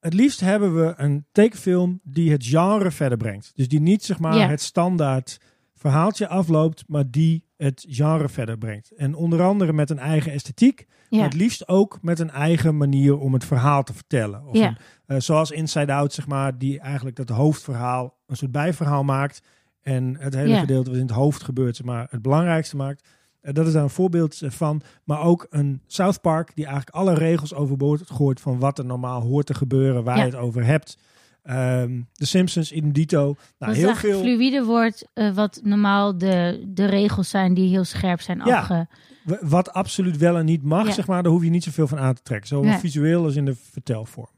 S4: het liefst hebben we een tekenfilm die het genre verder brengt. Dus die niet zeg maar
S1: Ja.
S4: het standaard verhaaltje afloopt, maar die het genre verder brengt. En onder andere met een eigen esthetiek,
S1: Ja.
S4: maar het liefst ook met een eigen manier om het verhaal te vertellen. Of
S1: Ja.
S4: een, eh, zoals Inside Out, zeg maar, die eigenlijk dat hoofdverhaal een soort bijverhaal maakt. En het hele
S1: Ja.
S4: gedeelte wat in het hoofd gebeurt, zeg maar, het belangrijkste maakt. Eh, dat is daar een voorbeeld eh, van. Maar ook een South Park die eigenlijk alle regels overboord gooit van wat er normaal hoort te gebeuren, waar
S1: Ja.
S4: je het over hebt. Ehm de Simpsons, idem dito. Nou,
S1: Wat
S4: heel
S1: echt
S4: veel.
S1: fluïde wordt, eh, wat normaal de, de regels zijn die heel scherp zijn
S4: Ja.
S1: afge...
S4: W- Wat absoluut wel en niet mag,
S1: Ja.
S4: zeg maar, daar hoef je niet zoveel van aan te trekken. Zowel
S1: Nee.
S4: visueel als in de vertelvorm.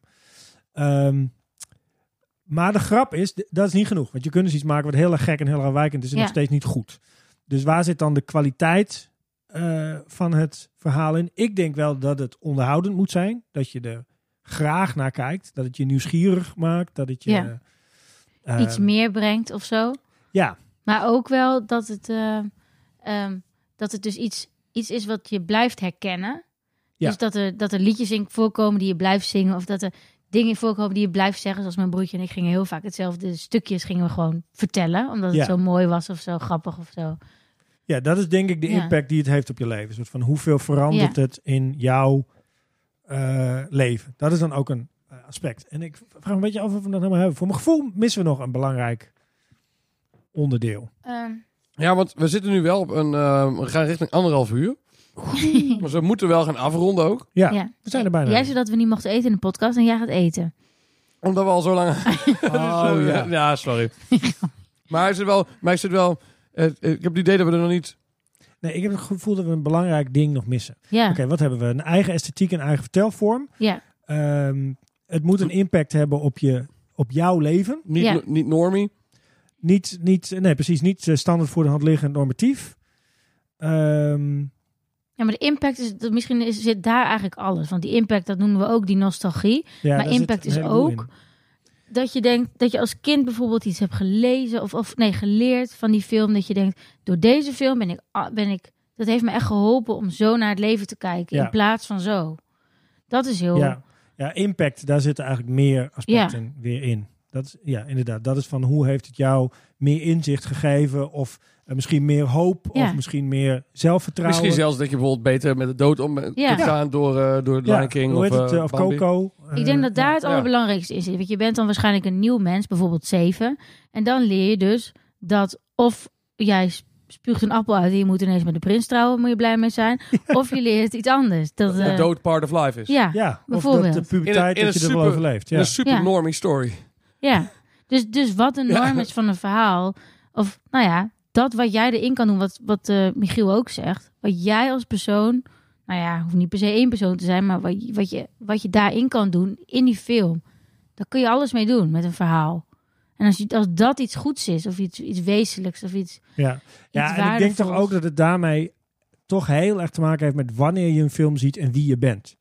S4: Ehm, maar de grap is, d- dat is niet genoeg. Want je kunt dus iets maken wat heel erg gek en heel erg wijkend is en
S1: Ja.
S4: nog steeds niet goed. Dus waar zit dan de kwaliteit eh, van het verhaal in? Ik denk wel dat het onderhoudend moet zijn. Dat je er graag naar kijkt. Dat het je nieuwsgierig maakt. Dat het je...
S1: Ja.
S4: eh,
S1: iets meer brengt of zo.
S4: Ja,
S1: Maar ook wel dat het, eh, ehm, dat het dus iets, iets is wat je blijft herkennen.
S4: Ja.
S1: Dus dat er, dat er liedjes in voorkomen die je blijft zingen. Of dat er dingen in voorkomen die je blijft zeggen. Zoals mijn broertje en ik gingen heel vaak hetzelfde stukjes gingen we gewoon vertellen. Omdat het
S4: Ja.
S1: zo mooi was of zo grappig of zo.
S4: Ja, dat is denk ik de
S1: Ja.
S4: impact die het heeft op je leven. Een soort van hoeveel verandert het in jouw eh, leven? Dat is dan ook een eh, aspect. En ik vraag me een beetje af of we dat helemaal hebben. Voor mijn gevoel missen we nog een belangrijk onderdeel.
S1: Ehm,
S2: Ja, want we zitten nu wel op een... eh, we gaan richting anderhalf uur. maar ze moeten wel gaan afronden ook.
S4: Ja,
S1: ja.
S4: we zijn er bijna.
S1: Jij zei dat we niet mochten eten in de podcast en jij gaat eten.
S2: Omdat we al zo lang...
S4: Oh
S2: Zo,
S4: ja.
S2: ja, sorry. maar hij zit wel... Maar hij zit wel eh, eh, ik heb het idee dat we er nog niet...
S4: Nee, ik heb het gevoel dat we een belangrijk ding nog missen.
S1: Ja,
S4: Oké, wat hebben we? Een eigen esthetiek, een eigen vertelvorm.
S1: ja.
S4: Ehm, het moet een impact hebben op, je, op jouw leven.
S2: Niet,
S1: Ja.
S2: niet normie.
S4: Niet, niet, nee, precies, niet eh, standaard voor de hand liggend normatief. Ehm
S1: ja, maar de impact is, dat misschien is, zit daar eigenlijk alles. Want die impact, dat noemen we ook die nostalgie.
S4: Ja,
S1: Maar
S4: daar zit
S1: impact
S4: een
S1: is
S4: heleboel
S1: ook dat je denkt dat je als kind bijvoorbeeld iets hebt gelezen of, of nee, geleerd van die film. Dat je denkt, door deze film ben ik, ah, ben ik. Dat heeft me echt geholpen om zo naar het leven te kijken.
S4: Ja.
S1: In plaats van zo. Dat is heel.
S4: Ja. ja, impact, daar zitten eigenlijk meer aspecten
S1: Ja.
S4: weer in. Dat is, ja, inderdaad. Dat is van hoe heeft het jou meer inzicht gegeven? Of eh, misschien meer hoop?
S1: Ja.
S4: Of misschien meer zelfvertrouwen?
S2: Misschien zelfs dat je bijvoorbeeld beter met de dood om kunt
S1: Ja.
S2: gaan door, eh, door
S4: Ja,
S2: Lion King
S4: hoe
S2: of,
S4: heet het,
S2: eh,
S4: eh, of
S2: Bambi.
S4: Coco.
S1: Ik
S4: Eh,
S1: denk dat daar
S4: ja.
S1: het allerbelangrijkste in zit. Want je bent dan waarschijnlijk een nieuw mens, bijvoorbeeld zeven. En dan leer je dus dat of jij s- spuugt een appel uit en je moet ineens met de prins trouwen, moet je blij mee zijn. Of je leert iets anders. Dat,
S2: De
S1: eh,
S2: dood part of life is.
S1: Ja, ja.
S4: Ja, of dat
S1: bijvoorbeeld.
S4: de
S2: In een- in
S4: puberteit
S2: een
S4: dat je er wel
S2: super-
S4: overleeft. Ja.
S2: Een super
S1: Ja.
S2: normie story.
S1: Dus, dus wat de norm
S2: Ja.
S1: is van een verhaal, of nou ja, dat wat jij erin kan doen, wat, wat eh, Michiel ook zegt, wat jij als persoon, nou ja, hoeft niet per se één persoon te zijn, maar wat, je- wat, je, wat je daarin kan doen, in die film, daar kun je alles mee doen met een verhaal. En als, je, als dat iets goeds is, of iets, iets wezenlijks, of iets...
S4: Ja, ja en ik denk
S1: waardevols.
S4: toch ook dat het daarmee toch heel erg te maken heeft met wanneer je een film ziet en wie je bent.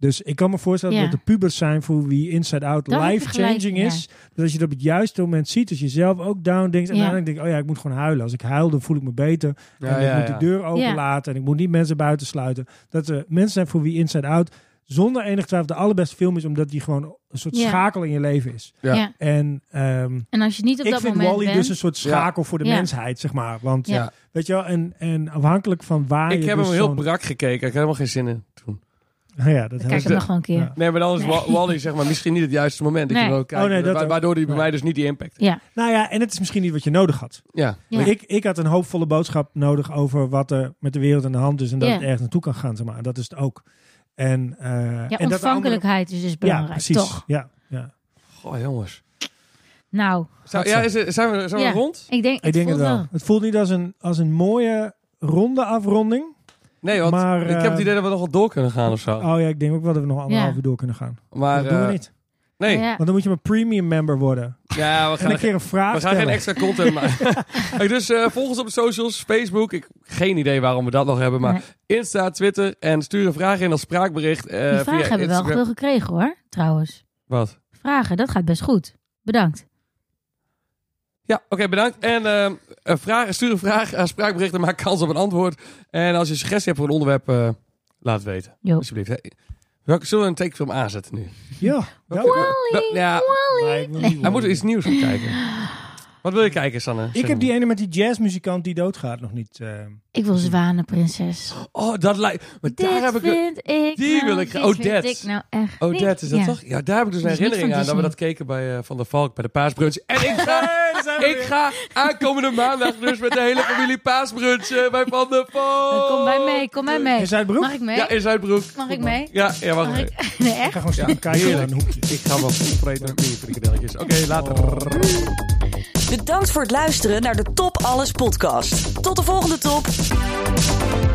S4: Dus ik kan me voorstellen
S1: Ja.
S4: dat de pubers zijn voor wie Inside Out
S1: Dan heb je
S4: life-changing
S1: gelijk,
S4: is. Dat als je het op het juiste moment ziet, dat je zelf ook down denkt. En
S1: Ja.
S4: uiteindelijk denk ik, oh ja, ik moet gewoon huilen. Als ik huil, dan voel ik me beter.
S2: Ja,
S4: en ik
S2: ja,
S4: moet
S2: ja.
S4: de deur openlaten. En ik moet niet mensen buiten sluiten. Dat er mensen zijn voor wie Inside Out zonder enig twijfel de allerbeste film is. Omdat die gewoon een soort
S1: Ja.
S4: schakel in je leven is.
S2: Ja.
S1: Ja.
S4: En ehm,
S1: En als je niet op
S4: ik
S1: dat
S4: vind
S1: moment
S4: Wally
S1: bent...
S4: dus een soort schakel voor de
S1: Ja.
S4: mensheid, zeg maar. Want
S1: Ja.
S2: Ja.
S4: weet je wel, en, en afhankelijk van waar
S2: Ik
S4: je
S2: heb
S4: dus
S2: hem heel
S4: zo'n-
S2: brak gekeken. Ik heb helemaal geen zin in toen.
S4: Ja, dat
S1: Kijk
S4: helpt.
S1: hem nog gewoon een keer.
S4: Ja.
S2: Nee, maar dan is
S1: Nee.
S2: Wa- Wally zeg maar misschien niet het juiste moment. Dat
S1: Nee.
S2: je hem ook kijkt.
S4: Oh, nee, dat
S2: Wa-
S4: ook.
S2: waardoor die bij
S4: Nee.
S2: mij dus niet die impact. heeft.
S1: Ja,
S4: Nou ja, en het is misschien niet wat je nodig had.
S2: Ja.
S1: ja.
S4: Ik, ik had een hoopvolle boodschap nodig over wat er met de wereld aan de hand is en dat
S1: Ja.
S4: het ergens naartoe kan gaan. Zeg maar. Dat is het ook. En, eh, en
S1: ja
S4: dat de andere-
S1: ontvankelijkheid is dus
S4: Ja,
S1: belangrijk,
S4: precies.
S1: toch?
S4: Ja, ja.
S2: Goh, jongens.
S1: Nou,
S2: Zou- ja, is het- zijn we, zijn
S1: Ja.
S2: we rond?
S1: ik denk,
S4: Ik denk het
S1: voelt
S4: wel. Het voelt niet als een, als een mooie ronde afronding.
S2: Nee, want
S4: Maar,
S2: ik heb
S4: eh,
S2: het idee dat we nog wel door kunnen gaan of zo.
S4: Oh ja, ik denk ook wel dat we nog anderhalf
S1: Ja.
S4: uur door kunnen gaan.
S2: maar
S4: dat doen
S2: eh,
S4: we niet.
S2: Nee,
S1: Ja.
S4: Want dan moet je maar premium member worden.
S2: ja, we
S4: En
S2: gaan,
S4: een keer een vraag
S2: we gaan geen
S4: stellen.
S2: extra content maken. Hey, dus eh, volg ons op de socials, Facebook. Ik geen idee waarom we dat nog hebben, maar
S1: Nee.
S2: Insta, Twitter en stuur een vraag in als spraakbericht. eh
S1: Die
S2: via
S1: vragen hebben we wel
S2: Instagram.
S1: veel gekregen hoor, trouwens.
S2: Wat?
S1: Vragen, dat gaat best goed. Bedankt.
S2: Ja, oké, bedankt. En ehm, een vraag, stuur een vraag, aan spraakbericht en maak kans op een antwoord. En als je een suggestie hebt voor een onderwerp, eh, laat het weten.
S1: Jo.
S2: Alsjeblieft. Hey, Welke, zullen we een tekenfilm aanzetten nu?
S4: Ja, dat-
S2: Dat- ja, Ah,
S4: Maar ik wil niet
S2: hij moet
S4: worden.
S2: er iets nieuws op kijken. Wat wil je kijken, Sanne? Zeg
S4: Ik heb
S2: maar.
S4: die ene met die jazzmuzikant die doodgaat nog niet. eh.
S1: Ik wil zwanenprinses.
S2: Oh, dat lijkt... Maar daar heb ik... een-
S1: vind ik
S2: die
S1: nou-
S2: wil ik graag-
S1: dit
S2: Odette.
S1: vind ik nou echt
S2: Oh, dat is dat
S1: ja.
S2: toch? Ja, daar heb ik dus een
S1: Dat is niet
S2: herinnering
S1: van
S2: aan dat we dat
S1: Disney.
S2: keken bij eh, Van der Valk bij de paasbrunch. En ik ga, ik ga aankomende maandag dus met de hele familie paasbrunchen bij Van der Valk.
S1: Kom bij mee, kom
S2: Oh.
S1: bij mee.
S4: In Zuidbroek?
S1: Mag ik mee?
S2: Ja, in Zuidbroek.
S1: Mag ik mee?
S2: Ja, ja mag,
S1: Mag
S2: ik.
S1: ik? Nee, echt?
S4: Ik ga gewoon staan kijken in
S2: heerlijk.
S4: een hoekje.
S2: Ik ga wel vreten met die frikadelletjes. Oké, later.
S3: Bedankt voor het luisteren naar de Top Alles podcast. Tot de volgende top.